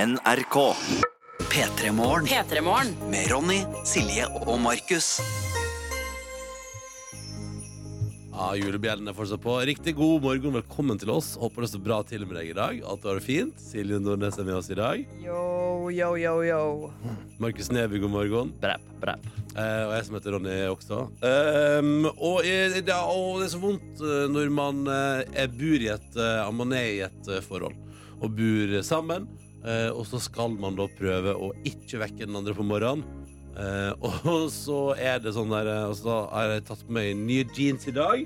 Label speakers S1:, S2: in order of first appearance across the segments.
S1: NRK.
S2: P3 Morgen
S3: P3-morgen.
S2: med Ronny, Silje og Markus.
S4: Ja, julebjellene er fortsatt på. Riktig god morgen, velkommen til oss. Håper det står bra til med deg i dag. At du har det fint. Silje Nordnes er med oss i dag.
S5: Yo, yo, yo, yo.
S4: Markus Neby, god morgen.
S6: Brap, brap.
S4: Eh, og jeg som heter Ronny også. Ehm, og, eh, det, er- og det er så vondt eh, når man eh, er- bor i et eh, Man er i et eh, forhold og bor sammen, eh, og så skal man da prøve å ikke vekke den andre på morgenen. Eh, og så er det sånn der eh, Og så har jeg tatt på meg nye jeans i dag.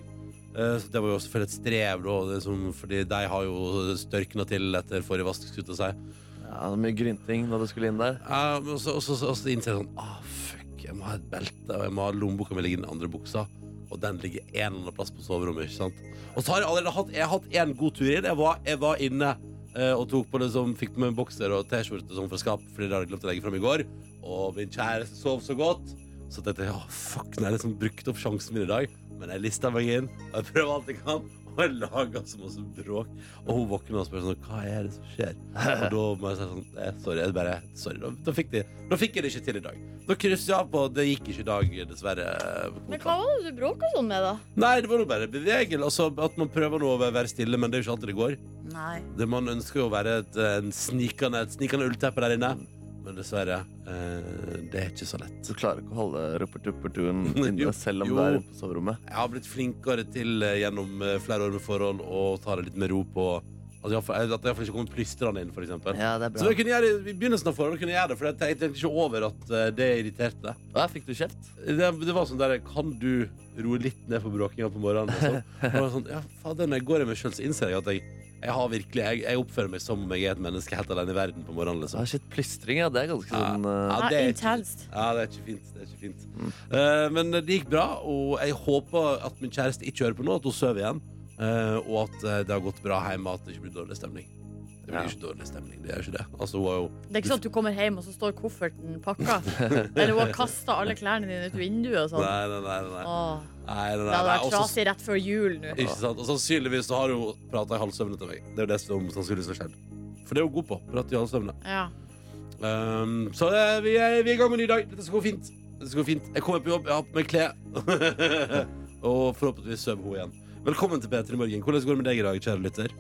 S4: Eh, så det var jo selvfølgelig et strev, da, det som, fordi de har jo størkna til etter forrige altså. vask. skulle jeg til å si
S6: Ja, det var mye grynting da du skulle inn der.
S4: ja, men så, og så, så, så innser jeg sånn ah, Fuck, jeg må ha et belte, og jeg må ha lommeboka mi ligger i den andre buksa. Og den ligger en eller annen plass på soverommet. ikke sant? Og så har jeg allerede hatt Jeg har hatt en god tur inn. Jeg var, jeg var inne eh, og tok på det som, fikk på meg en bokser og T-skjorte sånn fra skap, fordi det hadde jeg glemt å legge fram i går. Og min kjæreste sov så godt. Så tenkte jeg ah, fuck, nå har jeg liksom brukt opp sjansen min i dag. Men jeg lista meg inn, og jeg prøver alt jeg kan. Og jeg lager så masse bråk. Og hun våkner og spør sånn Hva er det som skjer? Og da må jeg si sånn eh, Sorry, jeg bare, sorry da, da, fikk de, da fikk jeg det ikke til i dag. Da krysser jeg av på Det gikk ikke i dag, dessverre. eh,
S7: Men hva var det du bråka sånn med, da?
S4: Nei, det var nå bare bevegel. Altså, at man prøver nå å være stille, men det er jo ikke alltid det går.
S5: Nei.
S4: Det, man ønsker jo å være et, eh, en snikende, et snikende ullteppe der inne. Men dessverre, eh, det er ikke så lett.
S6: Du klarer ikke å holde ruppert-ruppert-turen
S4: Jo,
S6: inne selv om
S4: jo.
S6: du er på soverommet.
S4: Jeg har blitt flinkere til eh, gjennom eh, flere år med forhold å ta det litt med ro på Altså, jeg har- jeg- at jeg iallfall ikke kommer plystrende inn, for eksempel.
S6: Ja, det er
S4: Så jeg kunne gjøre, det- I begynnelsen av forholdet kunne jeg gjøre det, for jeg tenkte egentlig ikke over at eh, det irriterte.
S6: Ja, fikk du kjeft?
S4: Det, det var sånn der Kan du roe litt ned på bråkinga på morgenen? Og sånn. Og det var sånn, ja, fader, når jeg går i meg sjøl, så innser jeg at jeg, jeg har virkelig jeg, jeg oppfører meg som om jeg er et menneske helt alene i verden på morgenen.
S6: Ja,
S4: Liksom.
S6: shit, plystring, ja. Det er ganske
S4: Ja.
S6: sånn eh,
S4: Ja,
S7: Ja,
S4: det er ikke-
S7: intenst.
S4: Ja, det er ikke fint. Det er ikke fint.
S6: Mm.
S4: Eh, men det gikk bra, og jeg håper at min kjæreste ikke hører på nå, at hun sover igjen. eh, og at eh, det har gått bra hjemme, at det ikke blir dårlig stemning. Det blir
S6: Ja.
S4: ikke dårlig stemning, det er ikke det. Altså, hun har jo
S7: Det er ikke sånn at du kommer hjem, og så står kofferten pakka. Eller hun har kasta alle klærne dine ut vinduet og
S4: Nei, nei, nei.
S7: sånn.
S4: nei, nei,
S7: Åh,
S4: nei, nei,
S7: det hadde
S4: nei.
S7: vært
S4: Og så-
S7: trasig rett før jul nå.
S4: Ikke sant? Og sannsynligvis så har hun prata i halvsøvne til meg. Det er jo det som sannsynligvis har skjedd. For det er hun god på. Prate i halvsøvne.
S7: Ja.
S4: Um, så eh, vi, er, vi er i gang med en ny dag. Dette skal gå fint. Dette skal gå fint. Jeg kommer på jobb, jeg har på meg klær. og forhåpentligvis sover hun igjen. Velkommen til P3 Morgen. Hvordan går det med deg i dag, kjære lytter?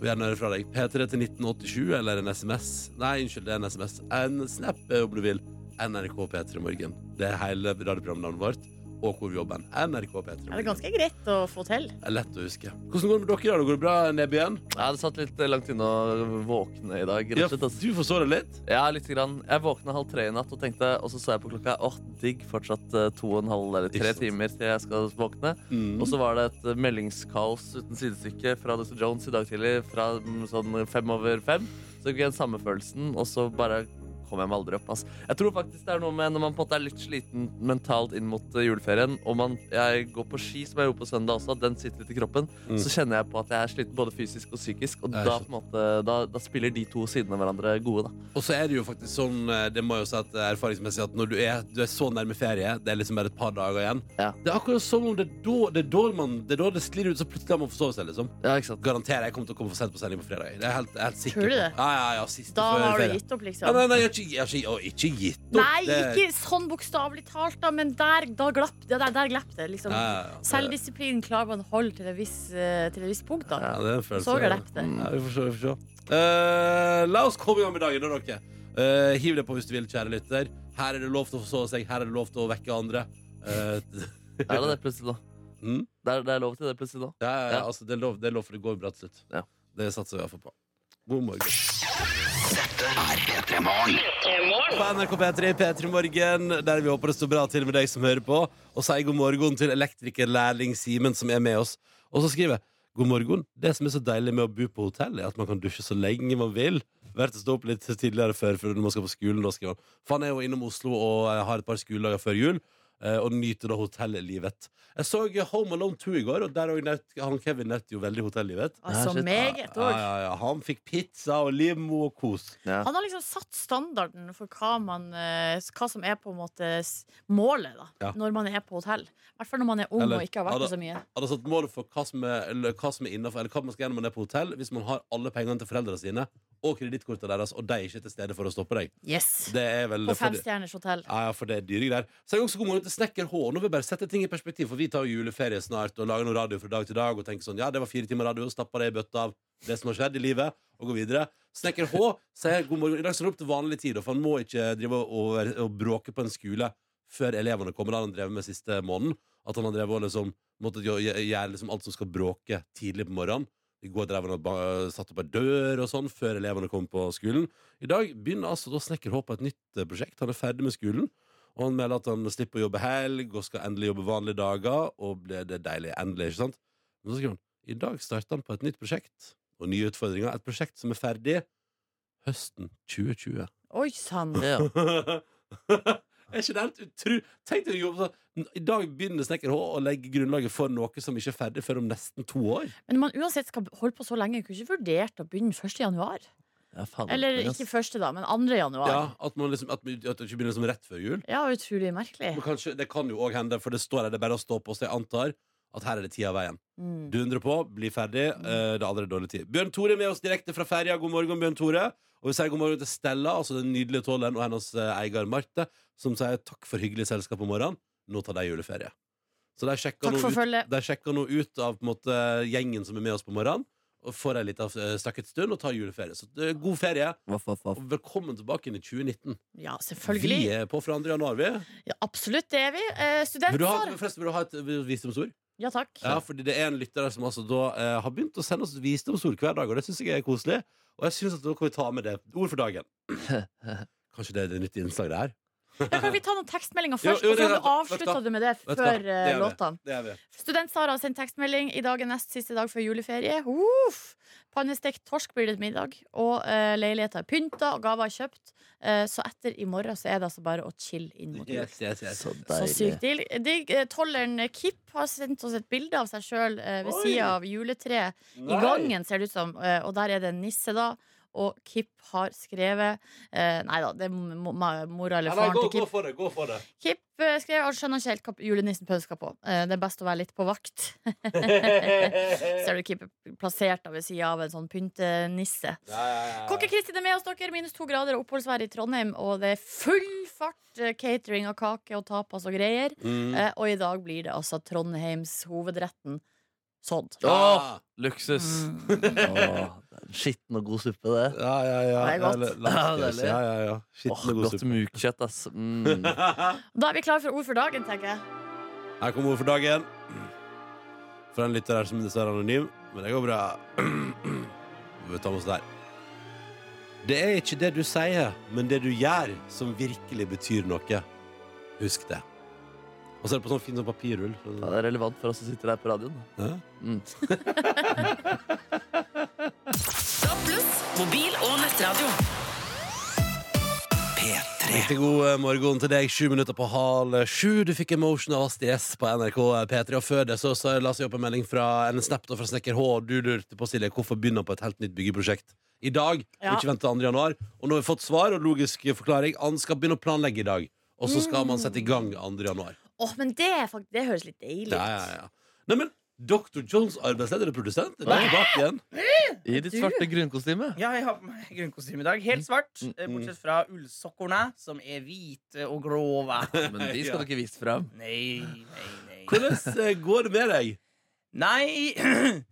S4: Vi gjerne høre fra deg. P3 til 1987 eller en SMS. Nei, unnskyld, det er en SMS. En snap eh, om du vil. NRK P3 Morgen. Det er hele radioprogramnavnet vårt. Og hvor vi jobber. NRK P3
S7: Er det
S4: Morgen.
S7: ganske greit å få til?
S4: Det er lett å huske. Hvordan går det med dere i dag? Går det bra, Nebyen?
S6: Ja, det satt litt eh, langt inne å våkne i dag. Rett
S4: Ja,
S6: og slett, ass.
S4: du forsår det litt?
S6: Ja, litt grann. Jeg våkna halv tre i natt og tenkte, og så så jeg på klokka. Åh, digg. Fortsatt eh, to og en halv eller
S4: Ikke
S6: tre
S4: sant. Mm.
S6: timer til jeg skal våkne.
S7: Mm.
S6: Og så var det et eh, meldingskaos uten sidestykke fra Dr. Jones i dag tidlig fra mm, sånn fem over fem. Så fikk jeg den samme følelsen, og så bare kom jeg meg aldri opp. Ass. Jeg tror faktisk det er noe med når man på en måte er litt sliten mentalt inn mot eh, juleferien, og man, jeg går på ski, som jeg gjorde på søndag også, at den sitter litt i kroppen,
S7: Mm.
S6: så kjenner jeg på at jeg er sliten både fysisk og psykisk, og
S4: Jeg
S6: da,
S4: skjønner.
S6: på en måte, da, da spiller de to sidene av hverandre gode, da.
S4: Og så er det jo faktisk sånn, eh, det må jeg jo si at eh, erfaringsmessig, at når du er, du er så nærme ferie, det er liksom bare et par dager igjen,
S6: Ja.
S4: det er akkurat som om det er da det, er da man, det, er da det sklir ut, så plutselig har man forsovet seg, liksom.
S6: Ja, ikke sant?
S4: Garanterer jeg kommer til å komme for sent på sending på fredag. Det er jeg helt, jeg er helt sikker
S7: Tror du
S4: på.
S7: det?
S4: Ja, ja, ja, siste
S7: Da
S4: før
S7: har du
S4: ferie.
S7: gitt opp,
S4: Ja,
S7: liksom?
S4: nei, nei, jeg har ikke, jeg har ikke, jeg har ikke gitt opp.
S7: Nei,
S4: Det-
S7: ikke sånn bokstavelig talt, da, men der, da glapp det. Der, der glapp det liksom.
S4: Ja, ja, ja.
S7: Selvdisiplin klarer man å holde til et visst vis punkt,
S4: Ja,
S7: da.
S4: det er en følelse.
S7: Så glapp det.
S4: Ja, vi får se. Vi får se. Eh, la oss komme i gang med dagen, da, dere. Eh, hiv det på hvis du vil, kjære lytter. Her er det lov til å forsove seg, her er det lov til å vekke andre. Eh,
S6: Er det det plutselig nå?
S4: Mm.
S6: Det er, det er lov til det plutselig nå?
S4: Ja, ja, ja.
S6: Ja.
S4: Altså, det, er lov, det er lov, for det går bra til slutt.
S6: Ja.
S4: Det satser vi iallfall på. God morgen. På NRK P3 P3 Morgen, der vi håper det står bra til med deg som hører på. Og sier god morgen til elektrikerlærling Simen, som er med oss. Og så skriver jeg God morgen. Det som er så deilig med å bo på hotell, er at man kan dusje så lenge man vil. Verdt å stå opp litt tidligere før, før når man skal på skolen. Da skriver han. For han er jo innom Oslo og eh, har et par skoledager før jul. eh, Og nyter da hotellivet. Jeg så eh, Home Alone 2 i går, og der òg nøt han Kevin nøt jo veldig hotellivet.
S6: Ja,
S7: Altså,
S6: shit.
S7: meget
S4: Ja,
S7: òg.
S4: ja, ja. Han fikk pizza og limo og kos.
S6: Ja.
S7: Han har liksom satt standarden for hva, man, eh, hva som er på en måte s- målet da,
S4: Ja.
S7: når man er på hotell. I hvert fall når man er ung
S4: Eller-
S7: og ikke har vært
S4: Ja,
S7: på
S4: da-
S7: så mye.
S4: Han har satt mål for hva som er, eller hva som er innenfor, eller hva man skal gjøre når man er på hotell, hvis man har alle pengene til foreldrene sine og kredittkortene deres, og de er ikke til stede for å stoppe deg.
S7: Yes.
S4: Det er vel
S7: På
S4: for det-
S7: femstjerners hotell.
S4: ja, ja, for det er dyre greier. Så er jeg også god morgen til Snekker H. Nå vil jeg bare sette ting i perspektiv, for vi tar jo juleferie snart og lager noe radio fra dag til dag og tenker sånn Ja, det var fire timer radio, stappa det i bøtta av det som har skjedd i livet, og går videre. Snekker H sier god morgen. I dag står han opp til vanlig tid, og for han må ikke drive og, og, og bråke på en skole før elevene kommer. Det har han drevet med siste måneden. At han har drevet og liksom måttet gjø- gjø- gjøre liksom alt som skal bråke tidlig på morgenen. I går drev han og ba- satte opp ei dør og sånn før elevene kom på skolen. I dag begynner altså da Snekker H på et nytt eh, prosjekt. Han er ferdig med skolen. Og han melder at han slipper å jobbe helg og skal endelig jobbe vanlige dager. Og ble det deilig endelig, ikke sant? Men så skriver han i dag starter han på et nytt prosjekt og nye utfordringer. Et prosjekt som er ferdig høsten 2020.
S7: Oi sann.
S6: Ja.
S4: er ikke det helt utru... Tenk deg å jobbe sånn. I dag begynner Snekker H å legge grunnlaget for noe som ikke er ferdig før om nesten to år.
S7: Men man uansett skal holde på så lenge. Kunne ikke vurdert å begynne 1. januar.
S6: Ja, faen,
S7: Eller
S6: ass.
S7: ikke 1. da, men 2. januar.
S4: Ja, At, man liksom, at, at det ikke begynner liksom rett før jul.
S7: Ja, utrolig merkelig.
S4: Men kanskje, det kan jo òg hende, for det står her, det er bare å stå på, så jeg antar at her er det tida av veien.
S7: Mm.
S4: Dundre på, bli ferdig. eh, det er allerede dårlig tid. Bjørn Tore er med oss direkte fra ferja. God morgen, Bjørn Tore. Og vi sier god morgen til Stella, altså den nydelige tåleren, og hennes eh, eier Marte, som sier takk for hyggelig selskap om morgenen. Nå tar de juleferie. Så de sjekker,
S7: Takk
S4: nå
S7: for
S4: ut,
S7: følget.
S4: de sjekker nå ut av på en måte, gjengen som er med oss på morgenen, og får ei lita eh, stakket stund og tar juleferie. Så eh, god ferie,
S6: Voff, voff, voff.
S4: og velkommen tilbake inn i 2019.
S7: Ja,
S4: Vi
S7: selvfølgelig.
S4: er på fra 2. januar, vi.
S7: Ja, absolutt, det er vi. Eh,
S4: Vil du ha,
S7: studentsvar.
S4: forresten, vil du ha et eh, visdomsord?
S7: Ja, takk.
S4: Ja, fordi det er en lytter der som altså da eh, har begynt å sende oss visdomsord hver dag, og det syns jeg er koselig. Og jeg synes at nå kan vi ta med det. Ord for dagen. Kanskje det er det nyttige innslaget det her?
S7: Ja, kan vi ta noen tekstmeldinger
S4: Jo,
S7: først,
S4: jo,
S7: og
S4: det er
S7: så
S4: greit.
S7: avslutter
S4: Vet
S7: du med det
S4: Vet du hva?
S7: før
S4: Det
S7: eh,
S4: gjør vi.
S7: låtene?
S4: Det er vi.
S7: Student Sara har sendt tekstmelding. I dag er nest siste dag før juleferie. Uff! Pannestekt torsk blir det til middag. Og uh, leiligheter er pynta, og gaver er kjøpt. Eh, så etter i morgen så er det altså bare å chille inn mot jul.
S4: Yes, yes, yes.
S6: Så
S7: Så
S6: deilig.
S7: sykt digg. digg. Eh, Tolleren Kipp har sendt oss et bilde av seg sjøl ved
S4: Oi.
S7: sida av juletreet i gangen, ser det ut som. Eh, Og der er det en nisse, da. Og Kipp har skrevet eh, Nei da, det er mo- ma-
S4: Nei,
S7: mora eller
S4: nei,
S7: faren
S4: gå,
S7: til
S4: gå
S7: Kipp.
S4: for det. Gå for det.
S7: Kipp eh, skrev at skjønner ikke helt hva julenissen pønsker på. Eh, Det er best å være litt på vakt.
S4: ja,
S7: Ser du Kipp er plassert da ved sida av en sånn pyntenisse.
S4: ja, ja.
S7: Kokke Kristin er med oss, dere. Minus to grader og oppholdsvær i Trondheim. Og det er full fart eh, catering av kake og tapas og greier.
S4: Mm.
S7: Eh, Og i dag blir det altså Trondheims hovedretten sodd.
S4: Ah.
S6: Luksus.
S7: Mm.
S6: Åh, det er en Skitten og god suppe, det.
S4: Ja, ja, ja.
S7: Det er godt.
S4: Eller lapskaus.
S6: Ja, deilig.
S4: Ja, ja, ja.
S6: Åh,
S4: Skitten og god
S6: godt
S4: suppe.
S6: mukkjøtt, ass. Mm.
S7: Da er vi klare for ord for dagen, tenker jeg.
S4: Her kommer ord for dagen. Fra en lytter her som dessverre er anonym, men det går bra. Vi tar med oss der. Det er ikke det du sier, men det du gjør, som virkelig betyr noe. Husk det. Og så er det på sånn fin sånn papirrull.
S6: Ja, det er relevant for oss som sitter der på radioen.
S4: Hæ?
S6: Mm.
S1: Mobil og nettradio.
S6: eh,
S2: P3.
S4: Riktig god eh, morgen til deg, sju minutter på hal sju. Du fikk Emotion av Astrid S på NRK eh, P3. Og før det så, så la jeg opp en melding fra en snap da fra Snekker H. Du lurte på, Silje, hvorfor begynner han på et helt nytt byggeprosjekt i dag? Og
S7: Ja.
S4: ikke vente til 2. januar. Og nå har vi fått svar og logisk forklaring. Han skal begynne å planlegge i dag. Og så skal man sette i gang 2. januar.
S7: Åh, men det, er fakt- det høres litt deilig ut.
S4: Ja, ja, ja. Nei, men Dr. Johns arbeidsleder og produsent er da tilbake igjen.
S6: I ditt svarte grunnkostyme.
S5: Ja, jeg har på meg grunnkostyme i dag. Helt svart.
S6: Mm,
S5: eh, Bortsett fra ullsokkorna, som er hvite og grove.
S6: Men de skal du ikke vise fram.
S5: Nei, nei, nei.
S4: Hvordan eh, går det med deg?
S5: Nei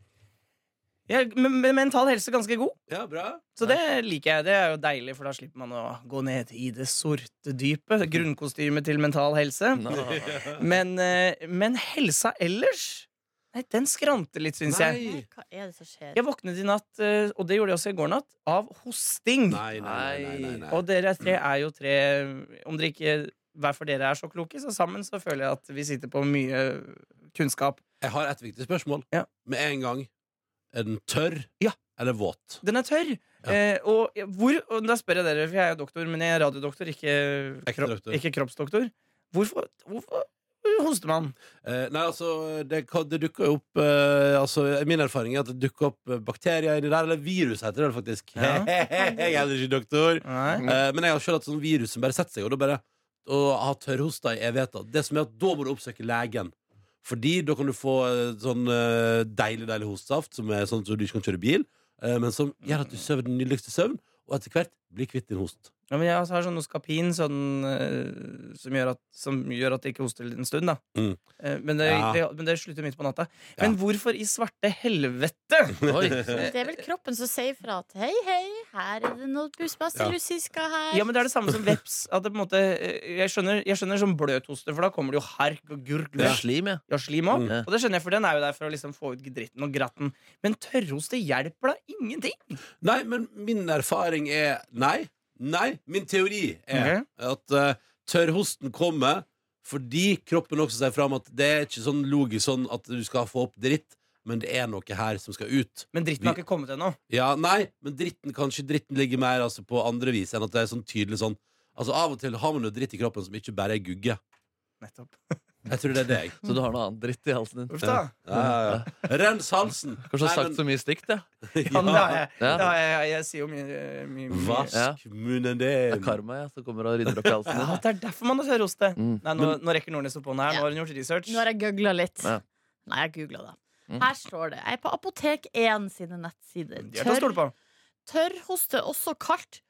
S5: ja, men, men mental helse er ganske god.
S4: Ja, bra.
S5: Så det liker jeg. Det er jo deilig, for da slipper man å gå ned i det sorte dypet. Grunnkostyme til mental helse.
S6: Nå.
S5: Men, eh, men helsa ellers, nei, den skranter litt, syns jeg.
S4: Nei.
S7: Hva er det som skjer?
S5: Jeg våknet i natt, eh, og det gjorde jeg også i går natt, av hosting.
S4: Nei, nei, nei. nei, nei, nei.
S5: Og dere tre er jo tre Om dere ikke hver for dere er så kloke, så sammen så føler jeg at vi sitter på mye kunnskap.
S4: Jeg har et viktig spørsmål.
S5: Ja.
S4: Med en gang. Er den tørr
S5: Ja.
S4: eller våt?
S5: Den er tørr!
S4: Ja.
S5: Eh, og hvor og Da spør jeg dere, for jeg er jo doktor, men jeg er radiodoktor, ikke,
S4: Ekte doktor.
S5: ikke kroppsdoktor. Hvorfor, hvorfor hoster man?
S4: Eh, nei, altså, det, kan- det dukker jo opp eh, altså, Min erfaring er at det dukker opp eh, bakterier inni der. Eller virus, heter det vel faktisk.
S5: Ja.
S4: jeg er heller ikke doktor.
S5: Nei.
S4: Eh, men jeg har selv hatt sånn virus som bare setter seg, og da bare og har tørrhosta i evigheter. Det som er at da må du oppsøke legen. Fordi da kan du få eh, sånn eh, deilig deilig hostesaft, som er sånn at du ikke kan kjøre bil. eh, men som gjør at du sover den nydeligste søvn, og etter hvert blir kvitt din host.
S5: Ja, men jeg også har sånn Oscapin sånn, eh, som, gjør at, som gjør at det ikke hoster en stund. Da.
S4: Mm.
S5: Eh, men, det,
S4: Ja.
S5: det, men det slutter midt på natta.
S4: Ja.
S5: Men hvorfor i svarte helvete?
S6: Oi.
S7: Det er vel kroppen som sier fra at hei, hei, her er det noe busbasselusiska her.
S5: Ja, men Det er det samme som veps. At det på en måte, eh, jeg, skjønner, jeg skjønner sånn bløthoste, for da kommer det jo hark og gurk.
S6: Det
S5: Ja.
S6: er slim, ja.
S5: Ja, slim også.
S6: Mm.
S5: Og det skjønner jeg, for den er jo der for å liksom få ut dritten og gratten. Men tørrhoste hjelper da ingenting!
S4: Nei, men min erfaring er Nei. Nei, min teori er at eh, tørrhosten kommer fordi kroppen også sier fra om at det er ikke sånn logisk sånn at du skal få opp dritt, men det er noe her som skal ut.
S5: Men dritten har ikke kommet ennå.
S4: Ja, nei, men dritten, kanskje dritten ligger mer altså, på andre vis enn at det er sånn tydelig sånn Altså Av og til har man jo dritt i kroppen som ikke bare er gugge.
S5: Nettopp.
S4: Jeg tror det er deg.
S6: Så du har noe annet dritt i halsen din.
S5: Uff da.
S4: Ja, ja, ja. Rens halsen!
S6: Kanskje du har sagt så mye stygt, ja.
S5: Ja, men det har jeg,
S6: Ja.
S5: det har jeg, jeg, jeg sier jo mye, mye, mye.
S4: Vask munnen
S6: Det
S4: din.
S6: er karma ja, som kommer og rydder opp i halsen
S5: Ja,
S6: din.
S5: det er derfor man har tørrhoste.
S6: Mm.
S5: Nei, nå, nå rekker Nordnes opp hånda her.
S7: Ja.
S5: Nå har hun gjort research.
S7: Nå har jeg googla litt.
S6: Ja.
S7: Nei, jeg googla det.
S6: Mm.
S7: Her står det. Jeg er på Apotek 1 sine nettsider.
S5: De er til å stole på.
S7: tørrhoste, også kalt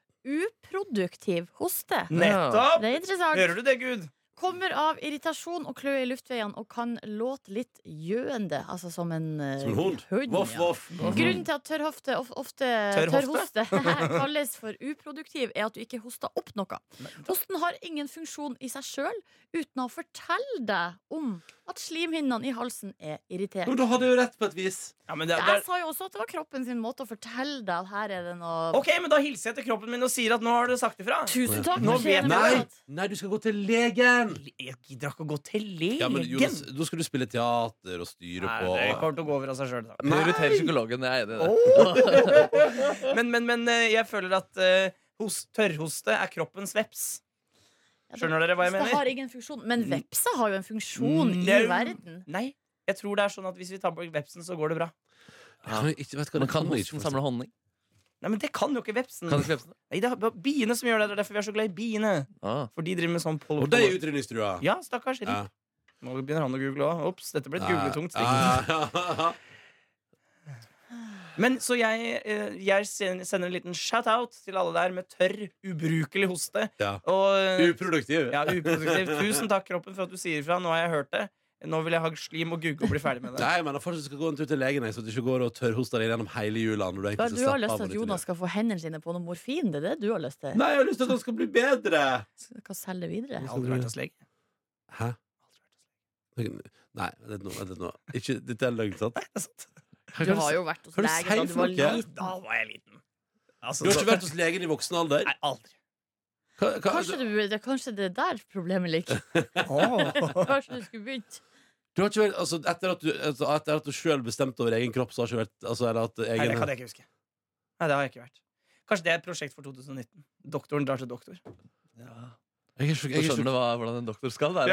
S7: uproduktiv hoste.
S5: Nettopp!
S7: Det er interessant.
S5: Hører du det, Gud?
S7: Kommer av irritasjon og kløe i luftveiene og kan låte litt gjøende. Altså som en, eh,
S4: Som en hund. Voff,
S7: ja.
S4: voff.
S5: Mhm.
S7: Grunnen til at tørrhofte of- ofte
S5: Tørrhofte?
S7: tørrhoste kalles for uproduktiv, er at du ikke hoster opp noe. Hosten har ingen funksjon i seg sjøl uten å fortelle deg om at slimhinnene i halsen er irritert.
S4: Jo, da hadde jeg jo rett på et vis.
S5: Ja, men det, det
S7: Jeg
S5: er...
S7: sa jo også at det var kroppen sin måte å fortelle deg at her er det noe
S5: Ok, men da hilser jeg til kroppen min og sier at nå har du sagt ifra.
S7: Tusen takk!
S5: Nå
S7: Marie,
S5: vet
S7: det
S4: Nei,
S7: var
S5: jeg.
S7: godt.
S4: nei, du skal gå til legen!
S5: Jeg gidder ikke å gå til
S4: Ja, men
S5: legen.
S4: Jonas, da skal du spille teater og styre
S5: Nei, det
S4: på
S5: kommer til å gå over av seg sjøl, da.
S6: Prioriter psykologen, jeg er enig i det.
S5: Men, men, men eh, jeg føler at eh, hos, tørrhoste er kroppens veps.
S7: Ja, det-
S5: Skjønner dere hva jeg
S7: Det har
S5: mener? Mm.
S7: ingen funksjon. Men vepsa har jo en funksjon i
S5: No.
S7: verden.
S5: Nei. Jeg tror det er sånn at hvis vi tar bort vepsen, så går det bra.
S4: Jeg kan ikke, vet du hva,
S6: Men
S4: det
S6: kan
S4: kan jeg ikke
S6: hosten samle honning?
S5: Nei, men det kan jo ikke vepsen.
S6: Kan ikke vepsen det?
S5: Nei, det er bare biene som gjør det. Det er derfor vi er så glad i biene.
S6: Ah.
S5: For de driver med sånn pol-
S4: Og det er utrydningstrua.
S5: Ja, stakkars.
S4: Ja.
S5: Rick. Nå begynner han å google òg. Ops, dette ble et googletungt stikk.
S4: Ja.
S5: Men så jeg, eh, jeg sen- sender en liten shout-out til alle der med tørr, ubrukelig hoste.
S4: Ja.
S5: Og, eh,
S4: Uproduktiv.
S5: ja, uproduktiv. Tusen takk, kroppen, for at du sier ifra. Nå har jeg hørt det. Nå vil jeg ha slim og gugge og bli ferdig med det.
S4: Nei, men jeg fortsatt skal gå en tur til legen, jeg, så du ikke går og tørrhoster deg gjennom hele jula. Når du,
S7: Hva,
S4: egentlig
S7: du
S4: skal
S7: har
S4: slappe
S7: lyst
S4: av og
S7: til at
S4: nyte
S7: Jonas skal få hendene sine på noe morfin? Det er det du har
S4: livet.
S7: lyst til?
S4: Nei, jeg har lyst til at han skal bli bedre!
S7: Skal selge videre?
S5: Jeg har aldri vært hos lege.
S4: Hæ? Nei, vent nå. Vent litt nå. Ikke, dette er løgn, sant?
S5: Det er sant.
S7: Du har jo vært hos
S4: Hva er det du
S7: legen
S4: sier
S7: da du
S4: for
S7: var
S4: noe?
S7: liten.
S5: Da var jeg liten. Altså,
S4: Du har ikke
S5: så-
S4: vært hos legen i voksen alder?
S5: Nei, aldri.
S4: Hva, altså, hva,
S7: Kanskje,
S4: du,
S7: du, det, kanskje det er der problemet ligger.
S4: Ah.
S7: Kanskje du skulle begynt.
S4: du har ikke vært, altså, etter at du, altså, etter at du sjøl bestemte over egen kropp, så har ikke vært altså, eller at
S5: Nei, det
S4: egen,
S5: kan jeg ikke huske. Nei, det har jeg ikke vært. Kanskje det er et prosjekt for 2019. Doktoren drar til doktor.
S4: jeg, er sjok,
S6: Da
S4: jeg, er
S6: skjønner
S4: sjok,
S6: du hva, hvordan en doktor skal være.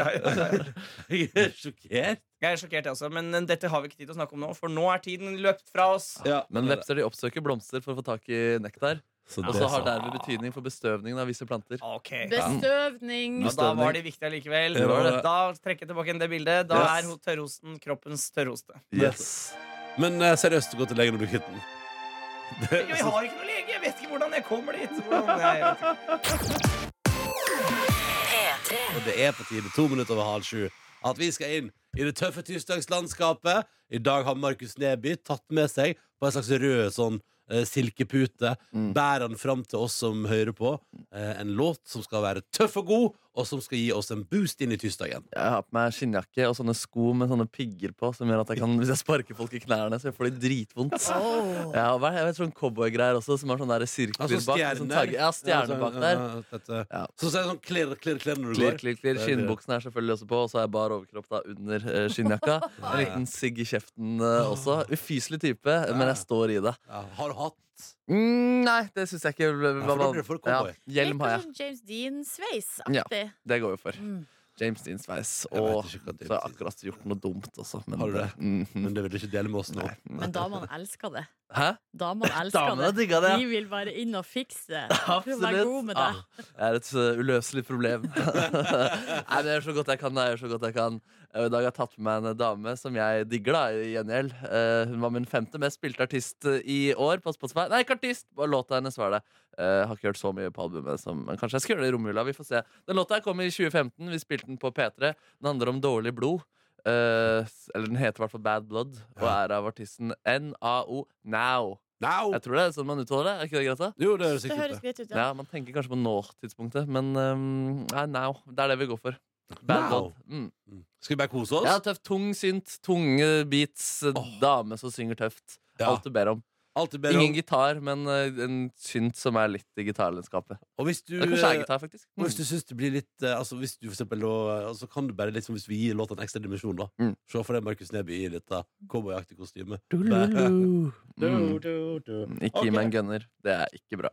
S4: jeg er sjokkert.
S5: Jeg er sjokkert, jeg også, men dette har vi ikke tid til å snakke om nå, for nå er tiden løpt fra oss.
S4: Ja,
S6: Men vepser de oppsøker blomster for å få tak i nektar.
S4: Så
S6: Og
S4: det
S6: så har
S4: sa-
S6: derved betydning for bestøvningen av visse planter.
S5: Ok
S7: Bestøvning.
S5: Ja, da var de viktige likevel.
S4: Det var det.
S5: Da trekker jeg tilbake igjen det bildet. Da
S4: Yes.
S5: er ho- tørrhosten kroppens tørrhoste.
S4: Yes. Men eh, seriøst, gå til legen og bli kvitt den.
S5: Jeg har ikke noen lege! Jeg vet ikke hvordan jeg kommer dit. Hvordan jeg,
S4: Og det er på tide, to minutter over halv sju, at vi skal inn i det tøffe tirsdagslandskapet. I dag har Markus Neby tatt med seg på en slags rød sånn eh, silkepute. Bærer den fram til oss som hører på. Eh, en låt som skal være tøff og god, og som skal gi oss en boost inn i tirsdagen.
S6: Jeg har på meg skinnjakke og sånne sko med sånne pigger på, som gjør at jeg kan, hvis jeg sparker folk i knærne, så får de dritvondt.
S7: Åh.
S6: Ja, og hva er det? jeg vet sånn cowboygreier også, som har sånn der sirkler
S4: Altså
S6: bak.
S4: stjerner.
S6: Sånn tagge- ja, stjerner bak der.
S4: Ja, sånn, ja, ja,
S6: Ja.
S4: Så så er det sånn klirr, klirr, klirr når du
S6: Klirr,
S4: går.
S6: klirr, klirr.
S4: Det er det.
S6: Skinnbuksen er selvfølgelig også på, og så har jeg bar overkropp da under eh, skinnjakka. En liten sigg i kjeften eh, også. Ufyselig type, men jeg står i det.
S4: Ja, har du hatt?
S6: Mm, nei, det syns jeg ikke var
S4: for da blir det for cowboy.
S6: Hjelm har jeg.
S7: Litt sånn James
S6: Ja.
S7: Dean-sveis-aktig.
S6: Det går jo for.
S7: Mm.
S6: James Dean sveis.
S4: Jeg vet
S6: Og
S4: ikke hva det
S6: så har jeg
S4: betyr.
S6: akkurat gjort noe dumt også. Men,
S4: Har du det?
S6: Mhm.
S4: Men det vil du ikke dele med oss nå.
S7: Men damene elsker det.
S6: Hæ?
S7: Damene elsker
S6: Damene
S7: det.
S6: digga det!
S7: De vil bare inn og fikse. Vær god
S6: Absolutt.
S7: med
S6: Ah,
S7: det.
S6: jeg er et uh, uløselig problem. Nei, men jeg gjør så godt jeg kan. Jeg gjør så godt jeg kan. Og I dag har jeg tatt med meg en dame som jeg digger, da, i gjengjeld. Eh, hun var min femte mest spilte artist eh, i år på Spotify. Nei, ikke artist! Bare låta hennes var det. Eh, har ikke hørt så mye på albumet som Men kanskje jeg skal gjøre det i romjula. Vi får se. Den låta her kom i 2015. Vi spilte den på P3. Den handler om dårlig blod. Eh, s- eller den heter i hvert fall Bad Blood og er av artisten NAO Now.
S4: Now!
S6: Jeg tror det er sånn man uttaler det. Er ikke det greit? da?
S4: Jo, det høres
S7: Det
S4: riktig ut.
S7: høres greit ut, ja.
S6: Ja, Man tenker kanskje på nå-tidspunktet, men ehm, nei, now. Det er det vi går for. Bad
S4: Now.
S6: Blood. Mm.
S4: det. Skal vi bare kose oss?
S6: Ja, tøft. Tung synt, tunge beats, dame som synger tøft.
S4: Ja.
S6: Alt du ber om.
S4: Alt er bedre om-
S6: Ingen gitar, men eh, en synt som er litt i gitarlandskapet.
S4: Og hvis du,
S6: Eller kanskje er
S4: eh,
S6: gitar, faktisk. Mm.
S4: Og hvis du synes det blir litt eh, Altså hvis du for eksempel da, eh, altså, Kan du bare liksom Hvis vi gir låten en ekstra dimensjon da
S6: Mm.
S4: Se for deg Markus Neby i litt av Cowboyaktig kostyme
S6: Mm.
S5: Du,
S6: Mm.
S5: du, du.
S6: Ikke gi meg en gunner. Det er ikke bra.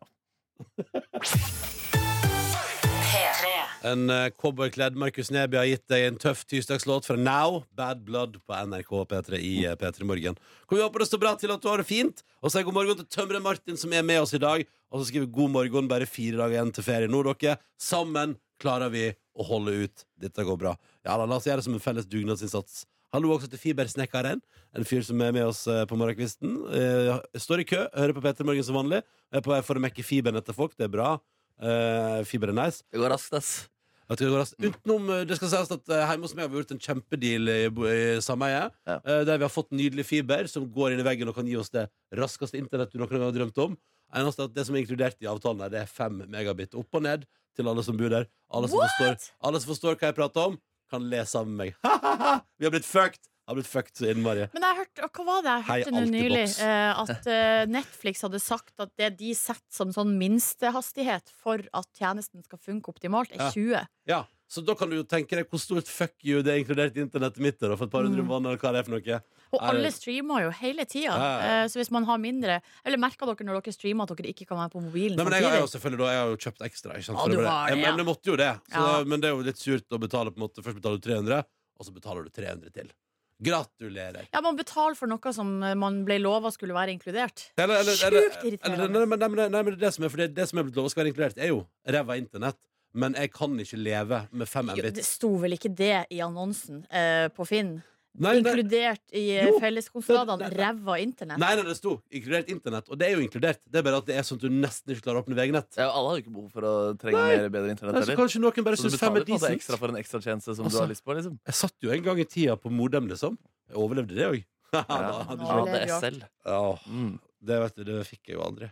S4: En eh, cowboykledd Markus Neby har gitt deg en tøff tirsdagslåt fra Now Bad Blood på NRK P3 i eh, P3 Morgen Kom vi håper det står bra til at du har det fint Og si god morgen til Tømre Martin som er med oss i dag Og så skriver vi god morgen Bare fire dager igjen til ferie Nå dere Sammen klarer vi å holde ut Dette går bra Ja da, la oss gjøre det som en felles dugnadsinnsats Hallo også til Fibersnekkeren, en fyr som er med oss eh, på morgenkvisten. Eh, står i kø, hører på Peter Morgen som vanlig. Er på vei for å mekke fiberen etter folk, det er bra. Eh, fiber er nice.
S6: Det går raskt, ass.
S4: Vet du hva det går raskt? Utenom, eh, det skal sies at eh, Hjemme hos meg har vi gjort en kjempedeal eh, i, bo- i sameiet.
S6: Ja.
S4: eh, Der vi har fått nydelig fiber som går inn i veggen og kan gi oss det raskeste internett du noen gang har drømt om. Eneste at Det som er inkludert i avtalen, her, det er fem megabit opp og ned til alle som bor der. Alle som, forstår, alle som forstår hva jeg prater om, kan le sammen med meg. vi har blitt fucked! Har blitt fucked så innmari.
S7: Men jeg hørte, og hva var det jeg
S4: Hei,
S7: hørte nå nylig?
S4: Altibox.
S7: Eh, at eh, Netflix hadde sagt at det de setter som sånn minstehastighet for at tjenesten skal funke optimalt,
S4: Ja.
S7: er 20.
S4: Ja, så da kan du jo tenke deg hvor stort fuck you det er inkludert i internettet mitt er da, for et par hundre
S7: Mm.
S4: måneder, eller hva det er for noe. Er
S7: Og
S4: det-
S7: alle streamer jo hele tida.
S4: Ja, ja, ja.
S7: Eh, Så hvis man har mindre Eller merker dere når dere streamer at dere ikke kan være på mobilen
S4: Nei, men jeg har jo
S7: samtidig?
S4: selvfølgelig da, jeg har jo kjøpt ekstra, ikke sant?
S7: Ja,
S4: For det
S7: du
S4: var
S7: har
S4: det.
S7: det,
S4: Jeg,
S7: ja.
S4: men jeg måtte jo det. Så,
S7: Ja.
S4: Men det er jo litt surt å betale på en måte. Først betaler du 300, og så betaler du 300 til. Gratulerer.
S7: Ja, man betaler for noe som eh, man ble lova skulle være inkludert.
S4: Eller, eller,
S7: Sjukt
S4: eller,
S7: irriterende.
S4: eller, nei, men- nei, men- nei, men det som er, for det, det som er blitt lov å skal være inkludert, er jo ræva internett. Men jeg kan ikke leve med fem
S7: Jo,
S4: mbit.
S7: det sto vel ikke det i annonsen eh, på Finn?
S4: Nei, nei,
S7: Inkludert i
S4: Jo,
S7: felleskostnadene.
S4: det- det-
S7: Ræva internett.
S4: nei, nei, det sto inkludert internett, og det er jo inkludert. Det er bare at det er sånn at du nesten ikke klarer å åpne vegnett.
S6: Ja, alle har jo ikke behov for å trenge mer bedre internett
S4: Nei, Så
S6: heller.
S4: kanskje noen bare
S6: Så du
S4: syns fem er
S6: betaler på en måte
S4: decent.
S6: ekstra for en ekstratjeneste som
S4: Altså-
S6: du har lyst på. liksom
S4: Jeg satt jo en gang i tida på modem, liksom. Jeg overlevde det òg.
S6: Ja,
S7: hadde
S6: du
S7: du
S6: hadde
S7: ikke-
S6: SL. Mm.
S4: det, vet du, det fikk jeg jo aldri.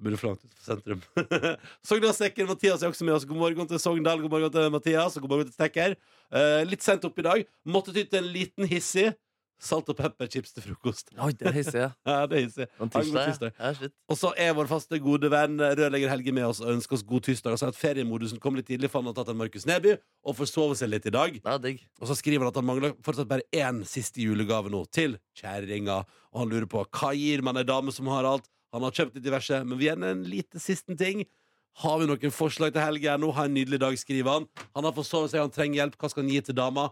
S4: Burde forlangt ut på sentrum. Sogndalsdekker Mathias er også med oss. God morgen til Sogndal, god morgen til Mathias og god morgen til Stekker. Eh, litt sent opp i dag. Måtte ty til en liten hissig salt og pepperchips til frokost.
S6: Oi, det hisser jeg.
S4: Ja, det er hissig.
S6: Men
S4: Ha en god
S6: tirsdag, ja.
S4: tirsdag.
S6: Ja, shit.
S4: Og så er vår faste gode venn rørlegger Helge med oss og ønsker oss god tirsdag. Og sier at feriemodusen kom litt tidlig, for han har tatt en Markus Neby og forsovet seg litt i dag.
S6: Det er digg.
S4: Og så skriver han at han mangler fortsatt bare én siste julegave nå, til kjerringa. Og han lurer på hva gir man ei dame som har alt? Han har kjøpt litt diverse, men vi gjerne en lite siste ting. Har vi noen forslag til helga nå? Ha en nydelig dag, skriver han. Han har forsovet seg, han trenger hjelp. Hva skal han gi til dama?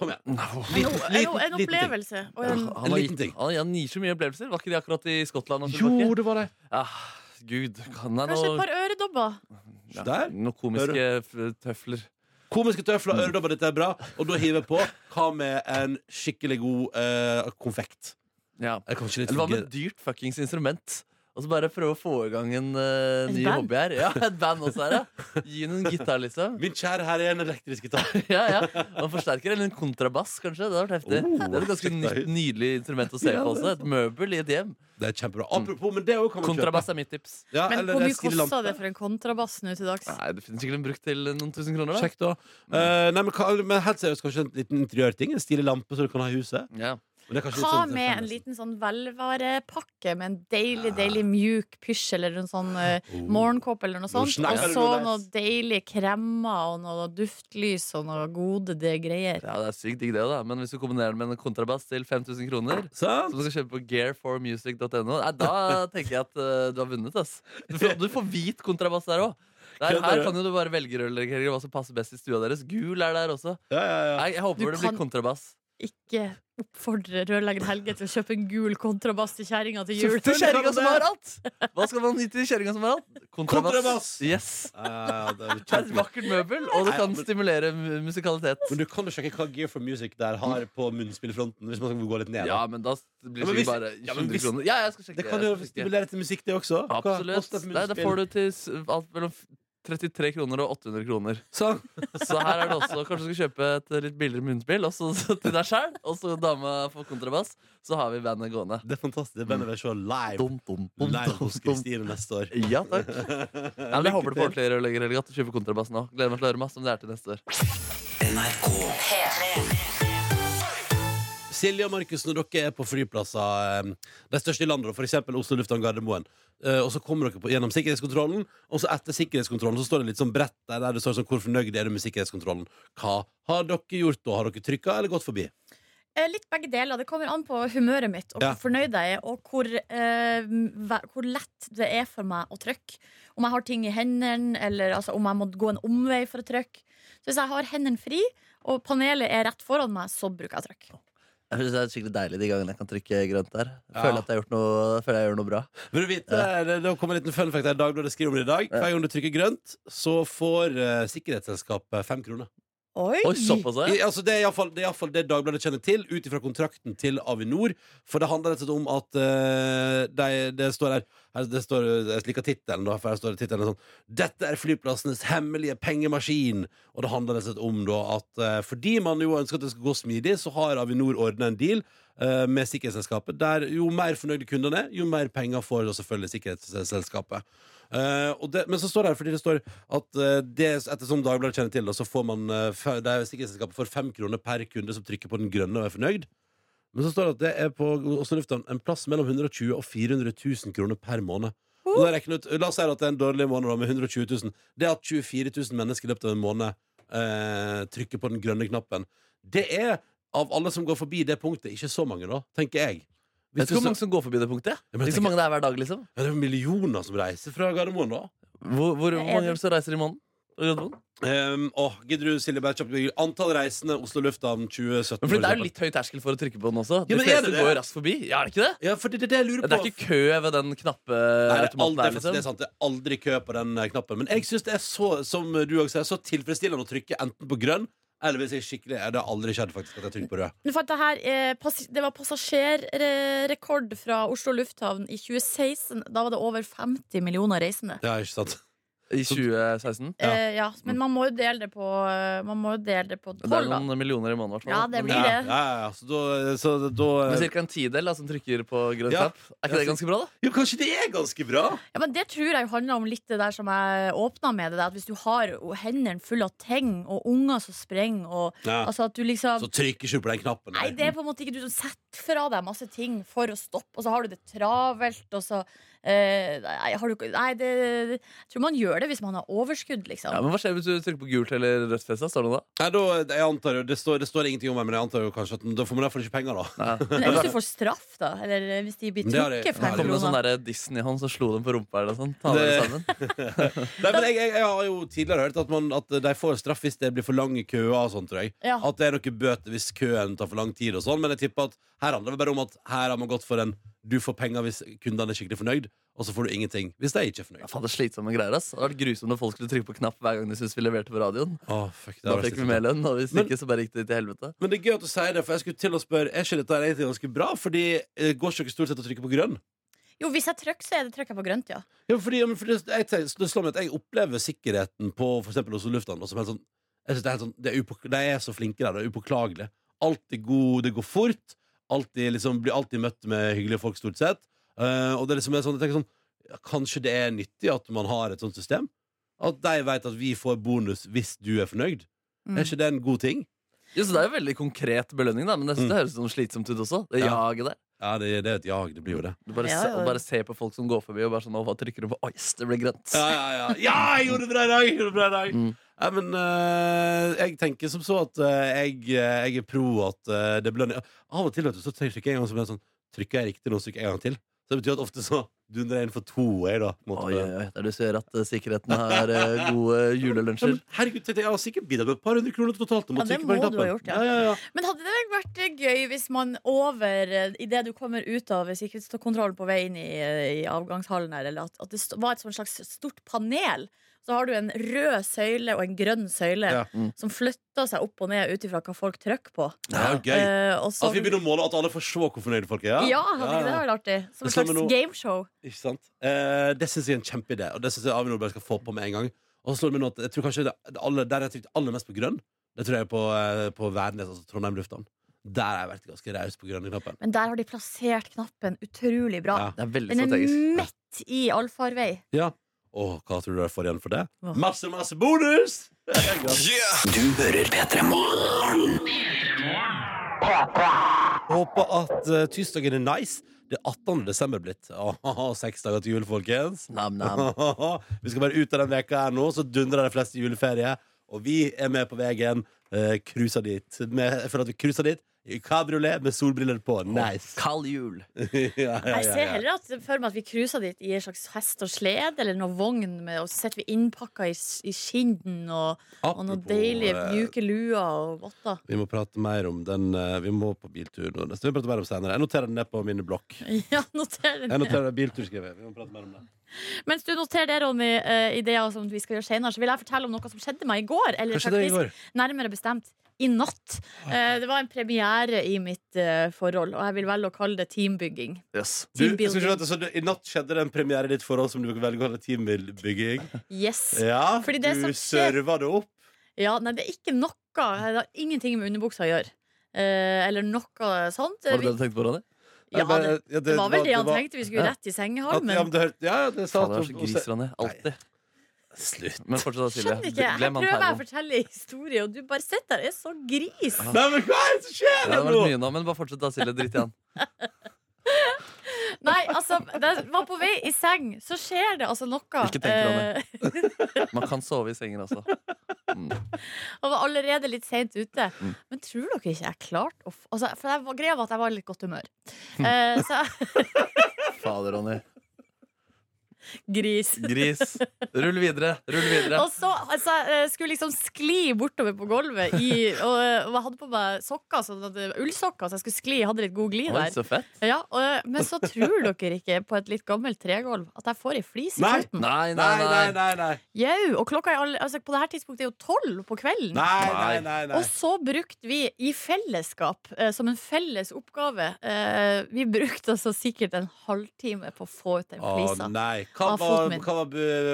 S4: Kom igjen.
S7: En,
S4: Liten,
S7: en,
S4: liten,
S7: en
S4: liten ting.
S7: opplevelse. Og en,
S6: Han,
S4: En
S6: har
S4: liten
S6: gitt-
S4: ting.
S6: Han, han gir så mye opplevelser. Var ikke de akkurat i Skottland? og
S4: Jo,
S6: Slovakia?
S4: det var det.
S6: ah, Gud, kan jeg
S7: kanskje et
S6: noe,
S7: par øredobber.
S4: Så der.
S6: noe komiske f- tøfler?
S4: Komiske tøfler, øredobber, dette er bra. Og da hiver jeg på. Hva med en skikkelig god eh, konfekt?
S6: Ja.
S4: Eh, Kanskje litt
S6: Eller hva med
S4: for-
S6: et dyrt fuckings instrument? Og så bare prøve å få i gang en eh,
S7: Et
S6: ny
S7: band?
S6: hobby her. Ja, Et band også her, ja. Gi henne en gitar, liksom.
S4: Min kjære herre er en elektrisk gitar.
S6: Ja, ja. Og en forsterker eller en kontrabass, kanskje. Det hadde vært heftig.
S4: Oh,
S6: det er et ganske
S4: sjekk deg
S6: nytt,
S4: ut.
S6: nydelig instrument å se
S4: Ja,
S6: på
S4: det
S6: også. Et møbel i et hjem.
S4: Det er kjempebra. Apropos, men det òg kan man kjøpe.
S6: Kontrabass er mitt tips.
S4: Ja,
S7: Men
S4: eller
S7: hvor
S4: en
S7: mye
S4: skrivelampe.
S7: kosta det for en kontrabass nå til dags?
S6: Nei, Det finnes sikkert en bruk til noen tusen kroner. da
S4: Kjekt da. Eh, nei, men, hva- men helt seriøst, kanskje en liten interiørting? En stilig lampe så du kan ha i huset?
S6: Ja.
S4: Men det er kanskje litt
S7: Hva
S4: sånn-
S7: med en liten sånn velvarepakke med en deilig, deilig mjuk pysj eller en sånn eh,
S4: Oh.
S7: morgenkåpe eller noe sånt?
S4: snakker
S7: Og
S4: du
S7: så
S4: nå,
S7: noe
S4: Leis.
S7: deilige kremmer og noe duftlys og noe gode de greier.
S6: Ja, det er sykt digg det, da. Men hvis du kombinerer det med en kontrabass til 5000 kroner
S4: Sant?
S6: som du skal kjøpe på gear4music.no. Nei, Da tenker jeg at eh, du har vunnet. ass Du får, du får hvit kontrabass der òg.
S4: Kødder
S6: Her
S4: du?
S6: kan jo du bare velge rørleggere hva som passer best i stua deres. Gul er der også.
S4: Ja, ja, ja.
S6: Nei, jeg håper
S7: Du
S6: det
S7: kan-
S6: blir kontrabass.
S7: Ikke oppfordre rørlegger Helge til å kjøpe en gul kontrabass til kjerringa til jul.
S6: Til kjerringa som har alt! Hva skal man gi til kjerringa som har alt?
S4: Kontrabass!
S6: Yes.
S4: Eh, det er
S6: Det er et
S4: kjempebra.
S6: vakkert møbel, og det kan
S4: Nei, men-
S6: stimulere mu- musikalitet.
S4: Men du kan jo sjekke hva Gear for Music der har på munnspillfronten. Hvis man skal gå litt ned da.
S6: Ja, men da blir
S4: Ja,
S6: det
S4: men hvis-
S6: sikkert bare
S4: ja, men
S6: 100
S4: hvis-
S6: kroner. Ja, jeg skal sjekke.
S4: Det kan jo
S6: jeg skal sjekke.
S4: stimulere til musikk, det også. Hva
S6: Absolutt.
S4: koster et
S6: Nei, da
S4: munnspill?
S6: får du til s- alt mellom f- 33 kroner og 800 kroner.
S4: Sånn.
S6: Så her er det også Kanskje du skal kjøpe et litt billigere munnspill også, så til deg sjæl, og så dama får kontrabass. Så har vi bandet gående.
S4: Det er fantastisk. Det bandet vil se live,
S6: Dum, dum, dum,
S4: live
S6: dum,
S4: hos
S6: dum.
S4: Kristine neste år.
S6: Ja, takk. Nei, men jeg håper du får til rørlegger Helge at du kjøper kontrabass nå. Gleder meg til å høre masse om det her til neste år.
S2: NRK.
S4: Silje og Markus, når dere er på flyplasser, eh, de største i landet, f.eks. Oslo lufthavn Gardermoen, eh, og så kommer dere på, gjennom sikkerhetskontrollen, og så etter sikkerhetskontrollen så står det litt sånn bredt der, der det står sånn 'Hvor fornøyd er du med sikkerhetskontrollen?' Hva har dere gjort da? Har dere trykka eller gått forbi?
S7: Eh, Litt begge deler. Det kommer an på humøret mitt og
S4: Ja.
S7: hvor fornøyd jeg er, og hvor, eh, ve- hvor lett det er for meg å trykke. Om jeg har ting i hendene, eller altså, om jeg må gå en omvei for å trykke. Så hvis jeg har hendene fri, og panelet er rett foran meg, så bruker jeg trykk.
S1: Jeg synes det er skikkelig deilig de gangene jeg kan trykke grønt der.
S4: Ja.
S1: Føler at jeg, har gjort noe, føler jeg gjør noe bra.
S4: Vil du vite, eh, det, det kommer en liten fun fact her i dag, da det skriver om det i dag. Hver gang du trykker grønt, så får eh, sikkerhetsselskapet fem kroner.
S7: Oi!
S6: Oi, såpass, ja.
S4: I, altså, det er iallfall det, er i alle fall det Dagbladet kjenner til, ut ifra kontrakten til Avinor. For det handler rett og slett om at eh, de, det står her, her Det står eh, Jeg liker tittelen, da, for her står det tittelen sånn Dette er flyplassenes hemmelige pengemaskin. Og det handler rett og slett om da at eh, fordi man jo ønsker at det skal gå smidig, så har Avinor ordna en deal. eh, Med sikkerhetsselskapet Der Jo mer fornøyde kundene er, jo mer penger får da selvfølgelig sikkerhetsselskapet. Eh, og det, men så står det her fordi det står at eh, det, ettersom Dagbladet kjenner til det, så får man eh, fe- det er sikkerhetsselskapet for fem kroner per kunde som trykker på den grønne og er fornøyd. Men så står det at det er på Oslo lufthavn en plass mellom 120 og 400 000 kroner per måned. Og da regner jeg ut, La oss si at det er en dårlig måned da, med 120 000. Det at 24 000 mennesker i løpet av en måned eh, trykker på den grønne knappen, det er, av alle som går forbi det punktet, ikke så mange, da, tenker jeg. Hvis
S6: Vet du
S4: du
S6: hvor
S4: så,
S6: mange som går forbi det punktet?
S4: Ja, men jeg
S6: Tenk så mange det er hver dag, liksom.
S4: Ja, det er millioner som reiser fra Gardermoen, da.
S6: Hvor, hvor, hvor
S7: er
S6: mange
S7: det.
S6: er det som reiser i måneden? På Gardermoen?
S4: Um, åh, gidder du, Silje Bertjapp, antall reisende Oslo lufthavn 2017?
S6: Men fordi Det er
S4: for
S6: jo
S4: eksempel.
S6: litt høy terskel for å trykke på den også.
S4: Ja,
S6: De
S4: men er det
S6: fleste
S4: det?
S6: går jo raskt forbi. Ja, er det ikke det?
S4: Ja, for det, det er det jeg lurer på.
S6: Det er ikke kø ved den
S4: Nei, det, er
S6: knappeautomaten
S4: aldri, altså.
S6: der,
S4: det er
S6: liksom.
S4: sant, det er aldri kø på den eh, knappen. Men jeg syns det er så som du også sier, så tilfredsstillende å trykke enten på grønn eller hvis jeg er skikkelig Det har aldri skjedd faktisk at jeg trykker på rød.
S7: Men for at Det, her, eh, passi- det var passasjerrekord fra Oslo lufthavn i 2016. Da var det over 50 millioner reisende.
S4: Ja, ikke sant?
S6: I 2016.
S4: Ja.
S7: Eh, ja, men man må jo dele det på eh, Man må jo dele det på
S6: Det er
S7: tolv, da.
S6: noen millioner i måneden, i hvert
S7: Ja,
S6: fall.
S7: det
S4: Ja,
S7: blir det.
S4: ja, ja, så da, så da
S6: Men ca. en tidel da, som trykker på grønn
S4: Ja.
S6: knapp. Er ikke det ganske bra, da?
S4: Jo, kanskje det er ganske bra?
S7: Ja, men Det tror jeg handler om litt det der som jeg åpna med. det der, At Hvis du har hendene fulle av ting, og unger som sprenger og
S4: Ja.
S7: Altså at du liksom
S4: Så trykker ikke du på den knappen.
S7: Nei, det er på en måte ikke du som setter fra deg masse ting for å stoppe, og så har du det travelt, og så eh, Nei, har du, ikke- nei det, jeg tror man gjør det hvis man har overskudd, liksom.
S6: Ja, men Hva skjer hvis du trykker på gult eller rødt fjes? da? Står det noe da?
S4: Nei, da, jeg antar jo, det står, det står ingenting om meg, men jeg antar jo kanskje at da får man derfor ikke penger, da.
S7: Men hvis du får straff, da, eller hvis de blir
S4: Men det har de- Ja,
S7: trukket
S6: Det
S7: fem
S4: det-
S6: kom en sånn
S7: kroner
S6: der Disney-hånd som slo dem på rumpa eller noe sånt. Ta dere
S4: Det-
S6: sammen.
S4: Nei, men jeg, jeg, jeg har jo tidligere hørt at, man, at de får straff hvis det blir for lange køer og sånt, tror jeg.
S7: ja.
S4: At det er noe bøter hvis køen tar for lang tid og sånn, men jeg tipper at her handler det bare om at her har man gått for en du får penger hvis kundene er skikkelig fornøyd, og så får du ingenting hvis de ikke er
S6: Ja,
S4: fornøyd.
S6: faen, det er slitsomme greier, ass. Det hadde vært grusomt om folk skulle trykke på knapp hver gang de syntes vi leverte på radioen.
S4: Åh, fuck, det
S6: Da
S4: har vært
S6: fikk vi
S4: slitsomt.
S6: mer lønn, og hvis
S4: Men-
S6: ikke, så bare gikk det til helvete.
S4: Men det er gøy at du sier det, for jeg skulle til å spørre Er ikke dette her egentlig ganske bra? Fordi eh, går ikke dere stort sett å trykke på grønn?
S7: Jo, hvis jeg trykker, så er det trykker jeg på grønt, ja.
S4: Ja, fordi, ja, men fordi jeg, tenker- det slår meg at jeg opplever sikkerheten på for eksempel Oslo lufthavn og som helt sånn, jeg synes det er helt sånn det er upok- De er så flinke der, det er upåklagelig. Alt er god, det går fort. Alltid, liksom, blir alltid møtt med hyggelige folk, stort sett. Eh, og det er liksom er sånn, jeg tenker sånn ja, Kanskje det er nyttig at man har et sånt system? At de vet at vi får bonus hvis du er fornøyd? Er ikke det en god ting?
S6: Jo, så Det er jo veldig konkret belønning, da, men det,
S4: Mm.
S6: det høres sånn slitsomt ut også. Det
S4: Ja.
S6: jaget der.
S4: Ja, det, det er et jag. Det blir jo det.
S6: Du bare,
S7: Ja,
S6: se,
S7: ja.
S6: og bare se på folk som går forbi og bare sånn «Å, hva trykker du på? Oi, yes, det ble grønt.
S4: Ja, ja, ja. ja jeg gjorde det bra i dag! Jeg gjorde det bra i dag.
S6: Mm.
S4: Nei, men eh, jeg tenker som så at eh, jeg, eh, jeg er pro at eh, det belønner Av og til vet du, så trykker jeg en gang så blir det sånn Trykker jeg riktig nå, så trykker jeg en gang til. Så det betyr at ofte så dundrer jeg inn for to, jeg, da. på en måte.
S1: Oi, oi, oi. Der du ser at eh, sikkerheten har eh, gode
S4: Ja,
S1: julelunsjer.
S4: men herregud, tenkte jeg, jeg har sikkert bidratt med et par hundre kroner totalt.
S7: Ja, det
S4: trykke på den
S7: må du ha
S4: knappen.
S7: gjort, ja.
S4: Ja, ja, ja.
S7: Men hadde det vært eh, gøy hvis man over idet du kommer ut av sikkerhetskontrollen på vei inn i, eh, i avgangshallen her, eller at, at det st- var et sånt slags stort panel? Så har du en rød søyle og en grønn søyle
S4: Ja.
S1: Mm.
S7: som flytter seg opp og ned ut ifra hva folk trykker på.
S4: Det er jo gøy.
S7: Eh, og
S4: At
S7: så,
S4: vi begynner å måle at alle får se hvor fornøyde folk er.
S7: ja, hadde ikke det vært artig? Som
S4: Det
S7: et
S4: samme
S7: slags
S4: nå.
S7: gameshow.
S4: Ikke sant? Eh, det syns jeg er en kjempeidé, og det syns jeg Avinor bare skal få på med en gang. Og så slår det meg nå at jeg tror kanskje det, det aller, Der jeg har trykt aller mest på grønn, det tror jeg er på, eh, på Værnes, altså Trondheim lufthavn. Der har jeg vært ganske raus på grønne-knappen.
S7: Men der har de plassert knappen utrolig bra.
S4: Ja.
S1: Det er veldig
S7: Den er
S1: strategisk.
S7: midt i allfarvei.
S4: Åh, hva tror du jeg får igjen for det?
S7: Åh.
S4: Masse, masse bonus!
S2: Du hører P3 Morgen.
S4: Håper at eh, tirsdagen er nice. Det er 18. desember blitt. Åh, seks dager til jul, folkens.
S1: Nam, nam.
S4: vi skal bare ut av den veka her nå, så dundrer de fleste juleferie. Og vi er med på veien. Uh, cruiser dit. Med, jeg føler at vi cruiser dit i kabriolet med solbriller på. Nice.
S1: Kald jul.
S4: ja, ja,
S7: Jeg ser heller at, for meg at vi cruiser dit i en slags hest og slede eller noe vogn, med, og så sitter vi innpakka i, s- i skinnen og, og noen
S4: Apropos,
S7: deilige
S4: eh,
S7: mjuke luer og votter.
S4: Vi må prate mer om den eh, Vi må på biltur nå. Det skal vi prate mer om senere. Jeg noterer den ned på min blokk.
S7: Ja, noter
S4: Jeg
S7: den.
S4: noterer biltur, skriver jeg. Vi må prate mer om det.
S7: Mens du noterer det, Ronny, eh, ideer som vi skal gjøre senere, så vil jeg fortelle om noe som skjedde meg i går. Eller
S4: Hva skjedde i
S7: faktisk
S4: går? Ah.
S7: nærmere bestemt i natt. Eh, Det var en premiere i mitt eh, forhold, og jeg vil velge å kalle det teambygging.
S6: Yes.
S4: Du, jeg skal
S7: Teambuilding.
S4: skjønne at det- så det- I natt skjedde det en premiere i ditt forhold som du velger å kalle teambygging.
S7: Yes.
S4: Ja,
S7: Fordi det
S4: du
S7: som skjer-
S4: serva det opp.
S7: Ja, nei, det er ikke noe Det har ingenting med underbuksa å gjøre. Eh, eller noe sånt.
S1: Var det det du tenkte på, Ronny?
S7: Ja,
S4: Nei,
S7: det,
S4: men, ja,
S7: det var vel det han
S4: var-
S7: tenkte. Vi skulle
S1: Ja.
S7: rett
S4: At,
S7: i
S4: ja,
S7: sengehalmen.
S4: men du hørte, ja, ja, det sa
S6: Faen, det er så
S4: og så-
S6: gris, Ronny. Alltid.
S4: Slutt.
S6: Men fortsett, da, Silje.
S7: Skjønner ikke. Her
S6: Glem han
S7: prøver jeg å
S6: terroren.
S7: fortelle historie, og du bare sitter der og er så gris.
S4: Nei, men hva er det som skjer
S6: Ja, det
S4: her
S6: har
S4: nå?
S6: vært mye nå, men bare fortsett, da, Silje. Dritt i han.
S7: Nei, altså, det var på vei i seng, så skjer det altså noe.
S6: Ikke tenk, Ronny.
S7: Eh,
S6: Man kan sove i sengen også. Mm.
S7: og var allerede litt seint ute.
S6: Mm.
S7: Men tror dere ikke jeg klarte å f- altså, For jeg var, greia var at jeg var i litt godt humør.
S6: Mm.
S7: Eh, så jeg
S1: Fader, Ronny.
S7: Gris.
S6: Gris. Rull videre. Rull videre.
S7: Og så altså, jeg eh, skulle liksom skli bortover på gulvet, i, og, eh, og jeg hadde på meg sokker, sånn at, ullsokker, så jeg skulle skli. Jeg hadde litt god glid
S6: Oi,
S7: der.
S6: så fett.
S7: Ja, og, men så tror dere ikke på et litt gammelt tregulv at jeg får ei flis i
S4: Nei.
S7: foten.
S6: Nei, nei,
S4: Nei, nei,
S6: nei.
S4: nei, nei.
S7: Jau! Og klokka er all, altså, på det her tidspunktet er jo tolv på kvelden.
S4: Nei, nei, nei, nei.
S7: Og så brukte vi i fellesskap, eh, som en felles oppgave eh, Vi brukte altså sikkert en halvtime på å få ut den flisa.
S4: Å, nei. Hva,
S7: Av
S4: var, hva,
S7: foten min.
S4: var,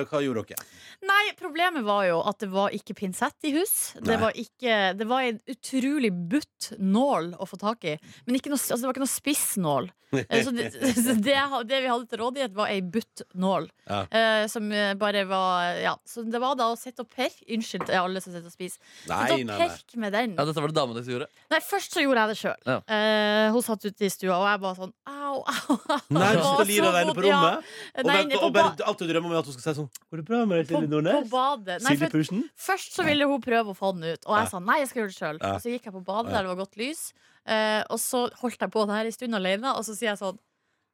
S4: bu- hva gjorde dere?
S7: Nei, problemet var jo at det var ikke pinsett i hus.
S4: Nei.
S7: Det var, ikke, det var en utrolig butt nål å få tak i. Men ikke noe, altså det var ikke noe spissnål. Eh, Så det, så det, jeg ha- det vi hadde til rådighet, var ei butt nål.
S4: Ja.
S7: Eh, som eh, bare var Ja. Så det var da å sitte og perke Unnskyld til alle som sitter og spiser.
S4: Nei, nei,
S7: Sitte og
S4: nei.
S7: perke med den.
S6: Ja, dette var det damene som gjorde.
S7: Nei, først så gjorde jeg det sjøl.
S6: Ja.
S7: Eh, hun satt ute i stua, og jeg bare sånn au, au, au.
S4: Nei,
S7: Det
S4: du
S7: var
S4: sitter og lirer
S7: så
S4: alene
S7: vondt,
S4: på
S7: ja.
S4: rommet, og,
S7: Nei,
S4: venter,
S7: på,
S4: og bare, alt du drømmer om, er at hun skal si sånn Går det bra med deg,
S7: ba
S4: Silje
S7: på, på
S4: Nordnes?
S7: badet. Nei,
S4: Silje
S7: for
S4: Pursen?
S7: Først så ville hun prøve å få den ut, og jeg
S4: Ja.
S7: sa nei, jeg skal gjøre det sjøl.
S4: Ja.
S7: Og så gikk jeg på badet
S4: Ja.
S7: der det var godt lys, eh, og så holdt jeg på det her en stund alene, og så sier jeg sånn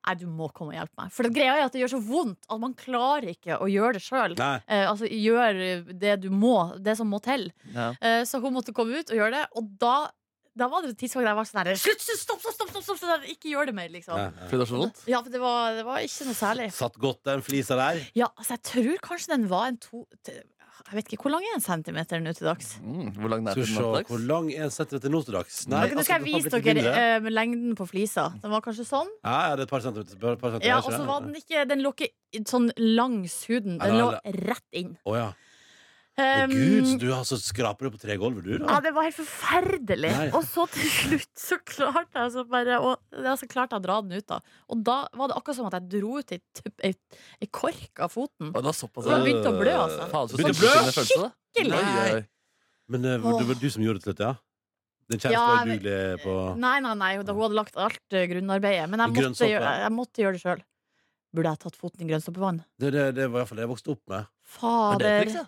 S7: Nei, du må komme og hjelpe meg. For det greia er at det gjør så vondt at man klarer ikke å gjøre det sjøl.
S4: Nei.
S7: Eh, altså gjør det du må, det som må til.
S6: Ja.
S7: Eh, så hun måtte komme ut og gjøre det, og da, da var det et tidspunkt der jeg var sånn her Slutt, slutt, stopp, stopp, stopp, stopp, stopp, stopp, ikke gjør det mer, liksom.
S4: Nei,
S7: Ja.
S6: Fordi det var så vondt?
S7: for det var, det var ikke noe særlig.
S4: nei. Satt godt den flisa der?
S7: Ja, altså, jeg tror kanskje den var en to Jeg vet ikke hvor lang er en centimeter nå til dags?
S6: Mm, hvor lang den er
S4: Skal vi
S6: til
S4: se
S6: nattdags?
S4: hvor lang er en centimeter nå til altså, dags?
S7: Ok, nå skal jeg vise dere eh, med lengden på flisa. Den var kanskje sånn.
S4: Ja, ja, det er et par centimeter. Par, par centimeter
S7: Ja,
S4: ikke
S7: Og så
S4: det? sånn,
S7: var den ikke Den lå ikke i- sånn langs huden. Den lå
S4: Ja,
S7: rett inn.
S4: Å, ja.
S7: Um,
S4: Men Gud, så du altså, skraper du på tregulvet, du, da?
S7: ja, det var helt forferdelig.
S4: Nei.
S7: Og så til slutt så klarte jeg altså bare å, ja, så klarte jeg å dra den ut, da. Og da var det akkurat som at jeg dro ut ei tupp- ei ei kork av foten.
S6: Å, det var såpass,
S7: Så den begynte å blø,
S4: Øh,
S7: altså.
S6: Faen, så
S4: Begynte å
S6: sånn
S4: blø?
S6: skikkelig følelse, da.
S7: Skikkelig.
S6: Oi, oi.
S4: Men eh, det var du som gjorde det til slutt, ja? Din kjæreste
S7: Ja,
S4: var
S7: men-
S4: udugelig på
S7: Nei, nei, nei, da hun hadde lagt alt eh, grunnarbeidet. Men jeg
S4: Grønnsåpe.
S7: måtte, gjøre, jeg måtte gjøre det sjøl. Burde jeg tatt foten i grønnsåpevann?
S4: det, det, det var i hvert fall det jeg vokste opp med.
S6: Er det et
S7: Fader.
S6: triks, ja?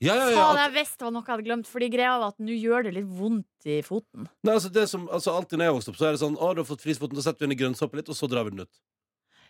S4: Ja, ja, ja.
S7: Faen,
S4: At,
S7: jeg visste det var noe jeg hadde glemt. Fordi greia var at nå gjør det litt vondt i foten.
S4: nei, altså, det som, altså, alltid når jeg vokste opp, så er det sånn Å, du har fått frisfoten, så setter vi den i grønnsåpe litt, og så drar vi den ut.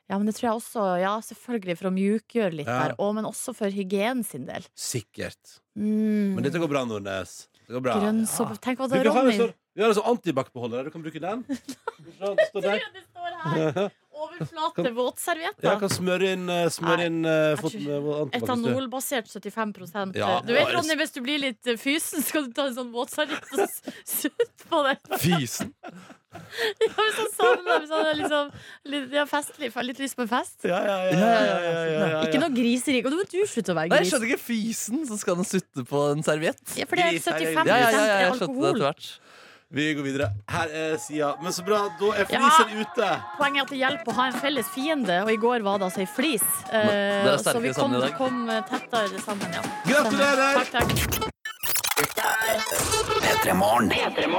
S7: Ja, men det tror jeg også, ja, selvfølgelig for å mjukgjøre litt
S4: Ja.
S7: der, og, men også for hygienen sin del.
S4: Sikkert.
S7: Mm.
S4: Men dette går bra, Nordnes. Det går bra.
S7: Grønnsåpe. Tenk hva
S4: Du
S7: det
S4: kan
S7: er,
S4: ha en
S7: Ronny.
S4: sånn, vi har en sånn antibac-beholder. Du kan bruke den. Så Det står der.
S7: Det står her. Overflate
S4: Ja,
S7: våtservietter.
S4: kan smøre inn, eh, smøre
S7: Nei,
S4: inn eh,
S7: jeg
S4: foten
S7: tror-
S4: med antibac. hvis du-
S7: Etanolbasert 75
S4: Ja,
S7: Du vet,
S4: bare-
S7: Ronny, hvis du blir litt eh, fysen, så kan du ta en sånn våtserviett og s- sutte på det.
S6: Fysen.
S7: Ja, men sånn savner de sånn liksom, litt, ja, festlig, får litt lyst på en fest.
S4: Ja, ja, ja. ja, ja, ja, ja, ja.
S7: Ikke noe griseri. Og du må du slutte å være
S1: Nei, jeg
S7: gris.
S1: skjønner ikke fysen, så skal den sutte på en serviett.
S7: Ja, for det er
S4: Gris, her er
S7: 75
S1: Ja, ja, ja, ja
S7: er
S1: jeg skjønte det
S7: alkohol.
S1: etter hvert.
S4: Vi går videre. Her er Sia. Men så bra, da er
S7: Ja.
S4: flisen ute.
S7: Poenget er at det hjelper å ha en felles fiende, og i går var det altså ei flis.
S1: Men
S7: Eh,
S1: dere er
S7: så vi
S1: sterkere
S7: kom,
S1: sammen i dag.
S7: kom eh, tettere sammen, ja.
S4: Gratulerer!
S7: Takk, takk.
S4: God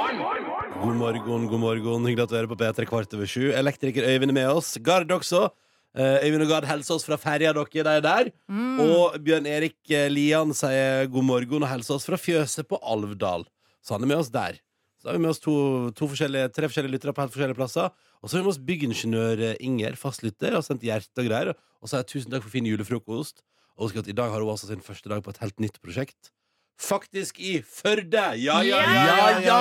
S4: morgen, god morgen. Hyggelig at du hører på P3 kvart over sju. Elektriker Øyvind er med oss. Gard også. Eh, Øyvind og Gard hilser oss fra ferja dere de er der. Og Bjørn Erik eh, Lian sier god morgen og hilser oss fra fjøset på Alvdal. Så han er med oss der. Så har vi med oss to, to forskjellige, tre forskjellige lyttere på helt forskjellige plasser. Og så har vi med oss byggingeniør eh, Inger, fastlytter, og sendt hjerte og greier. Og så har jeg tusen takk for fin julefrokost. Og husk at i dag har hun altså sin første dag på et helt nytt prosjekt. Faktisk i Førde! Ja, ja, ja! ja, ja, ja.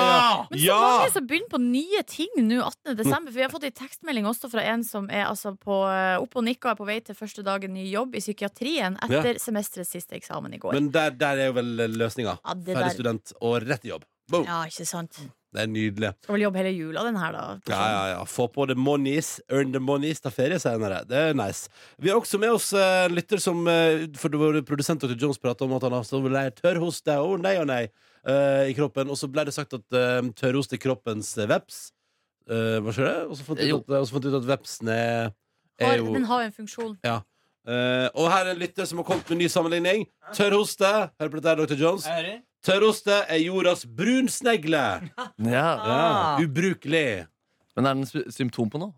S7: Men så mange som begynner på nye ting nå 18. desember. For vi har fått en tekstmelding også fra en som er altså på, opp og nikker på vei til første dagen ny jobb i psykiatrien etter semesterets siste eksamen i går.
S4: Men der, der er jo vel løsninga.
S7: Ja, det
S4: Ferdig
S7: der-
S4: student og rett i jobb. Boom.
S7: Ja, ikke sant?
S4: Det er nydelig.
S7: Skal vel jobbe hele jula, den her, da.
S4: Ja, ja, ja. Få på the monies, earn the monies, ta ferie senere. Det er nice. Vi har også med oss eh, en lytter som eh, For det var produsent Dr. Jones prata om at han har sånn lei tørrhoste og nei og nei eh, i kroppen. Og så ble det sagt at eh, tørrhost er kroppens eh, veps. Eh, hva skjer det? Og så fant vi
S1: Jo.
S4: ut, at- eh, og så fant vi ut at vepsen er,
S7: Har,
S4: er jo
S7: den har jo en funksjon.
S4: Eh, Og her er en lytter som har kommet med en ny sammenligning. Tørrhoste. Hør på dette, her, Dr. Jones.
S5: Jeg hører.
S4: Tørroste er jordas brunsnegle.
S1: Ja.
S4: Ja,
S1: Ah.
S4: ubrukelig.
S1: Men er den sy- symptom på noe?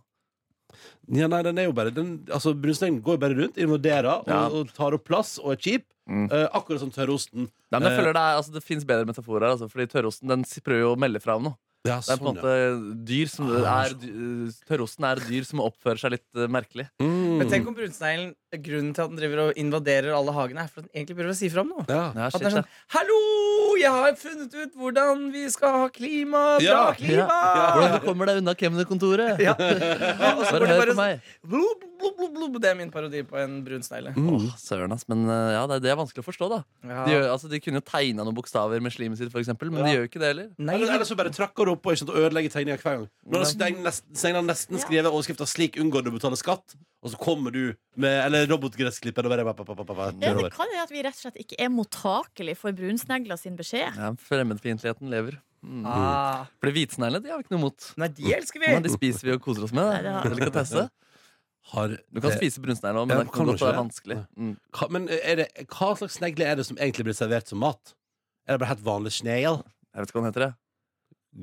S4: Ja, nei, den er jo bare den, altså, Brunsneglen går jo bare rundt, invaderer
S1: Ja.
S4: og, og tar opp plass og er kjip.
S1: Mm.
S4: Eh, akkurat som tørrosten.
S1: Nei, men jeg
S4: Eh.
S1: føler Det, er, altså, det finnes bedre metaforer. her, Altså, fordi Tørrosten den s- prøver jo å melde fra om noe.
S4: Ja,
S1: Det er på en måte dyr som
S4: Sånn, Ah,
S1: er, dy- eh, Tørrosten er dyr som oppfører seg litt eh, merkelig.
S4: Mm.
S5: Men tenk om brunsneglen Grunnen til at den driver og invaderer alle hagene, er for at den egentlig prøver å si fra om noe.
S4: ja.
S1: Ja,
S5: At
S1: shit,
S5: den er
S1: ja.
S5: sånn Hallo, jeg har funnet ut hvordan vi skal ha klima! Bra
S4: Ja,
S5: klima!
S1: Hvordan du kommer deg unna kemnerkontoret?
S5: Ja. Og
S1: Bare
S5: så går det
S1: hør
S5: bare
S1: på meg.
S5: sånn blub, blub, blub, blub. Det er min parodi på en brunsnegle.
S4: Mm.
S1: Åh, søren, ass. Men eh, ja, det, det er vanskelig å forstå, da.
S5: Ja.
S1: De, gjør, altså, de kunne jo tegna noen bokstaver med slimet sitt, for eksempel, men de gjør jo ikke det heller.
S5: Nei,
S4: Eller, eller
S5: de-
S4: så bare trakker du opp og ikke sant, og ødelegger tegninga hver gang. Når Steinar nesten, Steinar nesten skriver overskrifta 'Slik unngår du å betale skatt', og så kommer du med Eller robotgressklipperen og bare pa, pa, pa, pa, pa, pa,
S7: Ja, det
S4: nedover.
S7: kan være at vi rett og slett ikke er mottakelige for brunsnegler sin beskjed.
S1: Ja, Fremmedfiendtligheten lever. Mm.
S5: ah.
S1: For Hvitsneglene de har vi ikke noe imot.
S5: Nei, de elsker vi!
S1: Men de spiser vi og koser oss med.
S7: Nei, det
S1: Da.
S7: har-
S1: Delikatesse.
S4: Har,
S1: Du kan
S4: eh,
S1: spise brunsnegler òg, men
S4: Ja,
S1: det
S4: kan
S1: kan
S4: du
S1: godt være
S4: ikke
S1: vanskelig. Mm.
S4: Hva, men er det, hva slags snegle er det som egentlig blir servert som mat? Er det bare helt vanlig snegl?
S1: Jeg vet ikke hva den heter. jeg.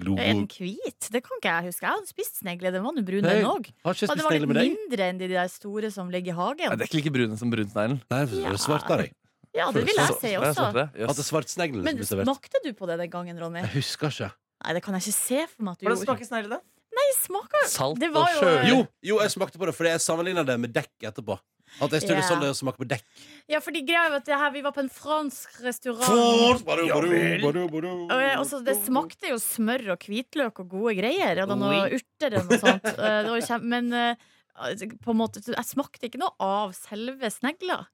S4: Globo.
S7: Er den hvit? Det kan ikke jeg huske. Jeg hadde spist snegle. Den var nå brun,
S4: Hei,
S7: den òg.
S4: Har ikke jeg spist
S7: Det var
S4: snegle
S7: litt
S4: med deg?
S7: mindre enn de der store som ligger i
S1: Nei,
S7: hagen.
S1: det er ikke like brune som brunsneglen.
S4: Nei, det
S7: Ja.
S4: er svartere.
S7: Ja, det vil jeg
S1: Så-
S7: si
S1: Nei,
S7: også.
S1: svartere. Jøss.
S4: At det er svartsneglen som
S7: Men
S4: blir servert.
S7: smakte du på det den gangen, Ronny?
S4: Jeg husker ikke.
S7: Nei, det kan jeg ikke se for meg at du
S5: Hvordan
S7: gjorde.
S5: smaker snegle, da?
S7: Nei, smaker
S1: Salt
S7: Det
S1: og
S7: var jo-
S1: sjø.
S4: Jo, Oh, jo, jeg smakte på det, fordi jeg sammenligna det med dekk etterpå. At jeg stod
S7: Ja.
S4: sånn det å smake på dekk.
S7: Ja, fordi greia er jo at det her, vi var på en fransk restaurant.
S4: Fort, badu, badu, badu, badu.
S7: Og jeg- også, det smakte jo smør og hvitløk og gode greier. Og det var noe urter og noe sånt. Eh, Det var jo kjem- men eh, på en måte, jeg smakte ikke noe av selve snegla.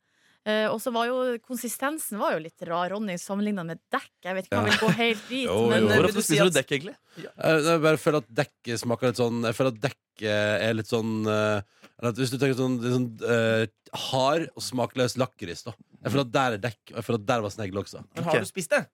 S7: Eh, og så var jo konsistensen var jo litt rar. Ronny sammenligna med dekk. Jeg vet ikke om han vil gå helt dit.
S4: Jo,
S7: men,
S4: jo.
S1: Hvor
S5: eh, vil du
S1: ofte
S5: si
S1: spiser
S5: at-
S1: du dekk, egentlig?
S4: Eh, Jeg bare føler at dekk smaker litt sånn Jeg føler at dekk eh, er litt sånn eh, eller at Hvis du tenker sånn, det er sånn eh, hard og smakløs lakris, da. Jeg føler at der er dekk, og jeg føler at der var snegle også.
S5: Men har
S1: Ok.
S5: du spist det?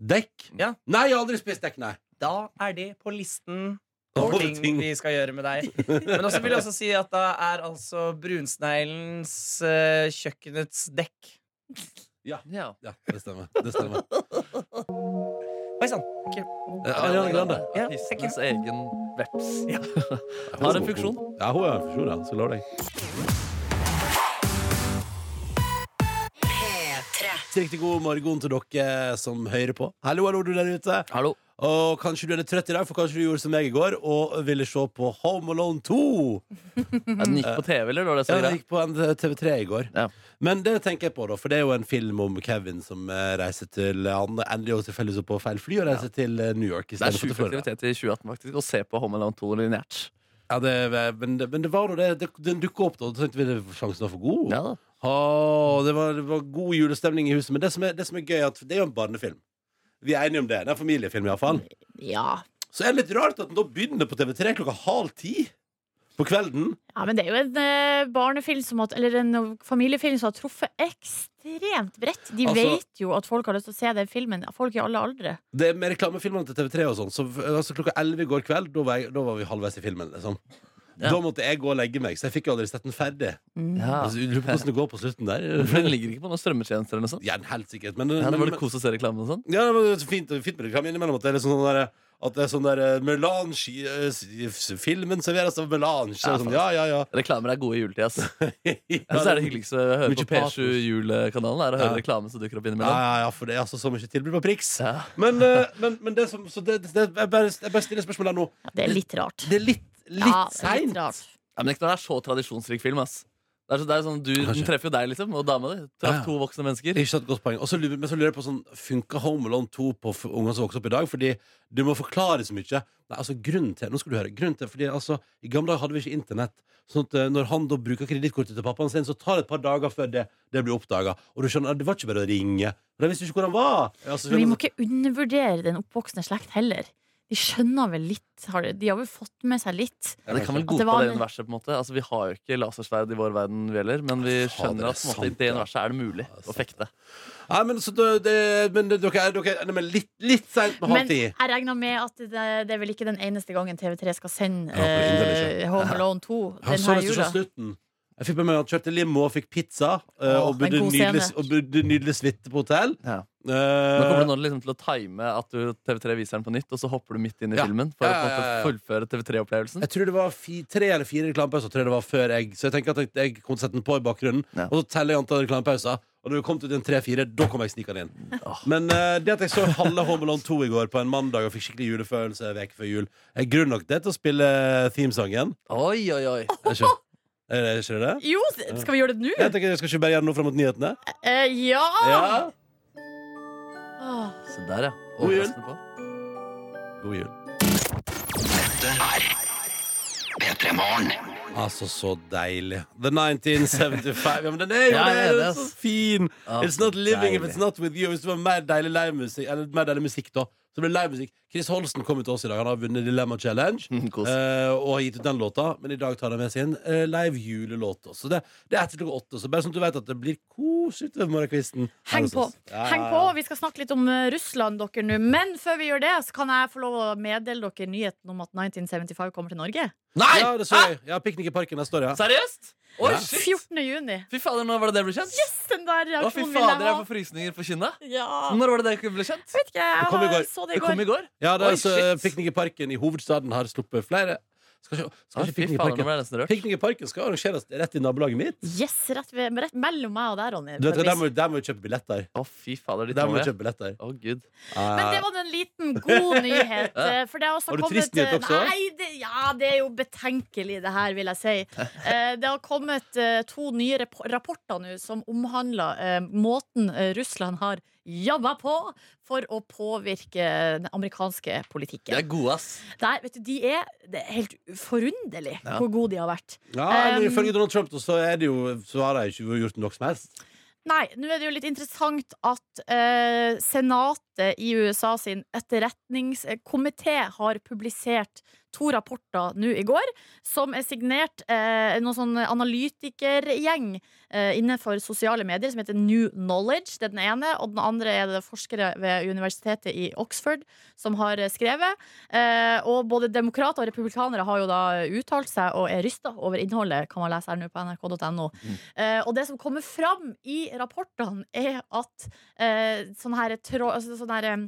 S4: Dekk?
S5: Ja.
S4: Nei, jeg har aldri spist dekk, nei.
S5: Da er det på listen
S4: Over
S5: over
S4: ting.
S5: ting vi skal gjøre med deg. Men også vil jeg også si at da er altså brunsneglens eh, kjøkkenets dekk.
S1: Ja.
S4: Ja, det stemmer. Det stemmer.
S5: Oi sann.
S4: Eh, Ariana Grande.
S5: Ja,
S1: Artistens egen veps.
S5: Ja.
S1: Har en funksjon.
S4: Ja, hun har en funksjon, ja. Skal love deg. Riktig, riktig god morgen til dere som hører på. Hallo, hallo, du der ute.
S6: Hallo.
S4: Og kanskje du er litt trøtt i dag, for kanskje du gjorde som jeg i går og ville se på Home Alone 2.
S6: Ja, Den gikk på TV, eller? Var det
S4: Ja,
S6: så
S4: det
S6: greit?
S4: gikk på en eh, TV3 i går.
S6: Ja.
S4: Men det tenker jeg på, da, for det er jo en film om Kevin som eh, reiser til Han ender jo tilfeldigvis opp på feil fly og reiser til eh, New York. i
S6: Det
S4: stedet for
S6: er
S4: til
S6: sjuk
S4: Florida.
S6: aktivitet i 2018 faktisk å se på Home Alone 2 lineært.
S4: Ja, det, men, det- men det var nå det. det den dukka opp, da. og Da tenkte vi det, sjansen var for god.
S6: Ja, da.
S4: Åh, det, var, det var god julestemning i huset. Men det som er, det som er gøy, er at det er jo en barnefilm. Vi er enige om det. Det er en familiefilm, iallfall.
S7: Ja.
S4: Så er det litt rart at den da begynner på TV3 klokka halv ti på kvelden.
S7: ja, men det er jo en eh, barnefilm som har, Eller en eh, familiefilm som har truffet ekstremt bredt. De
S4: Altså-
S7: vet jo at folk har lyst til å se den filmen. Folk i alle aldre.
S4: Det er med reklamefilmene til TV3 og sånn. Så eh, altså, klokka elleve i går kveld, da var, jeg, da var vi halvveis i filmen, liksom.
S6: Ja.
S4: Da måtte jeg gå og legge meg, så jeg fikk jo aldri sett den ferdig.
S6: Ja.
S4: Altså, jeg lurer på hvordan det går på slutten der.
S6: For den ligger ikke på noen strømmetjenester eller noe sånt?
S4: Ja, helt sikkert. Men,
S6: Ja, det
S4: men,
S6: var det kos å se reklamen og sånn?
S4: Ja, det var så fint, fint med reklame innimellom at det er liksom sånn der, at det er sånn der eh, Melange i, eh, s- i s- Filmen serveres av melange. Ja,
S6: Ja,
S4: sånn, ja, ja, ja.
S6: Reklamer er gode i juletid, ass.
S4: ja,
S6: Jeg synes det er det hyggeligste å høre
S4: Mye
S6: på P7
S4: patos.
S6: Julekanalen, er å høre
S4: Ja.
S6: reklame som dukker opp
S4: Ja,
S6: innimellom.
S4: ja, ja, for det er altså så mye tilbud på Prix.
S6: Ja.
S4: Men, eh, men, men det som så det, det, jeg, bare, jeg bare stiller spørsmål der nå.
S7: Ja, det er litt rart.
S4: Det er litt, litt
S7: ja, det er
S4: seint.
S7: litt rart.
S6: Ja, men ikke når det er så tradisjonsrik film, ass. Det er, så, det er sånn, du,
S4: Kanskje.
S6: den treffer jo deg, liksom, og dama di. Traff
S4: Ja, ja.
S6: to voksne mennesker.
S4: Ikke sant, godt poeng. Og så lurer, men så lurer jeg på sånn, Funka Home Alone 2 på f- unger som vokser opp i dag? Fordi du må forklare så mye. Nei, altså grunnen til, Nå skal du høre. grunnen til, fordi altså, I gamle dager hadde vi ikke internett. Sånn at eh, Når han da bruker kredittkortet til pappaen sin, så tar det et par dager før det, det blir oppdaga. Og du skjønner, det var ikke bare å ringe. For jeg visste ikke hvor han var. Altså,
S7: Men vi må ikke undervurdere den oppvoksende slekt heller. De skjønner vel litt, har de, de har vel fått med seg litt.
S6: Ja, det kan vel
S7: At det
S6: godta
S7: var
S6: det
S7: en-
S6: universet, på en måte. Altså, vi har jo ikke lasersverd i vår verden, vi heller, men vi
S4: Ja, fader,
S6: skjønner at på en
S4: det er
S6: måte, i
S4: sant,
S6: det
S4: ja.
S6: universet er det mulig å fekte.
S4: Nei, men, så, da- det, men det- dere er dere, er- nei, men litt, litt seint med halv
S7: Men
S4: ti.
S7: jeg regner med at det, det er vel ikke den eneste gangen TV3 skal sende
S4: Ja, for det er inderlig
S7: eh, Home Alone
S4: Jeg
S7: 2
S4: sånn så
S7: denne
S4: nesten
S7: jula.
S4: ikke slutten. Jeg fikk med meg at han kjørte limo og fikk pizza. eh,
S7: Åh,
S4: og
S7: en
S4: bodde
S7: god
S4: nydelig,
S7: scene.
S4: og bodde nydelig suite på hotell.
S6: Ja.
S4: Eh,
S6: Nå kommer det nå liksom til å time at du TV3 viser den på nytt, og så hopper du midt inn i
S4: Ja.
S6: filmen for
S4: Ja, ja, ja, ja.
S6: å på en måte fullføre TV3-opplevelsen.
S4: Jeg tror det var fi, tre eller fire reklamepauser tror jeg det var før jeg Så jeg tenker at jeg, jeg kom til å sette den på i bakgrunnen,
S6: Ja.
S4: og så teller jeg antall reklamepauser. Og når vi kom til den tre-fire, da kom jeg snikende inn. Men eh, det at jeg så halve Home Alone 2 i går på en mandag og fikk skikkelig julefølelse en uke før jul, er grunn nok det til å spille eh, themesangen.
S6: Oi, oi,
S4: Er
S6: oi.
S4: det ikke- Er det ikke det?
S7: Jo, skal vi gjøre det nå?
S4: Jeg tenker jeg skal ikke bare gjøre noe fram mot nyhetene.
S7: Eh, ja!
S4: Ja.
S7: Åh.
S6: Se der, ja.
S4: God jul.
S6: Overraskende på.
S4: God jul. Altså, så deilig. The 1975. Ja, men den er jo
S6: Ja,
S4: det!
S6: ja,
S4: Den
S6: det
S4: er
S6: er
S4: så
S6: s-
S4: fin!
S6: Ja,
S4: it's not living if
S6: deilig.
S4: it's not with you. Hvis det var mer deilig livemusikk, eller mer deilig musikk, da, så blir det livemusikk. Chris Holsten kom ut til oss i dag. Han har vunnet Dilemma Challenge.
S6: Mm, Kos.
S4: eh, og har gitt ut den låta, men i dag tar han med sin eh, live julelåt. også. Så det, det er etter klokka åtte. Så bare sånn at du vet at det blir koselig utover morgenkvisten. her
S7: Heng
S4: hos
S7: på.
S4: oss. Ja,
S7: Heng
S4: ja,
S7: på.
S4: ja.
S7: Vi skal snakke litt om eh, Russland, dere nå. Men før vi gjør det, så kan jeg få lov å meddele dere nyheten om at 1975 kommer til Norge.
S6: Nei!
S4: Ja, det så jeg. Ja, Piknik i parken neste år, ja.
S6: Seriøst? Oi,
S4: Ja.
S6: shit!
S7: 14. juni.
S6: Fy fader, nå var det det ble kjent?
S7: Yes, den der
S6: Å, fy
S7: reaksjonen vil jeg
S6: fader, jeg
S7: ha.
S6: får frysninger på kinnet.
S7: Ja.
S6: Når var det det ble kjent?
S7: Vet ikke, jeg
S4: Det kom i
S7: har-
S4: går.
S7: så det i
S6: Det kom
S7: går.
S6: i går.
S4: Ja, det
S6: Oi,
S4: er så
S6: shit.
S4: Piknik i parken i hovedstaden har sluppet flere. Skal ikke, skal
S6: Å,
S4: ikke
S6: Fy
S4: Piknik i
S6: fader, nå
S4: parken
S6: ble jeg nesten rørt.
S4: Piknik i parken skal arrangeres rett i nabolaget mitt.
S7: Yes, rett, ved, rett mellom meg og deg, Ronny.
S4: Du vet,
S7: på
S4: hva,
S7: et
S4: der,
S7: vis.
S4: må, der må vi kjøpe billetter.
S6: Å, fy fader, de
S4: Der må vi
S6: tar med.
S4: kjøpe billetter. Eh,
S6: Å, gud.
S7: Men det var en liten god nyhet. eh, For det har, også
S4: Har du
S7: kommet,
S4: trist nyhet også?
S7: Nei, det, ja, det er jo betenkelig, det her, vil jeg si. Eh, Det har kommet eh, to nye rap- rapporter nå som omhandler eh, måten eh, Russland har jobba på for å påvirke den amerikanske
S6: De
S7: politikken.
S6: er gode, ass.
S7: Der, vet du, de er, det er helt forunderlig
S6: Ja.
S7: hvor gode de har vært.
S4: ja, men
S7: Um,
S4: Ifølge Donald Trump da, så, er det jo, så har de ikke gjort noe som helst.
S7: Nei, nå er det jo litt interessant at eh, senatet i USA sin etterretningskomité har publisert to rapporter nå i går, som er signert eh, noen sånn analytikergjeng eh, innenfor sosiale medier som heter New Knowledge. Det er den ene, og den andre er det forskere ved universitetet i Oxford som har eh, skrevet. Eh, og både demokrater og republikanere har jo da uttalt seg og er rysta over innholdet, kan man lese her nå på nrk.no. Eh, og det som kommer fram i rapportene, er at eh, sånne her, trå, altså, sånne her eh,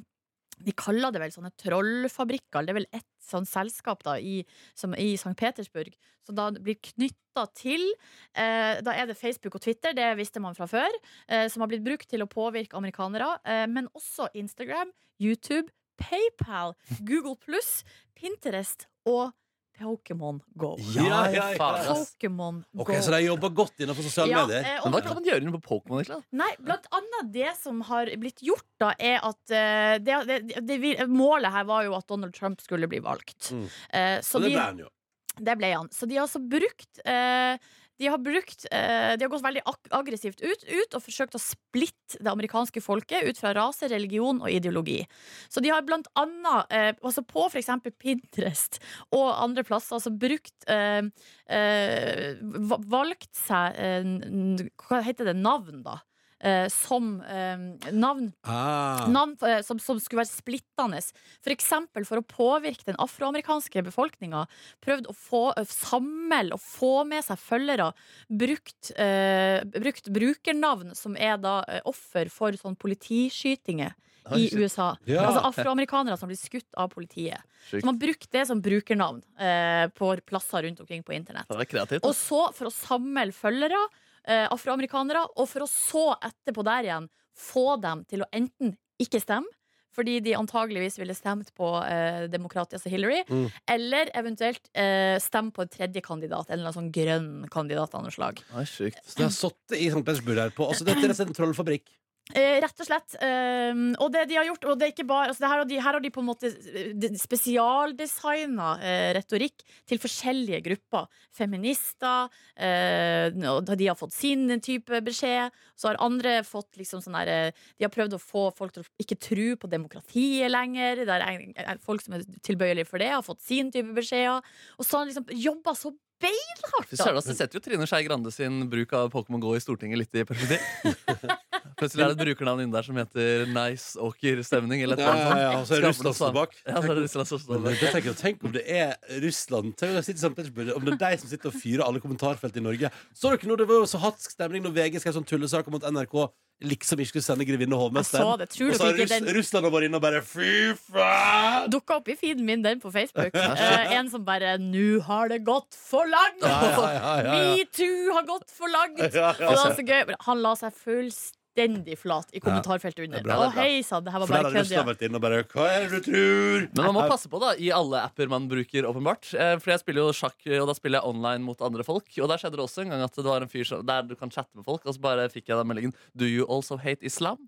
S7: De kaller det vel sånne trollfabrikker. Det er vel ett sånn selskap da, i, som, i St. Petersburg som da blir knytta til eh, Da er det Facebook og Twitter, det visste man fra før, eh, som har blitt brukt til å påvirke amerikanere. Eh, men også Instagram, YouTube, PayPal, Google pluss, Pinterest og Pokémon Go.
S4: Ja, ja, ja.
S6: Faen, ass.
S7: Pokémon Go.
S4: Ok, Så de jobber godt innenfor sosiale
S7: Ja,
S4: medier.
S7: eh, og
S6: Men hva kan man gjøre inne på Pokémon? Niklas?
S7: Nei, blant annet det som har blitt gjort da, er at eh, det, det, det, vi- Målet her var jo at Donald Trump skulle bli valgt.
S4: Mm.
S7: Eh, så
S4: Så det
S7: de,
S4: ble han jo.
S7: det ble han. Så de har altså brukt eh, de har, brukt, eh, de har gått veldig ag aggressivt ut, ut og forsøkt å splitte det amerikanske folket ut fra rase, religion og ideologi. Så de har blant annet, eh, altså på f.eks. Pinterest og andre plasser, altså brukt eh, eh, va- Valgt seg eh, n- Hva heter det? Navn, da. Eh, som eh, navn
S4: Ah.
S7: Navn eh, som, som skulle være splittende. For eksempel for å påvirke den afroamerikanske befolkninga. Prøvd å få eh, samle og få med seg følgere. Brukt, eh, brukt brukernavn som er da eh, offer for sånn politiskytinger i USA.
S4: Ja.
S7: Altså afroamerikanere som blir skutt av politiet.
S6: Sjukt.
S7: Så man brukte det som brukernavn eh, på plasser rundt omkring på internett.
S6: Det er kreativt.
S7: Og så for å samle følgere, eh, afroamerikanere, og for å så etterpå der igjen få dem til å enten ikke stemme, fordi de antageligvis ville stemt på eh, demokratiet, altså Hillary,
S4: Mm.
S7: eller eventuelt eh, stemme på en tredje kandidat, en eller annen sånn grønn kandidat av noe slag.
S6: Det er sjukt.
S4: Så de har sittet i St. Petersburg her på altså, Dette er rett og slett en trollfabrikk.
S7: Eh, rett og slett. Eh, og det de har gjort og det er ikke bare, altså det her, har de, her har de på en måte spesialdesigna eh, retorikk til forskjellige grupper. Feminister. Eh, og de har fått sin type beskjed. Så har andre fått liksom sånn her eh, De har prøvd å få folk til å ikke tro på demokratiet lenger. Der er, er folk som er tilbøyelige for det, har fått sin type beskjeder. Og så har han liksom jobba så beinhardt!
S6: Fy
S7: da.
S6: søren, altså, det setter jo Trine Skei Grande sin bruk av Pokémon GO i Stortinget litt i perspektiv. Plutselig er det et brukernavn inne der som heter Nice Åker Stemning. Eller et
S4: Ja,
S6: eller annet
S4: ja,
S6: sånt.
S4: ja, og så er
S6: Skaper
S4: Russland
S6: noe
S4: står bak.
S6: Ja, så er det Russland som står
S4: Men
S6: der.
S4: jeg tenker, tenk om det er Russland Tenk om, de sitter i St. Petersburg, om det er de som sitter og fyrer alle kommentarfelt i Norge. Så dere nå, Det var jo så hatsk stemning når VG skrev sånn tullesak om at NRK liksom ikke skulle sende Grevinne og
S7: Jeg så
S4: hovmesteren.
S7: det. Tror
S4: Og så
S7: dere
S4: har
S7: ikke
S4: Russ,
S7: den
S4: Russland vært inne og bare Fy faen!
S7: dukka opp i feeden min, den på Facebook. Eh, en som bare 'Nå har det gått for langt!'
S4: ja, ja, ja.
S7: Metoo har gått for langt!
S4: Ja,
S7: Og det var så gøy. men Han la seg fullstendig flat i kommentarfeltet
S4: Det er
S7: under.
S4: bra, det er
S7: Å,
S4: bra.
S7: hei sann, det her var
S4: For der
S7: bare
S4: har
S7: kødd.
S4: Russland
S7: Ja.
S4: vært inne og bare Hva er det du tror?
S6: Men man må passe på da, i alle apper man bruker, åpenbart. Eh, For jeg spiller jo sjakk, eh, og da spiller jeg online mot andre folk. Og der skjedde det også en gang at det var en fyr som, der du kan chatte med folk, og så bare fikk jeg den meldingen Do you also hate Islam?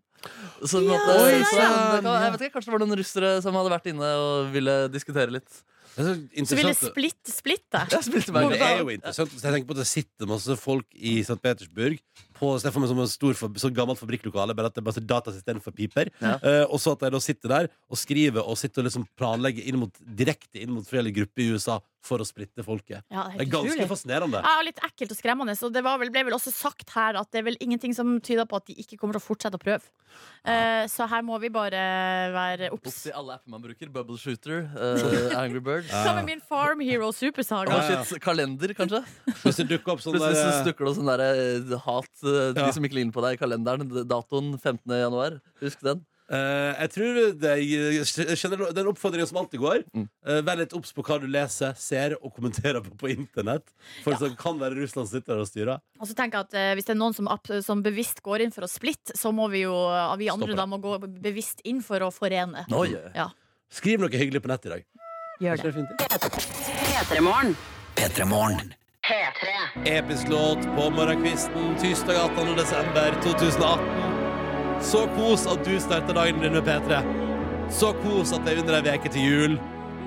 S6: Så, på en
S7: Ja,
S6: måte,
S7: Oi,
S6: så
S4: sann,
S6: det kan, jeg vet ikke, Kanskje det var noen russere som hadde vært inne og ville diskutere litt.
S4: Det er så
S7: Så ville
S4: interessant.
S7: splitt splitte.
S6: Jeg spilte
S4: Men
S6: meg
S4: det er jo interessant hvis jeg tenker på at det sitter masse folk i St. Petersburg på så jeg får meg som en stor, fab- sånn gammelt fabrikklokale, bare at det er masse datasystem for piper.
S6: Ja.
S4: Eh, og så at de da sitter der og skriver og sitter og liksom planlegger inn mot, direkte inn mot forskjellige grupper i USA for å splitte folket.
S7: Ja,
S4: Det er
S7: helt
S4: ganske
S7: utrolig.
S4: fascinerende.
S7: Ja, og litt ekkelt og skremmende. Og det var vel, ble vel også sagt her at det er vel ingenting som tyder på at de ikke kommer til å fortsette å prøve. Eh, så her må vi bare være obs.
S6: Ops i alle apper man bruker. Bubble Shooter, eh, Angry Birds.
S7: Som med min Farm Hero Supersaga.
S6: Oh, shit, kalender, kanskje?
S4: Hvis det dukker opp sånn
S6: Plutselig
S4: der
S6: så stukker det opp sånn der eh, hat, eh, de
S4: Ja.
S6: som ikke ligner på deg, i kalenderen. d- Datoen 15. januar. Husk den.
S4: eh, Jeg tror det jeg skjønner du den oppfordringen som alltid går.
S6: Mm.
S4: eh, vær litt obs på hva du leser, ser og kommenterer på på internett. For det kan være Russland som sitter der og styrer.
S7: Og så tenker jeg at eh, Hvis det er noen som, app- som bevisst går inn for å splitte, så må vi jo eh, vi
S4: Stoppe
S7: andre
S4: det.
S7: da må gå bevisst inn for å forene.
S6: Oi, eh.
S7: Ja,
S4: Skriv noe hyggelig på nett i dag.
S7: gjør det.
S4: Kanskje det er fint, det?
S2: P3morgen. P3morgen.
S4: Episk låt på morgenkvisten tirsdag 18. desember 2018. Så kos at du starter dagen din med P3. Så kos at det er under ei uke til jul.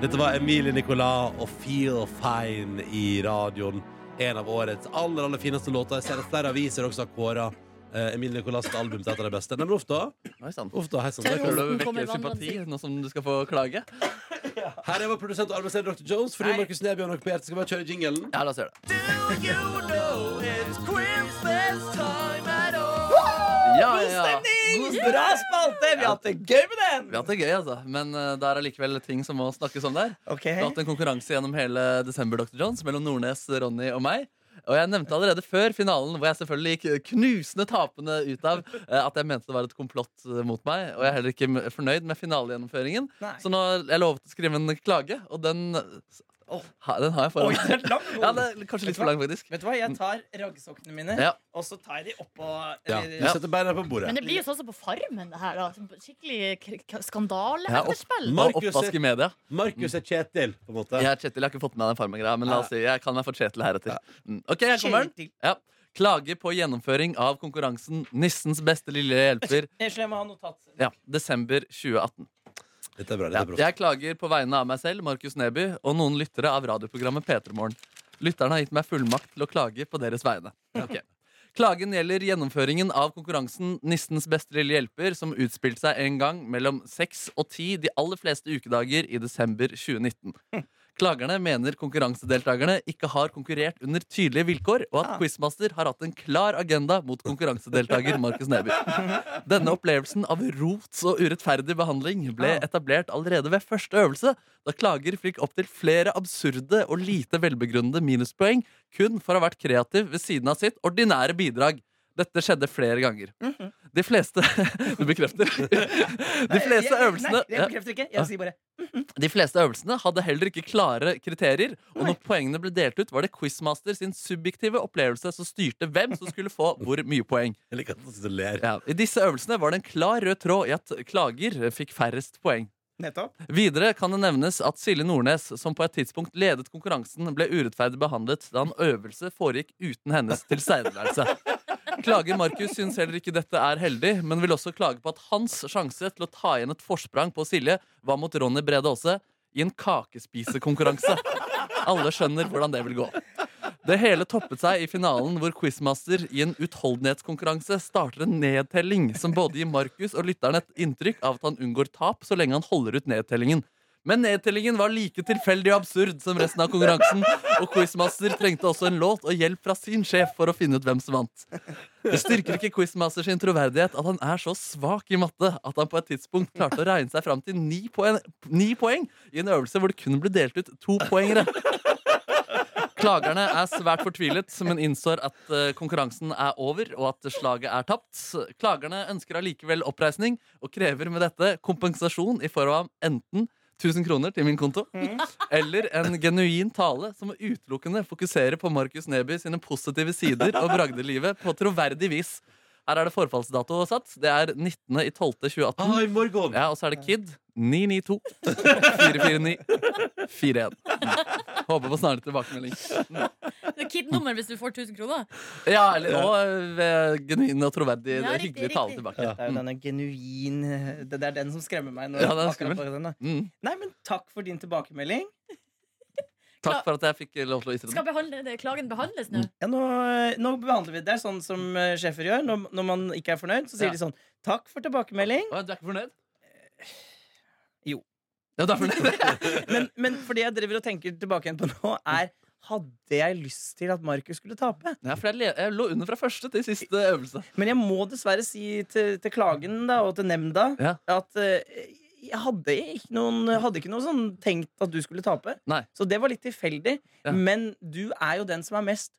S4: Dette var Emilie Nicolas og Feel Fine i radioen. En av årets aller aller fineste låter. Jeg ser at flere aviser også har kåra eh, Emilie Nicolas' sitt album til et av de beste. Nei, men ofte,
S6: Oi sann.
S4: ofte, hei, sånn,
S6: Jeg
S4: der.
S6: tror du
S7: Rosen kommer
S6: vekker
S7: vandrende
S6: sympati nå som du skal få klage.
S4: Her er vår produsent og arbeidsleder Dr. Jones. Fordi Markus Neby har noe på hjertet, skal vi bare kjøre jingelen.
S6: Ja, la oss gjøre det. Ja, ja, ja. God stemning!
S5: Bra spalte! Vi har hatt det gøy med den!
S6: Vi har hatt det gøy, altså. Men eh, det er allikevel ting som må snakkes om der.
S5: Ok,
S6: Vi har hatt en konkurranse gjennom hele desember, Dr. Jones, mellom Nordnes, Ronny og meg. Og jeg nevnte allerede før finalen, hvor jeg selvfølgelig gikk knusende tapende ut av, eh, at jeg mente det var et komplott eh, mot meg. Og jeg er heller ikke m- fornøyd med finalegjennomføringen.
S5: Nei.
S6: Så nå jeg lovet å skrive en klage, og den, Åh, ha, den har jeg
S5: Oi,
S6: foran
S5: det er langt.
S6: Ja, det er kanskje litt for lang, faktisk.
S5: Vet du hva, jeg tar raggsokkene mine,
S6: Ja.
S5: og så tar jeg de oppå
S4: Ja.
S5: eller-
S4: Du setter beina på bordet.
S7: Men det blir jo sånn som på Farmen, det her. Da. Skikkelig k- k- skandaleetterspill.
S4: Ja,
S6: Og
S4: Markus-
S6: oppvask i media.
S4: Markus er Kjetil, på en måte.
S6: Jeg, er Kjetil, jeg har ikke fått med meg den farmegreia, men la oss si, jeg kan være for Kjetil heretter. Mm, Ok, jeg kommer den.
S5: Kjetil.
S6: Ja. Klage på gjennomføring av konkurransen Nissens beste lille hjelper.
S5: Jeg tror jeg må ha notat.
S6: Ja, Desember 2018.
S4: Dette er bra.
S6: Ja.
S4: dette er bra.
S6: Jeg klager på vegne av meg selv, Markus Neby, og noen lyttere av radioprogrammet P3morgen. Lytterne har gitt meg fullmakt til å klage på deres vegne. Ok. Klagen gjelder gjennomføringen av konkurransen Nissens beste lille hjelper, som utspilte seg en gang mellom 6 og 10 de aller fleste ukedager i desember 2019. Klagerne mener konkurransedeltakerne ikke har konkurrert under tydelige vilkår, og
S4: Ah.
S6: at quizmaster har hatt en klar agenda mot konkurransedeltaker Markus Neby. Denne opplevelsen av rots og urettferdig behandling ble etablert allerede ved første øvelse, da klager fikk opptil flere absurde og lite velbegrunnede minuspoeng kun for å ha vært kreativ ved siden av sitt ordinære bidrag. Dette skjedde flere ganger. De fleste Du bekrefter. De fleste øvelsene
S5: Mhm. Nei, Eh, jeg bekrefter ikke. Jeg sier bare
S6: de fleste øvelsene hadde heller ikke klare kriterier, og når poengene ble delt ut, var det quizmaster sin subjektive opplevelse som styrte hvem som skulle få hvor mye poeng.
S4: Jeg liker at han sitter og ler.
S6: Ja. I disse øvelsene var det en klar rød tråd i at klager fikk færrest poeng.
S5: Nettopp.
S6: Videre kan det nevnes at Silje Nordnes, som på et tidspunkt ledet konkurransen, ble urettferdig behandlet da en øvelse foregikk uten hennes tilstedeværelse. Klager Markus syns heller ikke dette er heldig, men vil også klage på at hans sjanse til å ta igjen et forsprang på Silje var mot Ronny Brede Aase i en kakespisekonkurranse. Alle skjønner hvordan det vil gå. Det hele toppet seg i finalen, hvor quizmaster i en utholdenhetskonkurranse starter en nedtelling som både gir Markus og lytteren et inntrykk av at han unngår tap så lenge han holder ut nedtellingen. Men nedtellingen var like tilfeldig og absurd som resten av konkurransen, og quizmaster trengte også en låt og hjelp fra sin sjef for å finne ut hvem som vant. Det styrker ikke quizmaster sin troverdighet at han er så svak i matte at han på et tidspunkt klarte å regne seg fram til ni poeng, ni poeng i en øvelse hvor det kun ble delt ut to poengere. Klagerne er svært fortvilet, men innsår at eh, konkurransen er over og at slaget er tapt. Klagerne ønsker allikevel oppreisning og krever med dette kompensasjon i form av enten 1000 kroner til min konto eller en genuin tale som utelukkende fokuserer på Markus Neby sine positive sider og bragdelivet på troverdig vis. Her er det forfallsdato satt. Det er 19.12.2018.
S4: Ah, i morgen!
S6: Ja, og så er det Kid 992 449 41. Håper på snarlig tilbakemelding.
S7: Det er Kid-nummer hvis du får 1000 kroner.
S6: Ja, eller, og ved genuin og troverdig
S7: Ja, riktig,
S6: hyggelig tale
S7: riktig.
S6: tilbake.
S5: Det er jo denne genuin eh, Det det er den som skremmer meg. Når
S6: Mm. Ja, den er
S5: akkurat
S6: skummel.
S5: på den, da.
S6: Mm.
S5: Nei, men takk for din tilbakemelding.
S6: Takk for at jeg fikk eh, lov til å ytre
S7: Skal
S6: den.
S7: behandle, det- klagen behandles nå?
S5: Ja, nå, eh, nå behandler vi det. Det er sånn som eh, sjefer gjør. Når, når man ikke er fornøyd, så sier
S6: Ja.
S5: de sånn Takk for tilbakemelding.
S6: Å, Du er ikke fornøyd?
S5: Jo.
S6: Ja, du er fornøyd?
S5: Men, men fordi jeg driver og tenker tilbake igjen på nå, er hadde jeg lyst til at Markus skulle tape?
S6: Ja, for jeg, le- jeg lå under fra første til siste øvelse.
S5: Men jeg må dessverre si til, til klagen da, og til nemnda
S6: Ja.
S5: at eh, jeg hadde ikke, noen, hadde ikke noe sånn tenkt at du skulle tape.
S6: Nei.
S5: Så det var litt tilfeldig.
S6: Ja.
S5: Men du er jo den som er mest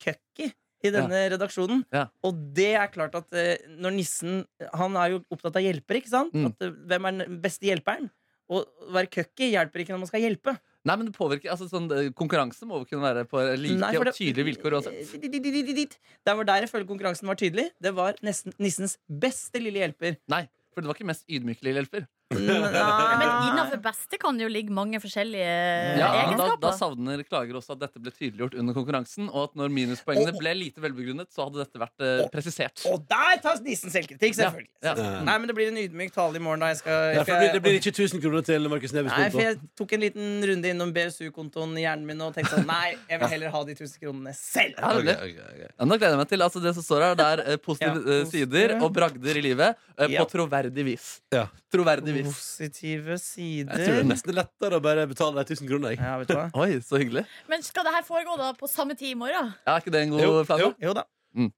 S5: cucky i denne redaksjonen.
S6: Ja.
S5: Og det er klart at eh, når nissen Han er jo opptatt av hjelpere, ikke sant?
S6: Mm.
S5: At, eh, hvem er den beste hjelperen? Og å være cucky hjelper ikke når man skal hjelpe.
S6: Nei, men det påvirker, altså sånn, eh, Konkurranse må jo kunne være på like
S5: Nei, for
S6: og tydelige vilkår uansett.
S5: Dit, dit, dit, dit, dit. Der var der jeg føler konkurransen var tydelig. Det var nesten nissens beste lille hjelper.
S6: Nei, for det var ikke mest ydmykelig hjelper.
S4: Mm,
S7: Men
S5: Nei.
S7: innafor beste kan det jo ligge mange forskjellige eh,
S6: Ja, men da,
S7: egenskaper.
S6: da savner klager også at dette ble tydeliggjort under konkurransen, og at når minuspoengene ble lite velbegrunnet, så hadde dette vært eh, presisert.
S5: Og der tas nissen selvkritikk, selvfølgelig.
S6: Ja,
S4: ja.
S5: Nei, men det blir en ydmyk tale i morgen, da. Jeg skal, jeg
S4: Derfor
S5: skal,
S4: blir, det blir ikke 1000 kroner til Markus Nebys
S5: Nei, for
S4: konto.
S5: jeg tok en liten runde innom BSU-kontoen i hjernen min og tenkte sånn Nei, jeg vil heller ha de 1000 kronene selv.
S6: Ja, det ble Ja, nå gleder jeg meg til altså Det som står her, det er eh, positive
S5: Ja,
S6: eh, sider
S5: positive.
S6: og bragder i livet eh,
S5: Ja.
S6: på troverdig vis.
S4: Ja.
S6: Troverdig vis.
S5: Positive
S4: Jeg tror det er
S5: sider.
S4: nesten lettere å bare betale de 1000 kronene. Jeg.
S5: Eh. Ja, vet du hva?
S6: Oi, så hyggelig.
S7: Men skal det her foregå da på samme tid i morgen?
S6: Ja, er ikke det en god
S4: Jo,
S6: plan? da?
S4: jo.
S5: Jo da.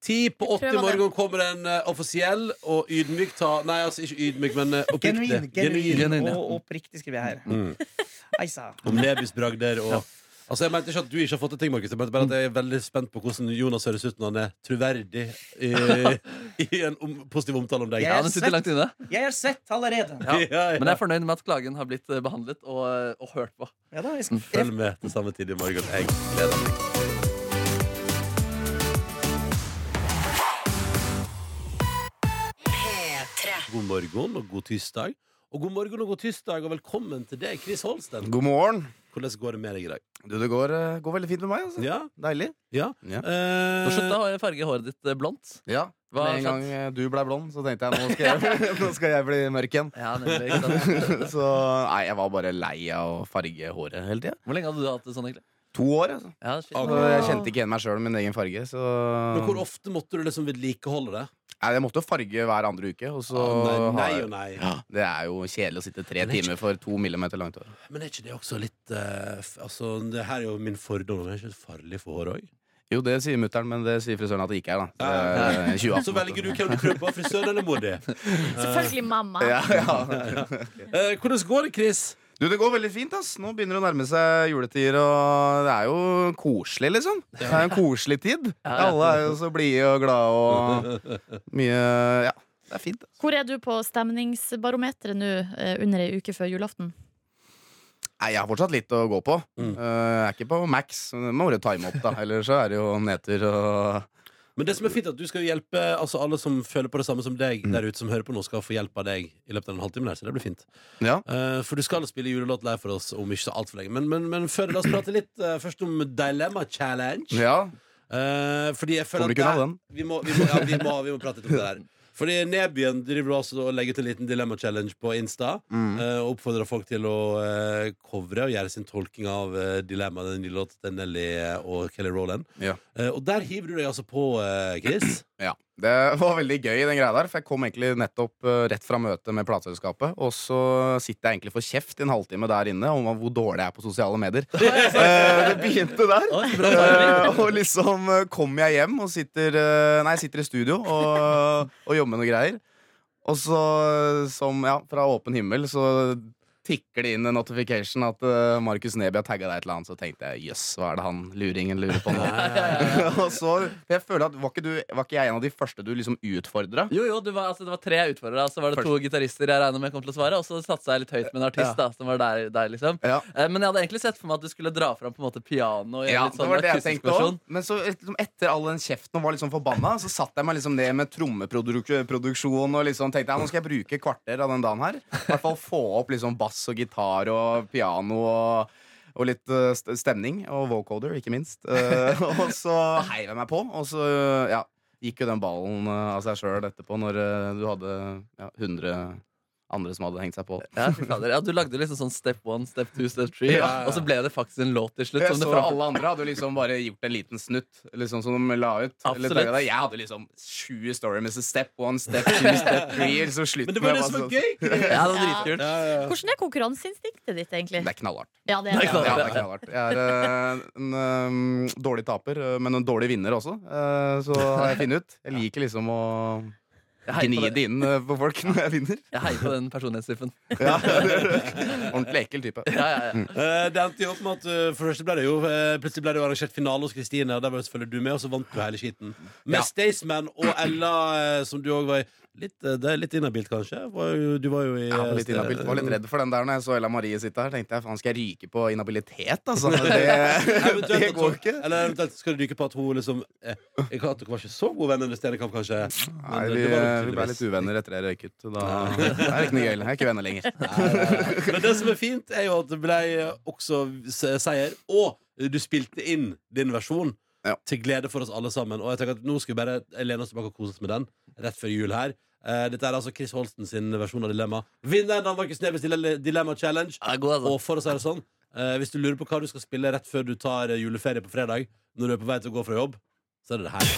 S4: Ti på åtte i
S7: prøver det.
S4: morgen kommer en eh, opprisiell og ydmyk ta... Nei, altså ikke ydmyk, men eh, oppriktig.
S5: Genuin. Genuin.
S6: Genuin, ja.
S5: Og oppriktig skriver jeg her.
S4: Mm.
S5: Eisa.
S4: Om Nebys bragder og Altså, Jeg mente ikke at du ikke har fått til ting, Markus. Jeg mente bare at jeg er veldig spent på hvordan Jonas høres ut når han er troverdig i, i en om, positiv omtale om deg.
S5: Ja,
S6: Ja, den sitter langt inne.
S5: Jeg er sett allerede.
S6: Ja.
S4: ja.
S6: Men jeg er fornøyd med at klagen har blitt eh, behandlet og, og hørt på.
S5: Ja, da, vi skal
S4: Mm, Følg med til samme tid i morgen. Jeg gleder meg. God morgen og god tirsdag. Og god morgen og god tirsdag, og velkommen til deg, Chris Holsten.
S3: God morgen.
S4: Hvordan går det med deg i dag?
S3: Du, det går, eh, går veldig fint med meg. Altså.
S4: Ja?
S3: Deilig.
S4: Ja?
S3: Ja.
S4: Eh,
S6: Nå slutta å farge håret ditt eh, blondt.
S3: Ja,
S6: Hva
S3: Med en
S6: har
S3: gang eh, du ble blond, så tenkte jeg nå skal jeg, nå skal jeg bli mørk igjen.
S6: Ja, nemlig, ikke sant?
S3: Så nei, jeg var bare lei av å farge håret hele tida.
S6: Hvor lenge hadde du hatt det sånn, egentlig?
S3: To år, altså.
S6: Ja, shit.
S3: Så jeg kjente ikke igjen meg sjøl med min egen farge. Så
S4: men hvor ofte måtte du liksom vedlikeholde det?
S3: nei, jeg måtte jo farge hver andre uke. Og så
S4: Å, nei, nei
S3: har-
S4: og nei.
S3: Det er jo kjedelig å sitte tre
S4: Men det er
S3: timer for to millimeter langt hår.
S4: Men er ikke det også litt eh, f- Altså, det her er jo min fordom. men Er ikke det farlig for håret òg?
S3: Jo, det sier mutter'n, men det sier frisøren at det ikke er, da. Ah, Det er 2018.
S4: Så velger du hvem du prøver på, frisøren eller mor di.
S7: Selvfølgelig mamma.
S3: Ja, ja.
S4: Eh, hvordan går det, Chris?
S3: Du, det går veldig fint, ass. Nå begynner det å nærme seg juletider, og det er jo koselig, liksom. Det er en koselig tid. Alle er jo så blide og glade og mye Ja, det er fint. ass.
S7: Hvor er du på stemningsbarometeret nå eh, under ei uke før julaften?
S3: Nei, jeg har fortsatt litt å gå på.
S4: Mm.
S3: Eh, Jeg er ikke på max, men det må jo time opp, da. Eller så er det jo nedtur og
S4: Men det som er fint er at du skal hjelpe altså alle som føler på det samme som deg
S3: Mm.
S4: der ute, som hører på nå, skal få hjelp av deg i løpet av en halvtime. Der, så det blir fint.
S3: Ja.
S4: Eh, for du skal spille julelåt live for oss om ikke så altfor lenge. Men, men, men før det, la oss prate litt eh, først om Dilemma Challenge.
S3: Ja.
S4: Eh, fordi jeg føler at
S3: Kommer ikke unna
S4: der-
S3: den.
S4: Vi må, vi, må, ja, vi, må, vi må prate litt om det der. Fordi Nebyen driver også og legger ut en liten dilemma challenge på Insta.
S3: Mm.
S4: eh, og oppfordrer folk til å eh, covre og gjøre sin tolking av eh, dilemmaet den nye låten til Nelly eh, og Kelly Rowland.
S3: Ja.
S4: Eh, og der hiver du deg altså på, eh, Chris.
S3: Ja. Det var veldig gøy, den greia der. For jeg kom egentlig nettopp eh, rett fra møtet med plateselskapet. Og så sitter jeg egentlig for kjeft i en halvtime der inne om hvor dårlig jeg er på sosiale medier. Eh, det begynte der. Eh, og liksom eh, kommer jeg hjem og sitter eh, Nei, jeg sitter i studio og, og jobber med noen greier. Og så, eh, som Ja, fra åpen himmel, så tikker det inn en notification at eh, Markus Neby har tagga deg et eller annet. Så tenkte jeg jøss, hva er det han luringen lurer på
S4: Eh,
S3: nå? og så, for jeg føler at var ikke, du, var ikke jeg en av de første du liksom utfordra?
S6: Jo, jo, det var, altså, det var tre utfordrere. Så var det to gitarister jeg regner med kom til å svare. Og så satsa jeg litt høyt med en artist. da, som var der, der liksom
S3: Ja.
S6: Eh, Men jeg hadde egentlig sett for meg at du skulle dra fram på en måte piano. i en
S3: Ja,
S6: litt
S3: det
S6: sånn
S3: var det jeg
S6: akustisk
S3: tenkte også.
S6: versjon.
S3: Men så liksom, etter all den kjeften og var liksom forbanna, så satt jeg meg liksom ned med trommeproduksjon og liksom tenkte ja, nå skal jeg bruke et kvarter av den dagen her. I hvert fall få opp liksom bass og gitar og piano og, og litt eh, st- stemning. Og vocoder, ikke minst. Eh, og så heiv jeg meg på, og så eh, ja, gikk jo den ballen eh, av seg sjøl etterpå når eh, du hadde ja, 100 andre som hadde hengt seg på.
S6: Ja, fy fader. ja, Du lagde liksom sånn step one, step two, step three.
S3: Ja, ja.
S6: Og så ble det faktisk en låt til slutt.
S3: Jeg
S6: Som det
S3: så
S6: fram-
S3: sånn alle andre hadde jo liksom bare gjort en liten snutt, liksom som de la ut. Eller
S6: Absolutt.
S3: tagget det. Jeg hadde liksom 20 story med step one, step two, step three. Så slutten
S4: Men det var det
S3: bare
S4: som var
S3: sånn-
S4: gøy! Chris.
S6: Ja, det var dritkult.
S7: Hvordan er konkurranseinstinktet ditt, egentlig?
S3: Det er knallhardt.
S7: Ja, det er
S3: Ja,
S7: det.
S3: det er knallhardt. Jeg er eh, en eh, dårlig taper, eh, men en dårlig vinner også. Eh, så har jeg funnet ut. Jeg liker liksom å
S6: Jeg heier
S3: gni
S6: på den,
S3: det inn eh, på folk når jeg vinner.
S6: jeg heier på den personlighetstypen.
S3: Ja. Ordentlig ekkel type.
S6: Ja, ja, ja.
S4: Eh, det endte jo opp med at eh, for det første ble det jo eh, plutselig ble det jo arrangert finale hos Kristine, og der var jo selvfølgelig du med, og så vant du hele skiten. Med
S3: Ja.
S4: Staysman og Ella, eh, som du òg var i. Litt, eh, det er litt inhabilt, kanskje? Var jo, du var jo i
S3: Jeg var
S4: eh,
S3: litt
S4: Ste-
S3: inhabil. Var litt redd for den der når jeg så Ella Marie sitte her. Tenkte jeg, faen, skal jeg ryke på inhabilitet, altså? Det,
S4: Eventuelt
S3: det
S4: at
S3: går
S4: hun-
S3: ikke.
S4: Eller eventuelt skal du dyke på at hun liksom eh, jeg kan- At dere var ikke så gode venner under Stjernekamp, kanskje? Men
S3: Nei,
S4: det-
S3: vi,
S4: det var dere
S3: vi ble
S4: tydeligvis.
S3: litt uvenner etter jeg røyket. så Da det er ikke noe gøy. Jeg er ikke venner lenger.
S4: Men det som er fint, er jo at det ble eh, også se- seier. Og du spilte inn din versjon
S3: Ja.
S4: til glede for oss alle sammen. Og jeg tenker at nå skal vi bare lene oss tilbake og kose oss med den rett før jul her. Eh, Dette er altså Chris Holsten sin versjon av Dilemma. Vinneren av Markus Nebys Dile- Dilemma Challenge.
S6: Ja, god, altså.
S4: Og for å si det sånn, eh, hvis du lurer på hva du skal spille rett før du tar eh, juleferie på fredag, når du er på vei til å gå fra jobb, så er det det her.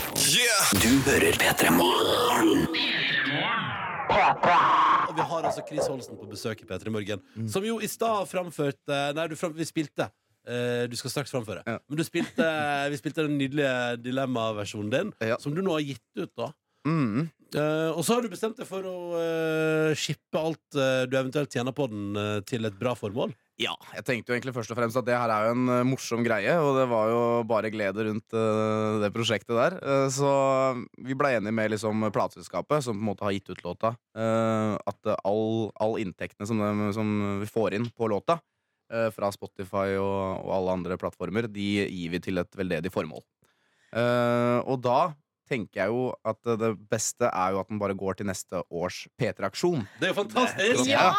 S2: Du hører P3 Morgen.
S4: Og vi har altså Chris Holsten på besøk i P3 Morgen.
S3: Mm.
S4: Som jo i stad framførte Nei, du fram, vi spilte. eh, du skal straks framføre.
S3: Ja.
S4: Men du spilte, vi spilte den nydelige dilemmaversjonen din,
S3: Ja.
S4: som du nå har gitt ut. da
S3: Mm.
S4: Eh, Og så har du bestemt deg for å eh, shippe alt eh, du eventuelt tjener på den, eh, til et bra formål.
S3: Ja, jeg tenkte jo egentlig først og fremst at det her er jo en eh, morsom greie, og det var jo bare glede rundt eh, det prosjektet der. Eh, så vi ble enige med liksom plateselskapet, som på en måte har gitt ut låta, eh, at eh, all, all inntektene som, dem- som vi får inn på låta, eh, fra Spotify og, og alle andre plattformer, de gir vi til et veldedig formål. Eh, og da tenker jeg jo at eh, det beste er jo at den bare går til neste års P3-aksjon.
S4: Det er jo fantastisk!
S7: Ja!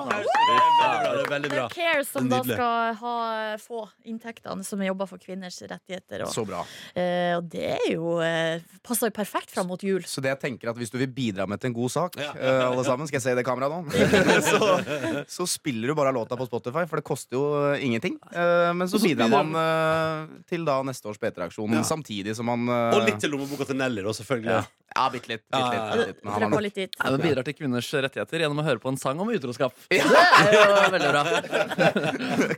S4: Applaus. Det er veldig bra. Det er veldig
S7: Det
S4: bra.
S7: er Care som da
S4: Nydelig.
S7: skal ha, få inntektene som jobber for kvinners rettigheter. Og,
S3: Så bra.
S7: eh, og det er jo eh, passer jo perfekt fram mot jul.
S3: Så det jeg tenker at hvis du vil bidra med til en god sak,
S4: Ja.
S3: eh, alle sammen, skal jeg se i det kameraet nå, så, så spiller du bare låta på Spotify, for det koster jo eh, ingenting. Eh, men så,
S4: Og så
S3: bidrar
S4: bidrar
S3: man eh, til da neste års P3-aksjon,
S4: Ja.
S3: samtidig som man eh,
S4: Og litt til lommeboka til Nelly, da, selvfølgelig.
S3: Ja, ja bitte litt. Bitte
S4: Ja, ja,
S3: litt,
S4: ja.
S3: bitte litt. Men
S7: For
S3: han
S7: å
S3: har
S7: gå
S3: nok.
S7: litt dit.
S6: Ja, den bidrar til kvinners rettigheter gjennom å høre på en sang om utroskap. Det er jo veldig bra.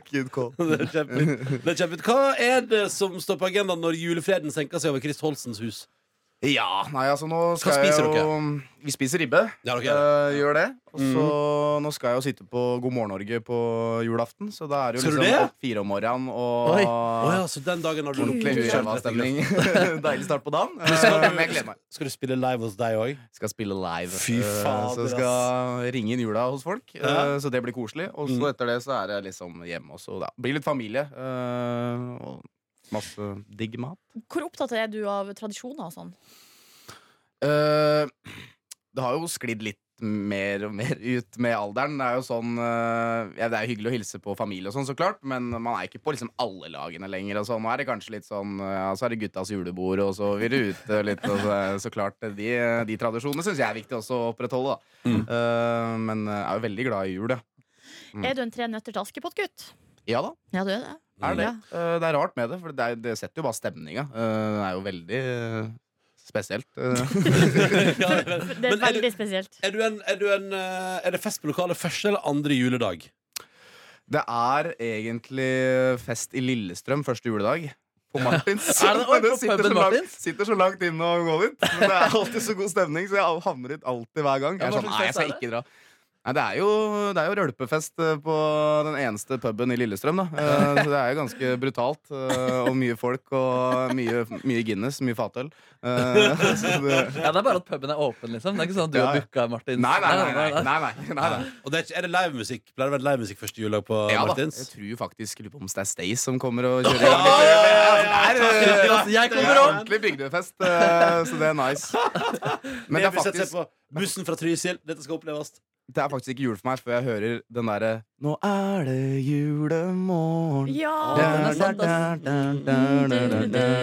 S3: Good call.
S4: Det er kjempefint. Det er kjempefint. Hva er det som står på agendaen når julefreden senker seg over Chris Holsens hus?
S3: Ja, nei, altså nå skal
S4: spiser
S3: jeg jo Vi spiser ribbe.
S4: Ja, dere gjør det. Mm.
S3: Eh, gjør det. Og så nå skal jeg jo sitte på God morgen Norge på julaften, så da er det jo
S4: Skal du
S3: liksom
S4: det?
S3: opp fire om morgenen og
S4: Oi. Å ja, så den dagen har du
S3: ordentlig huskjønnstemning. Deilig start på dagen. Eh,
S4: Skal
S3: men jeg gleder
S4: du,
S3: meg.
S4: skal du spille live hos deg òg?
S3: Skal spille live.
S4: Fy
S3: Eh,
S4: fader,
S3: så skal ringe inn jula hos folk. eh,
S4: Ja.
S3: Så det blir koselig. Og så etter det så er det liksom hjemme også. Da. Blir litt familie. eh, og masse digg mat.
S7: Hvor opptatt er du av tradisjoner og sånn?
S3: Eh, det har jo sklidd litt mer og mer ut med alderen. Det er jo sånn eh, ja, Det er hyggelig å hilse på familie og sånn, så klart, men man er ikke på liksom alle lagene lenger. Og sånn. Nå er det kanskje litt sånn eh, Ja, så er det guttas julebord, og så vil det ute litt. Og så, så klart, eh, de, de tradisjonene syns jeg er viktig også å opprettholde, da. Eh, men jeg er jo veldig glad i jul, ja. Mm.
S7: Er du en Tre nøtter til Askepott-gutt?
S3: Ja da.
S7: Ja, du er det.
S3: Er det.
S7: Ja.
S3: Eh, det er rart med det, for det, er, det setter jo bare stemninga. Eh, det er jo veldig eh, spesielt. eh.
S7: Det er
S4: Men er du-
S7: veldig spesielt.
S4: Er, du en- er, du en, eh, er det fest på lokalet første eller andre juledag?
S3: Det er egentlig fest i Lillestrøm første juledag. På Martins.
S6: Er det- oi,
S3: Men
S6: på
S3: sitter,
S6: puben
S3: så langt,
S6: Martins?
S3: sitter så langt inne og går ut. Men det er alltid så god stemning, så jeg havner ut alltid hver gang. Jeg
S6: Ja,
S3: er
S6: hva
S3: sånn,
S6: slags
S3: nei, jeg
S6: fest
S3: skal
S6: er
S3: ikke dra. Nei, det, er jo, det er jo rølpefest eh, på den eneste puben i Lillestrøm, da. Eh, Så det er jo ganske brutalt. eh, Og mye folk og mye, mye Guinness, mye fatøl. Eh, så det-
S6: Ja, Det er bare at puben er åpen, liksom. Det er ikke sånn at du
S3: Ja,
S6: har
S3: ja.
S6: booka Martin.
S3: Nei, nei, nei. nei, nei, nei, nei, nei.
S4: Og det er, ikke- er det livemusikk? Pleier det å være livemusikk første juledag på
S3: Ja da. Jeg
S4: Martins?
S3: tror jo faktisk lurer på om det er Stace som kommer og kjører. i gang.
S6: Akkurat, altså, Jeg
S3: Det
S6: kommer
S3: er
S6: opp!
S3: ordentlig bygdefest, eh, så det er nice. Men det er,
S4: vil sette seg
S3: faktisk,
S4: på Bussen fra Trysil, dette skal oppleves.
S3: det er faktisk ikke jul for meg før jeg hører den derre Nå er det julemorgen.
S7: Ja!
S6: den er sant, ass.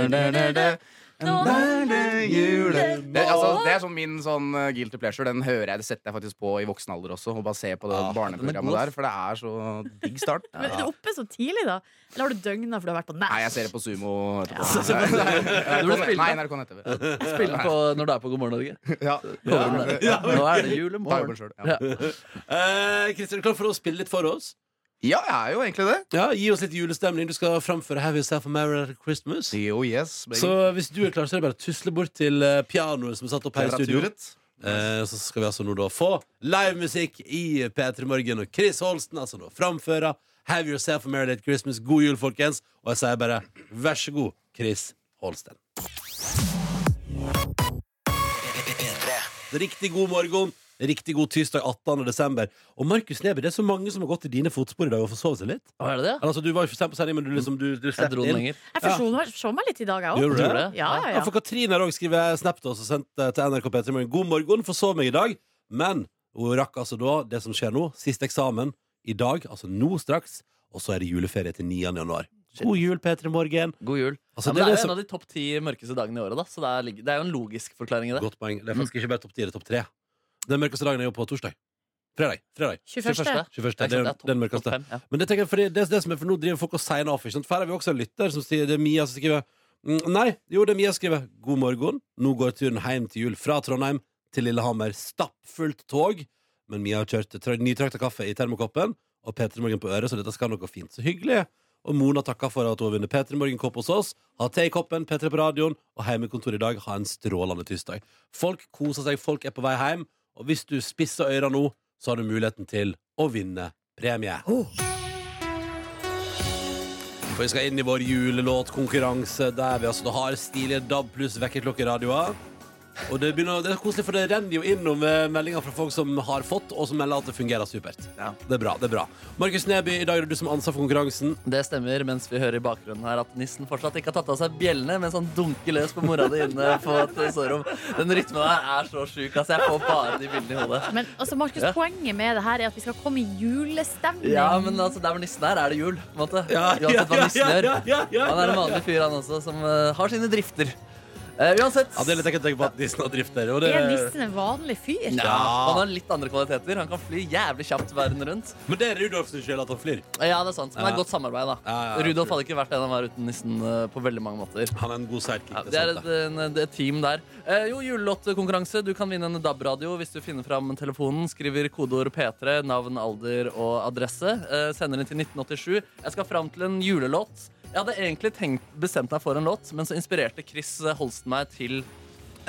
S3: Nå er det julemorgen. Det, altså, det er sånn min sånn eh, guilty pleasure. Den hører jeg, det setter jeg faktisk på i voksen alder også. Og bare ser på det
S4: Ah,
S6: den er god,
S3: barneprogrammet der,
S6: ass.
S3: for det er så digg start.
S7: Men er du oppe så tidlig, da? Eller har du døgna for du har vært på Nash?
S3: Nei, jeg ser det på Sumo etterpå.
S6: Du blir
S3: Nei,
S6: spilt, da.
S3: NRK nett etterpå.
S6: Spille på når du er på God morgen Norge.
S3: Ja.
S6: Nå er det
S3: Ta jobben
S6: julemorgen.
S3: selv, ja.
S6: Ja.
S4: Eh, Kristin, er du klar for å spille litt for oss?
S3: ja, jeg er jo egentlig det.
S4: Ja, Gi oss litt julestemning. Du skal framføre Have Yourself a Merry Little Christmas.
S3: Jo, yes, baby.
S4: Så hvis du er klar, så er det bare å tusle bort til eh, pianoet som er satt opp her i studio.
S3: Temperaturet.
S4: Eh, så skal vi altså nå da få livemusikk i P3 Morgen, og Chris Holsten altså nå framfører Have Yourself a Merry Little Christmas. God jul, folkens. Og jeg sier bare vær så god, Chris Holsten. Riktig god morgen. Riktig god tirsdag 18. desember. Og Markus Neby, det er så mange som har gått i dine fotspor i dag og forsovet seg litt.
S6: Å, er det det?
S4: Eller, Altså, du var jo for sent på sending, men du liksom du, du
S6: Jeg
S4: slapp
S6: dro den
S4: inn.
S6: lenger.
S7: Jeg forsoner meg- forsoner meg litt i dag, jeg
S4: Gjorde
S7: òg.
S4: du
S6: Tror du
S4: det?
S6: det?
S7: Ja,
S4: Ja,
S7: ja, ja.
S4: for Katrine har også skrevet snap til oss og sendt eh, til NRK P3 Morgen. God morgen, forsov meg i dag. Men hun rakk altså da det som skjer nå. Siste eksamen i dag, altså nå straks. Og så er det juleferie til 9. januar. God jul, P3 Morgen.
S6: God jul.
S4: Altså, det
S6: ja, men det
S4: det som-
S6: liksom er jo en av de topp ti mørkeste dagene i året, da. Så det er, lig- det er jo en logisk forklaring i det.
S4: Godt poeng. Det er faktisk ikke bare topp 10, det er topp 3. Den mørkeste dagen er jo på torsdag. Fredag. Fredag. 21.
S7: 21.
S6: Det er
S4: Det
S6: sant,
S4: er
S6: det er
S4: jo
S6: topp-
S4: den mørkeste.
S6: topp fem, ja.
S4: Men det tenker jeg, fordi det, det som er for nå driver folk og signer off. Ikke sant? For her har vi også en lytter som sier Det er Mia som skriver mm, Nei, jo, det er Mia som skriver God morgen. Nå går turen hjem til jul fra Trondheim til Lillehammer. Stappfullt tog. Men Mia har kjørt tra- nytrakta kaffe i termokoppen og P3 Morgen på øret, så dette skal noe fint. Så hyggelig. Og Mona takker for at hun har vunnet P3 Morgen-kopp hos oss. Ha te i koppen, P3 på radioen og hjemmekontor i dag. Ha en strålende tirsdag. Folk koser seg, folk er på vei hjem. Og hvis du spisser øra nå, så har du muligheten til å vinne premie. For vi skal inn i vår julelåtkonkurranse, der vi altså da har stilige DAB pluss vekkerklokkeradioer. Og det, begynner, det er koselig, for det renner jo innom eh, meldinger fra folk som har fått, og som melder at det fungerer supert.
S1: Ja.
S4: Det er bra. det er bra Markus Neby, i dag er det du som har ansvar for konkurransen.
S6: Det stemmer, mens vi hører i bakgrunnen her at nissen fortsatt ikke har tatt av seg bjellene mens han dunker løs på mora di inne på et soverom. Den rytmen her er så sjuk, altså. Jeg får bare de bildene i hodet.
S7: Men altså, Markus,
S6: Ja.
S7: poenget med det her er at vi skal komme i julestemning.
S6: Ja, men altså, der hvor nissen er, er det jul. på en måte
S4: ja,
S6: Uansett hva nissen gjør.
S4: ja, ja, ja.
S6: Han er en vanlig fyr, han også, som eh, har sine drifter. Eh, uansett.
S4: Ja, det er litt ekkelt å tenke på at nissen har drift der. Og det,
S7: Er nissen en vanlig fyr?
S6: Ja,
S4: Ja.
S6: Han har litt andre kvaliteter. Han kan fly jævlig kjapt verden rundt.
S4: men det er Rudolf sin skyld at han flyr.
S6: Eh, Ja, det er sant, Men det
S4: Ja.
S6: er godt samarbeid, da.
S4: Ja, ja, absolutt.
S6: Rudolf hadde ikke vært den han var uten nissen eh, på veldig mange måter.
S4: Han er en god sidekick.
S6: Ja,
S4: det
S6: det er
S4: er sant,
S6: et, en, det er et team der. Eh, jo, julelåtkonkurranse. Du kan vinne en DAB-radio hvis du finner fram telefonen, skriver kodeord P3, navn, alder og adresse. Eh, sender den til 1987. Jeg skal fram til en julelåt. Jeg hadde egentlig tenkt, bestemt meg for en låt, men så inspirerte Chris Holsten meg til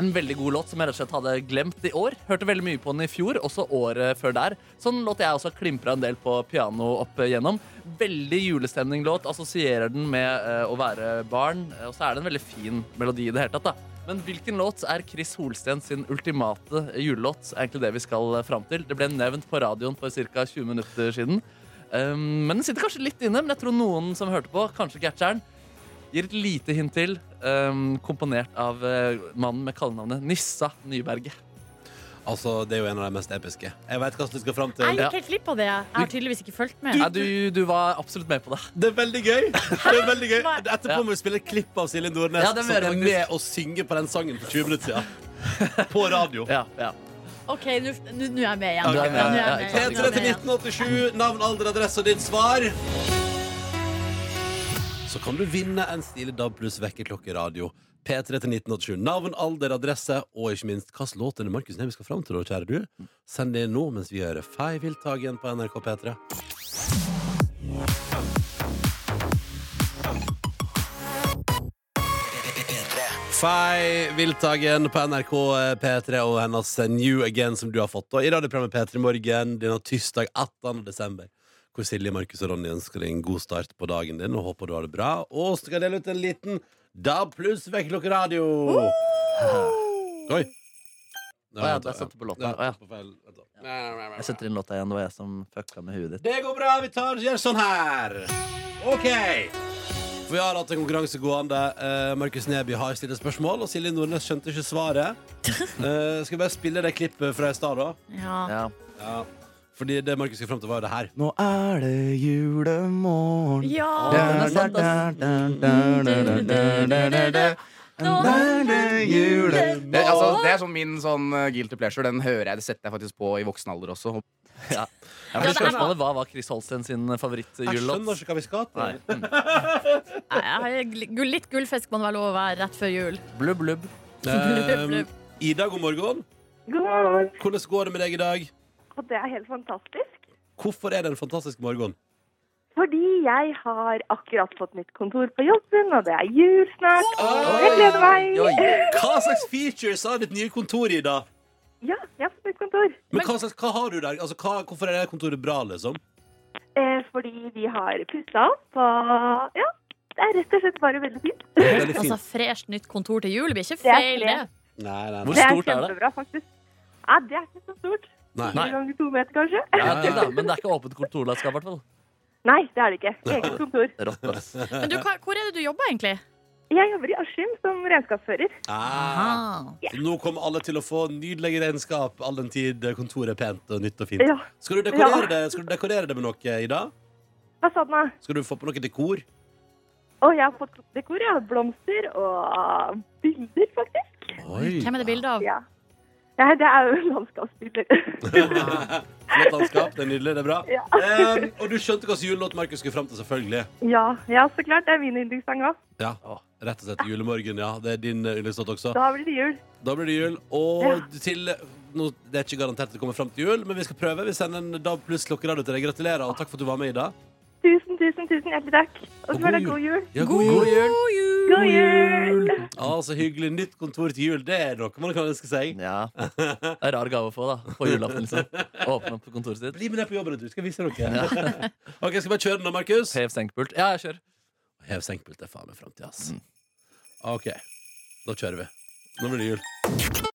S6: en veldig god låt som jeg rett og slett hadde glemt i år. Hørte veldig mye på den i fjor, også året før der. Sånn låt jeg også klimpra en del på piano opp igjennom. Veldig julestemninglåt. Assosierer den med eh, å være barn. eh, Og så er det en veldig fin melodi i det hele tatt, da. Men hvilken låt er Chris Holsten sin ultimate julelåt? Er egentlig det vi skal eh, fram til. Det ble nevnt på radioen for ca. 20 minutter siden. Um, men den sitter kanskje litt inne, men jeg tror noen som hørte på, kanskje catcher den gir et lite hint til, ehm, komponert av eh, mannen med kallenavnet Nissa Nyberget.
S4: da. Altså, det er jo en av de mest episke. Jeg vet hva som skal fram
S7: Jeg
S4: til.
S7: gikk helt glipp av det. jeg. Jeg har tydeligvis ikke fulgt med.
S6: Nei, du, du var absolutt med på det.
S4: Det er veldig gøy! Det er veldig gøy
S7: Nei.
S4: Etterpå må vi spille et klipp av Silje Nordnes
S6: Ja, det må
S4: som
S6: jeg
S4: er
S6: faktisk.
S4: med og synger på den sangen for 20 minutter siden. På radio.
S6: Ja, ja.
S7: OK, nå nå- nå er jeg med igjen.
S6: Du er med,
S7: Ja, nå er jeg med
S6: ja, ikke
S7: igjen. Nå
S6: sant,
S7: er jeg med
S4: 3 til 1987,
S7: igjen.
S4: navn, alder, adresse og ditt svar. Så kan du vinne en stilig DAB pluss vekkerklokkeradio. P3 til 1987. Navn, alder, adresse og ikke minst hvilken låt er det Markus Neby skal fram til, da, kjære du? Send det inn nå mens vi gjør Feiv Hildtagen på NRK P3. Fei Viltagen på NRK eh, P3 og hennes eh, New Again som du har fått. Og I radioprogrammet P3 Morgen denne tirsdag 18. desember. Hvor Silje, Markus og Ronny ønsker deg en god start på dagen din og håper du har det bra. Og så skal jeg dele ut en liten DAB pluss vekkerklokkeradio! Oi.
S6: Å ja, der satte du på låta. Å ja.
S4: på feil. Vent da. Nei, nei, nei, nei, nei.
S6: Jeg setter inn låta igjen. Det var jeg som fucka med huet ditt.
S4: Det går bra, vi tar gjør sånn her Ok For vi har hatt en konkurranse gående Eh, Markus Neby har stilt et spørsmål Og Silje Nordnes skjønte ikke svaret Eh, Skal vi bare spille det klippet fra i stad da
S7: Ja.
S6: Ja.
S4: Fordi det Markus skal frem til var jo det her
S3: Nå er det julemorgen.
S7: ja.
S6: den er sant, ass.
S3: Det, altså, det er sånn min sånn uh, guilty pleasure. Den hører jeg, det setter jeg faktisk på i voksen alder også.
S6: Ja,
S7: Ja,
S6: for
S7: det her
S6: spørsmålet Hva var Chris Holsten sin
S4: Jeg skjønner
S6: favorittjulelåt?
S4: ikke hva vi skal
S6: Nei.
S4: til
S6: Mm.
S7: Nei, jeg har gull- Litt gullfisk må det være lov å være rett før jul.
S6: Blubb, blubb.
S4: Eh, Ida, god morgen
S8: God morgen.
S4: Hvordan går det med deg i dag?
S8: Og det er helt fantastisk.
S4: Hvorfor er det en fantastisk morgen?
S8: Fordi jeg har akkurat fått nytt kontor på jobben, og det er jul snart. Og jeg gleder meg.
S6: Oi.
S4: Hva slags features har ditt nye kontor, Ida?
S8: Ja, jeg har fått nytt kontor.
S4: Men hva, slags, hva har du der? Altså, hva, hvorfor er det kontoret bra, liksom?
S8: Eh, fordi vi har pussa opp, og ja, det er rett og slett bare veldig fint.
S4: Det er veldig
S7: Altså,
S4: fint
S7: Fresht nytt kontor til jul blir ikke
S8: Det er
S7: feil, det.
S8: flere.
S4: Nei, nei, nei,
S6: Hvor
S8: Det er
S6: stort er det?
S8: kjempebra, faktisk. Ja, det er ikke så stort.
S4: nei.
S8: Fire ganger to meter, kanskje?
S6: Ja, det, da. Men det er ikke åpent kontorlandskap, i hvert fall.
S8: Nei, det er det ikke. Eget kontor.
S6: Rått, ass.
S7: Men du, hva- hvor er det du jobber egentlig?
S8: Jeg jobber i Askim som regnskapsfører.
S4: Ah.
S7: Ah.
S4: Så Nå kommer alle til å få nydelig regnskap all den tid kontoret er pent og nytt og fint.
S8: Ja.
S4: Skal, du dekorere
S8: Ja.
S4: det, skal du dekorere det med noe, Ida?
S8: Hva sa den da?
S4: Skal du få på noe dekor?
S8: Og jeg har fått dekor, ja. Blomster og bilder, faktisk.
S4: Oi,
S7: Hvem er det bilde av?
S8: Ja. Nei, det er jo landskapsbilder.
S4: Flott landskap. Det er nydelig. Det er bra.
S8: Ja.
S4: Em, og du skjønte hvilken julelåt Markus skulle fram til, selvfølgelig.
S8: Ja, ja, så klart. Det er min yndlingssang òg.
S4: Ja, Rett og slett Julemorgen, ja. Det er din eh, yndlingslåt også.
S8: Da blir det jul.
S4: Da blir det jul. Og til nå, Det er ikke garantert at det kommer fram til jul, men vi skal prøve. Vi sender en DAB pluss-klokkeradio til deg. Gratulerer, og takk for at du var med, Ida.
S8: Tusen, tusen, tusen hjertelig takk. Og
S4: Og
S8: så var det
S4: god
S8: god jul.
S4: Ja, god jul.
S8: God jul!
S4: Ja, så hyggelig. Nytt kontor til jul. Det er noe man kan ønske seg.
S6: Ja. Det er rar gave å få, da. På julaften, liksom. Åpne opp kontoret sitt.
S4: Bli med ned på jobben, du. Skal jeg vise dere. ok, skal vi bare kjøre den da, Markus?
S6: Hev senkepult. Ja, jeg kjører.
S4: Hev senkpult er faen meg framtida, ass.
S6: Mm.
S4: OK, da kjører vi. Nå blir det jul.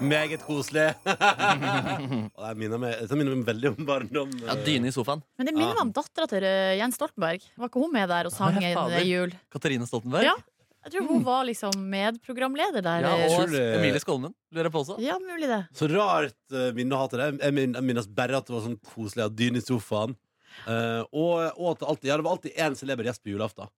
S4: Meget koselig. Og det minner meg, det minner meg veldig om barndom.
S6: Ja, Dyne i sofaen.
S7: Men det minner
S4: Ah.
S7: meg om dattera til eh, Jens Stoltenberg. Var ikke hun med der og sang
S6: Nei,
S7: en
S6: fader.
S7: eh, jul?
S6: Katarina Stoltenberg.
S7: Ja. Jeg tror hun var liksom medprogramleder der.
S6: Ja,
S7: eh.
S4: Tror
S6: og
S4: du det-
S6: Emilie Skolmen lurer jeg på også.
S7: ja mulig det.
S4: Så rart eh, minne å ha til det. Jeg, min, jeg minnes bare at det var sånn koselig at dyn i sofaen. Eh, og, og at det alltid, ja, det var alltid én celeber gjest på julaften.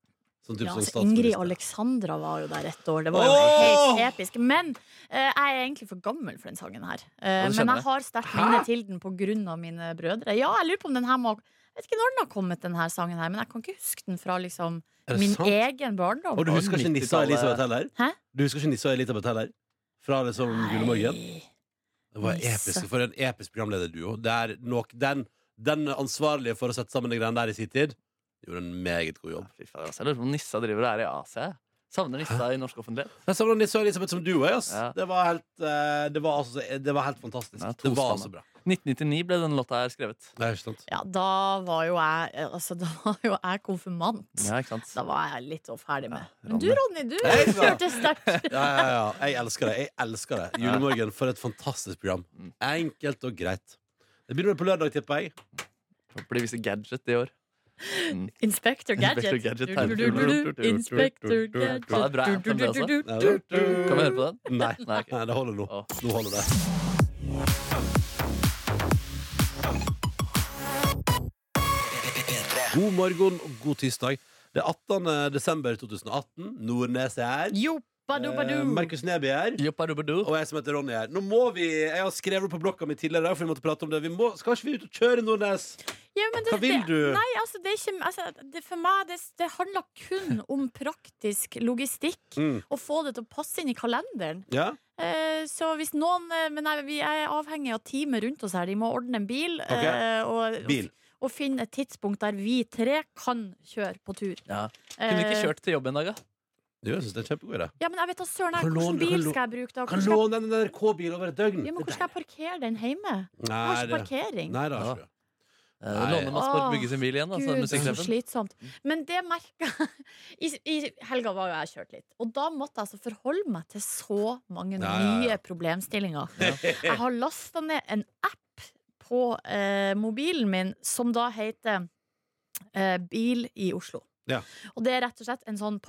S4: Sånn typ
S7: Ja,
S4: sånn
S7: altså, Ingrid
S4: statsminister.
S7: Alexandra var jo der et år. Det var jo
S4: Åh!
S7: helt episk. Men eh, jeg er egentlig for gammel for den sangen her. Eh,
S6: Ja, du kjenner
S7: men
S6: det.
S7: jeg har sterkt minne til den pga. mine brødre. Ja, jeg lurer på om den her må Jeg vet ikke når den har kommet, den her sangen her, men jeg kan ikke huske den fra liksom
S4: Er det
S7: min
S4: sant?
S7: egen barndom.
S4: Og du husker ikke Nissa og
S6: 90-tallet.
S4: Elisabeth heller?
S7: Hæ?
S4: Du husker ikke Nissa og Elisabeth heller? Fra liksom julemorgen?
S7: Nei.
S4: Det var
S7: Nisse.
S4: episk, for en episk programlederduo. Der nok, den, den ansvarlige for å sette sammen de greiene der i sin tid, gjorde en meget god jobb.
S6: Fy faen, altså, jeg lurer på om Nissa driver og er i Asia. jeg. Savner Nissa i norsk offentlighet.
S4: Jeg savner Nisse og Elisabeth som duo. jeg, Ass.
S6: Ja.
S4: Det, var helt, eh, det, var altså, det var helt fantastisk.
S6: Ja, to
S4: det var
S6: stammer.
S4: så bra.
S6: 1999 ble den låta her skrevet.
S4: Det er ikke sant.
S7: Ja, da var jo jeg Altså, da var jo jeg konfirmant.
S6: Ja, ikke sant?
S7: Da var jeg litt så ferdig med. Men du,
S6: Ronny.
S7: Ronny, du
S4: Hei, sann.
S7: hørte sterkt.
S4: Ja, ja, ja. Jeg elsker det. Jeg elsker det. Julemorgen, for et fantastisk program. Enkelt og greit. Det begynner på lørdag, tipper jeg.
S6: Blir visst gadget i år.
S7: Inspector Gadget.
S6: Inspector Gadget.
S7: Inspector Gadget.
S6: Ja, det er bra anthem, det også.
S4: Ja, da.
S6: Kan vi høre på den?
S4: Nei,
S6: Nei, ok.
S4: Nei, det holder nå.
S6: Å.
S4: Nå holder det. God morgen og god tirsdag. Det er 18. desember 2018. Nordnes er her.
S7: Jo, badu, badu.
S4: Eh, Markus Neby er her.
S6: Jopparobadu.
S4: Og jeg som heter Ronny her. Nå må vi, Jeg har skrevet på blokka mi tidligere i dag, for vi måtte prate om det. Vi må, skal ikke vi ut og kjøre, Nordnes?
S7: Ja, men det,
S4: Hva vil
S7: det-
S4: du?
S7: Nei, altså, det er ikke altså, det, For meg, det, det handler kun om praktisk logistikk.
S4: Mm.
S7: Å få det til å passe inn i kalenderen.
S4: Ja?
S7: Eh, så hvis noen eh, Men nei, vi er avhengig av teamet rundt oss her. De må ordne en bil.
S4: Ok.
S7: eh, og,
S4: Bil.
S7: Og finne et tidspunkt der vi tre kan kjøre på tur. Eh,
S6: Ja. Kunne ikke kjørt til jobb en dag, da?
S4: Jo, jeg synes det er en kjempegod idé.
S7: Ja, men jeg vet da søren jeg,
S4: Kan låne-
S7: Hvilken
S4: kan
S7: bil
S4: lå-
S7: skal jeg bruke da? Hvor
S4: Kan
S7: skal jeg,
S4: låne en NRK-bil over et døgn.
S7: ja, men hvor
S4: Det
S7: skal jeg parkere den hjemme?
S4: er deilig.
S7: Jeg har ikke
S4: Nei, det-
S7: parkering.
S4: Nei, det har ikke du.
S6: Eh,
S4: Nei.
S6: Låne Masmor
S7: Åh,
S6: Bugge sin bil igjen, da, så
S7: Gud, så
S6: musikksjefen.
S7: slitsomt. Men det merka I, I helga var jo jeg kjørt litt. Og da måtte jeg altså forholde meg til så
S4: Ja,
S7: mange
S4: ja, ja.
S7: nye problemstillinger. Jeg har lasta ned en app på eh, mobilen min som da heter eh, Bil i Oslo.
S4: Ja.
S7: Og det er rett og slett en sånn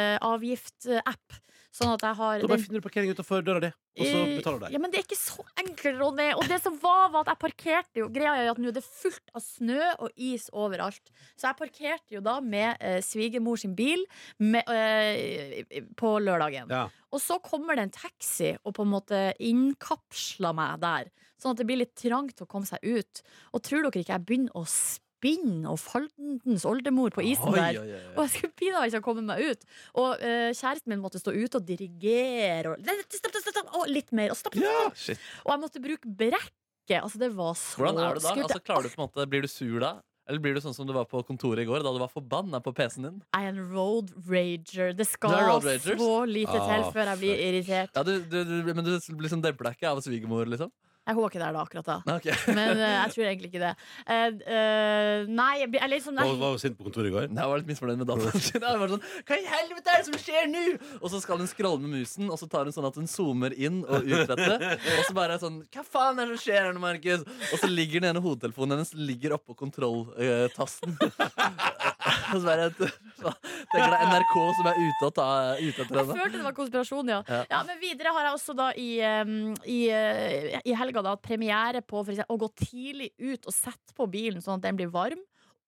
S7: parkeringsavgift-app. Sånn at jeg har
S4: Da bare finner du parkering utenfor døra di, og så
S7: Eh,
S4: betaler du deg.
S7: Ja, men det er ikke så enkelt, Ronny. Og det som var, var at jeg parkerte jo Greia er jo at nå er det fullt av snø og is overalt. Så jeg parkerte jo da med eh, svigermor sin bil med, eh, på lørdagen.
S4: Ja.
S7: Og så kommer det en taxi og på en måte innkapsler meg der. Sånn at det blir litt trangt å komme seg ut. Og tror dere ikke jeg begynner å spinne og faldens oldemor på isen
S4: Oi,
S7: der?
S4: oi, oi,
S7: Og
S4: oi.
S7: jeg skulle pinadø ikke ha kommet meg ut. Og eh, kjæresten min måtte stå ute og dirigere. Og, Nei, nei, stopp, stopp, stopp, stopp, og litt mer. Og, stopp, stopp,
S4: Ja,
S7: stopp. og jeg måtte bruke brekket. Altså, det var så
S6: Hvordan er du da?
S7: skummelt.
S6: Altså, klarer du på en måte, Blir du sur da? Eller blir du sånn som du var på kontoret i går, da du var forbanna på PC-en din?
S7: Jeg er en road rager. Det skal
S6: Du er road ragers?
S7: så lite til
S4: Ah,
S7: før jeg blir
S4: fuck.
S7: irritert.
S6: Ja, du, du, du, men du blir sånn dempa ikke av svigermor, liksom?
S7: Jeg var ikke der da, akkurat da.
S6: Nei, ok.
S7: Men eh, jeg tror egentlig ikke det. Eh, eh, nei, jeg blir jeg er litt sånn
S4: Var
S7: nei.
S4: var jo sint på kontoret i går.
S6: Nei, Jeg var litt misfornøyd med dataen sin. Jeg var sånn, Hva i helvete er det som skjer nå?! Og så skal hun scrolle med musen, og så tar hun sånn at hun zoomer inn og ut dette. Og så bare sånn Hva faen er det som skjer her nå, Markus? Og så ligger den ene hodetelefonen hennes ligger oppå kontrolltasten. og så bare et- Tenker det er NRK som er ute og tar ute etter
S7: Jeg
S6: henne.
S7: følte det var konspirasjon, ja.
S6: Ja.
S7: ja. Men videre har jeg også da i, em, i, eh, i helga da hatt premiere på for eksempel, å gå tidlig ut og sette på bilen sånn at den blir varm.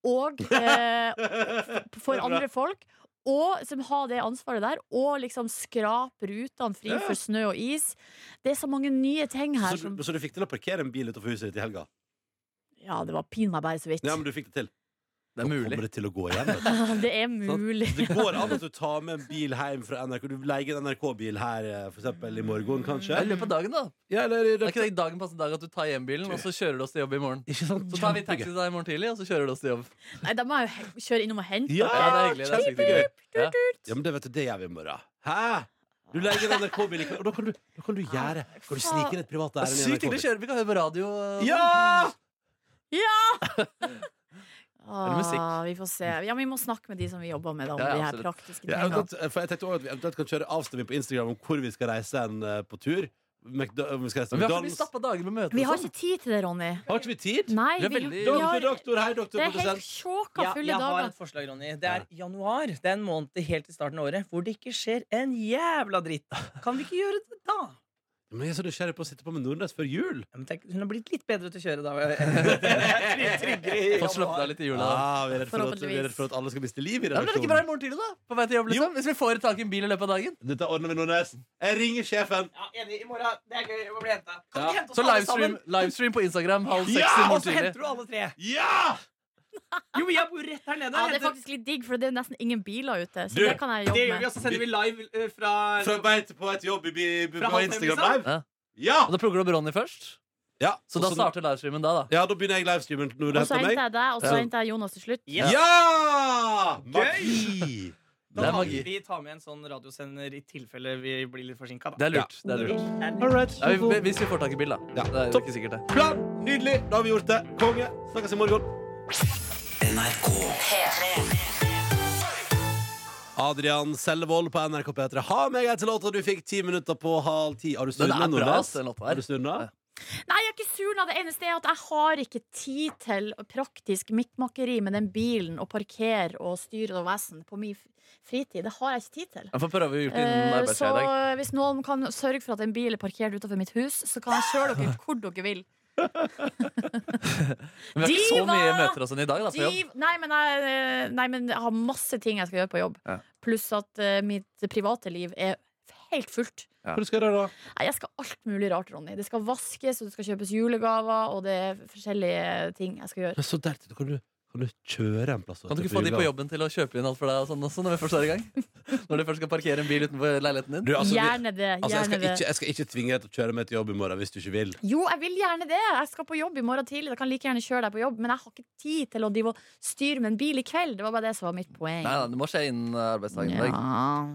S7: Og eh, f- for andre folk. Og som har det ansvaret der. Og liksom skrape rutene fri for snø og is. Det er så mange nye ting her
S4: Så
S7: som
S4: du, så du fikk til å parkere en bil utenfor huset ditt i helga?
S7: Ja, det var pin meg bare så vidt.
S4: Ja, men du fikk det til.
S6: Det er
S4: Nå Kommer
S6: mulig.
S4: det til å gå igjen? vet du.
S7: Det er mulig.
S4: Det går an at du tar med en bil hjem fra NRK. Du leier en NRK-bil her eh, for eksempel i morgen, kanskje?
S6: I løpet av dagen, da.
S4: Ja, eller i
S6: Er ikke
S4: løpet
S6: det dagen passende dag at du tar hjem bilen, og så kjører du oss til jobb i morgen?
S4: Ikke sant?
S6: Så tar vi taxi til deg i morgen tidlig, og så kjører du oss til jobb.
S7: Nei, da må jeg jo he- kjøre innom og hente.
S4: Ja,
S6: Ja, det er hyggelig, det er sykt
S4: kjempegøy.
S6: Ja.
S4: Ja, men det vet du, det gjør vi i morgen. Hæ? Du leier en NRK-bil i kveld, og da kan du,
S7: Ah,
S4: da kan du gjøre Kan du snike inn et privat
S6: Det er
S4: ærend i
S6: sykt
S4: NRK-bil?
S6: hyggelig å kjøre. Vi kan høre på radio. og-
S4: Ja!
S7: Ah,
S6: musikk.
S7: vi får se. Ja, men vi må snakke med de som vi jobber med, da, om
S6: Ja, ja,
S7: de her
S6: absolutt.
S7: praktiske
S4: Ja,
S7: tingene.
S4: eventuelt, for jeg tenkte også at vi eventuelt kan kjøre avstemning på Instagram om hvor vi skal reise en eh, på tur. McDo om vi skal reise til
S6: Men vi har så mye
S4: McDonald's.
S6: stappa dager med møter.
S7: Vi
S6: og
S7: har
S6: sånn.
S7: ikke tid til det, Ronny.
S4: Har ikke vi tid?
S7: Nei,
S6: Vi er
S7: vi,
S6: veldig-
S7: vi
S4: Doktor,
S7: har,
S4: doktor, hei, doktor,
S7: det er helt
S4: produsent.
S7: sjåka
S5: Ja,
S7: fulle
S5: jeg har
S7: dager.
S5: et forslag, Ronny. Det er januar. Det er en måned helt til starten av året hvor det ikke skjer en jævla dritt. Kan vi ikke gjøre det da?
S4: Men jeg er så nysgjerrig på å sitte på med Nordnes før jul.
S5: Ja, men tenk, hun har blitt litt bedre til å kjøre da. Jeg er tryggere i
S6: Få slappe
S5: januar.
S6: deg litt i jula. da.
S4: Ah, vi er sånn. redd for at, vi er
S7: Forhåpentligvis.
S4: redd for at alle skal miste liv i
S6: Ja, men er det ikke bra i
S4: redaksjonen.
S6: morgen tidlig, da? På vei til jobb, liksom? Hvis vi får tak i en bil i løpet av dagen.
S4: Dette ordner vi, Nordnes. Jeg ringer sjefen.
S5: Ja, enig. I morgen. Det er gøy å bli henta. Kan
S4: Ja.
S5: vi hente oss
S6: Så
S5: alle sammen?
S6: livestream, livestream på Instagram halv seks
S4: Ja,
S6: i
S5: Og
S6: morgen
S5: så henter
S6: tidlig.
S5: du alle tre.
S4: Ja!
S5: Jo, men jeg bor rett her nede.
S7: Ja, det er
S5: Henter-
S7: faktisk litt digg, for det er nesten ingen biler ute. Så
S4: Du,
S7: det kan jeg
S5: det gjør
S7: jobbe
S5: vi,
S7: med.
S5: og så sender vi live eh, fra,
S4: Fra vei til på vei til jobb i- i-
S5: Fra
S4: på
S5: halv fem,
S4: Instagram
S5: liksom?
S4: Live.
S6: Ja.
S4: Ja!
S6: Og da plugger du opp Ronny først.
S4: ja.
S6: Så da starter livestreamen da, da.
S4: Ja, da begynner jeg livestreamen når du
S7: Og
S4: henter
S7: så henter
S4: meg.
S7: jeg deg, og så
S6: Ja.
S7: henter jeg Jonas til slutt.
S5: Ja.
S4: Ja!
S6: Det
S5: Gøy! Da
S6: er
S5: tar
S6: magi.
S5: vi, vi tar med en sånn radiosender i tilfelle vi blir litt forsinka, da.
S6: Det er lurt. Det er lurt.
S5: Det er
S4: All right.
S6: Ja, vi- hvis vi får tak i bil, da.
S4: Ja.
S6: Det er jo
S4: Topp.
S6: ikke sikkert, det.
S4: Plan! Nydelig! Da har vi gjort det. Konge. Snakkes i morgen.
S9: NRK
S4: Adrian Sellevold på NRK P3. Ha meg etter låta du fikk ti minutter på halv ti. Har du
S6: Den
S4: stundet,
S6: er bra,
S4: Nordnes?
S6: ass, den låta der.
S4: Har du stundet?
S7: Nei, jeg er ikke sur nå. Det eneste er at jeg har ikke tid til praktisk mikkmakeri med den bilen og parkere og styre og vesen på min f- fritid. Det har jeg ikke tid til.
S6: Jeg får prøve å gjøre det
S7: Eh,
S6: innen
S7: Så
S6: arbeidsdag i dag.
S7: hvis noen kan sørge for at en bil er parkert utenfor mitt hus, så kan jeg kjøre dere hvor dere vil.
S6: Men vi har ikke så
S7: Diva!
S6: mye møter og sånn i dag, da, på jobb.
S7: Driv, nei, men jeg, eh, nei, men jeg har masse ting jeg skal gjøre på jobb.
S6: Ja.
S7: Pluss at eh, mitt private liv er helt fullt.
S6: Ja.
S4: Hvor skal du da?
S7: Nei, jeg skal alt mulig rart, Ronny. Det skal vaskes, og det skal kjøpes julegaver, og det er forskjellige ting jeg skal gjøre.
S4: Men så der, kan, du, kan du kjøre en plass?
S6: Kan du ikke få de på jobben til å kjøpe inn alt for deg og sånn også, når vi først er i gang? Når du først skal parkere en bil utenfor leiligheten din?
S4: Du, altså, vi,
S7: gjerne det.
S4: altså, jeg,
S7: gjerne
S4: skal
S7: det.
S4: ikke, jeg skal ikke tvinge deg til å kjøre meg til jobb i morgen hvis du ikke vil.
S7: Jo, jeg vil gjerne det. Jeg skal på jobb i morgen tidlig. Jeg kan like gjerne kjøre deg på jobb, men jeg har ikke tid til å drive og styre med en bil i kveld. Det var bare det som var mitt poeng.
S6: Nei, nei, det må skje innen eh, arbeidsdagen i dag.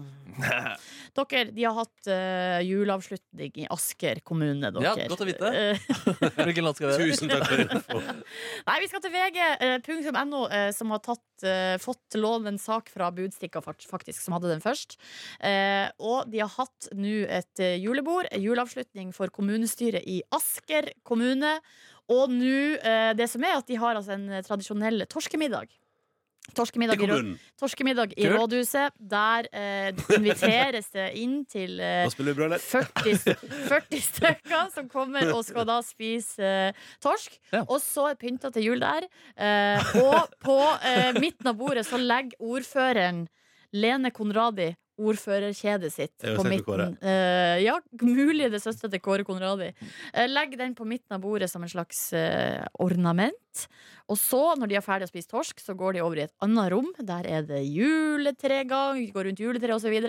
S7: Ja. Dere, de har hatt eh, juleavslutning i Asker kommune, dere.
S6: Ja, godt å vite.
S7: Eh,
S6: Hvilken låt skal vi gjøre?
S4: Tusen takk for info.
S7: nei, vi skal til eh, vg.no, som har tatt, eh, fått lånt en sak fra Budstikka, fakt- faktisk, som hadde den først. Eh, og de har hatt nå et eh, julebord, en juleavslutning for kommunestyret i Asker kommune. Og nå, eh, det som er at de har altså en eh, tradisjonell torskemiddag.
S4: I
S7: Torskemiddag i Rød-
S4: kommunen.
S7: Torskemiddag i
S6: Kult.
S7: Rådhuset. Der eh, inviteres det inn til eh,
S4: Da spiller vi bra, eller?
S7: 40, st- 40 stykker som kommer og skal da spise eh, torsk.
S6: Ja.
S7: Og så er pynta til jul der. Eh, og på eh, midten av bordet så legger ordføreren Lene Konradi ordførerkjedet sitt
S4: Det er jo
S7: på
S4: selv
S7: midten. Eh, ja, mulig det er søstera til Kåre Konradi. Eh, legg den på midten av bordet som en slags eh, ornament. Og så, når de er ferdig å spise torsk, så går de over i et annet rom. Der er det juletregang, de går rundt juletreet osv.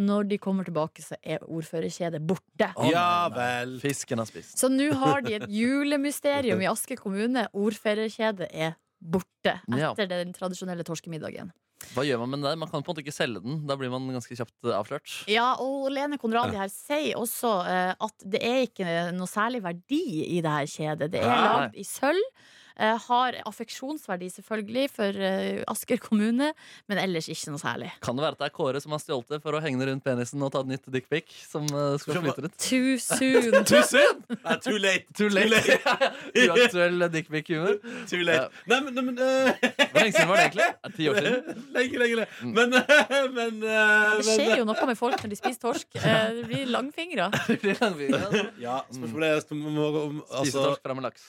S7: Når de kommer tilbake, så er ordførerkjedet borte.
S6: Å,
S4: Ja
S6: nei, nei.
S4: vel.
S6: Fisken har spist.
S7: Så nå har de et julemysterium i Asker kommune. Ordførerkjedet er borte
S6: Ja.
S7: etter den tradisjonelle torskemiddagen.
S6: Hva gjør man med den der? Man kan på en måte ikke selge den. Da blir man ganske kjapt eh, avslørt.
S7: Ja, og Lene Konradi her sier også eh, at det er ikke noe særlig verdi i det her kjedet. Det er
S6: Nei.
S7: lagd i sølv. eh, Har affeksjonsverdi, selvfølgelig, for eh, Asker kommune, men ellers ikke noe særlig.
S6: Kan det være at det er Kåre som har stjålet det for å henge det rundt penisen og ta et nytt dickpic? Som eh, skal flyte rundt?
S7: Too soon.
S4: Too soon? Nei, too late.
S6: Too late. Uaktuell dickpic-humor.
S4: Too late. Nei, men, nei, men eh,
S6: Hvor lenge siden var det egentlig? Eh, Ti år siden.
S4: Lenge, lenge, lenge. Men, eh, men, eh,
S7: Det
S4: men
S7: skjer jo noe med folk når de spiser torsk. Eh, Det blir langfingre.
S6: Det blir langvinge.
S4: Ja, spørsmålet er om, om, om
S6: Mm. Spise
S4: altså,
S6: torsk fram med laks.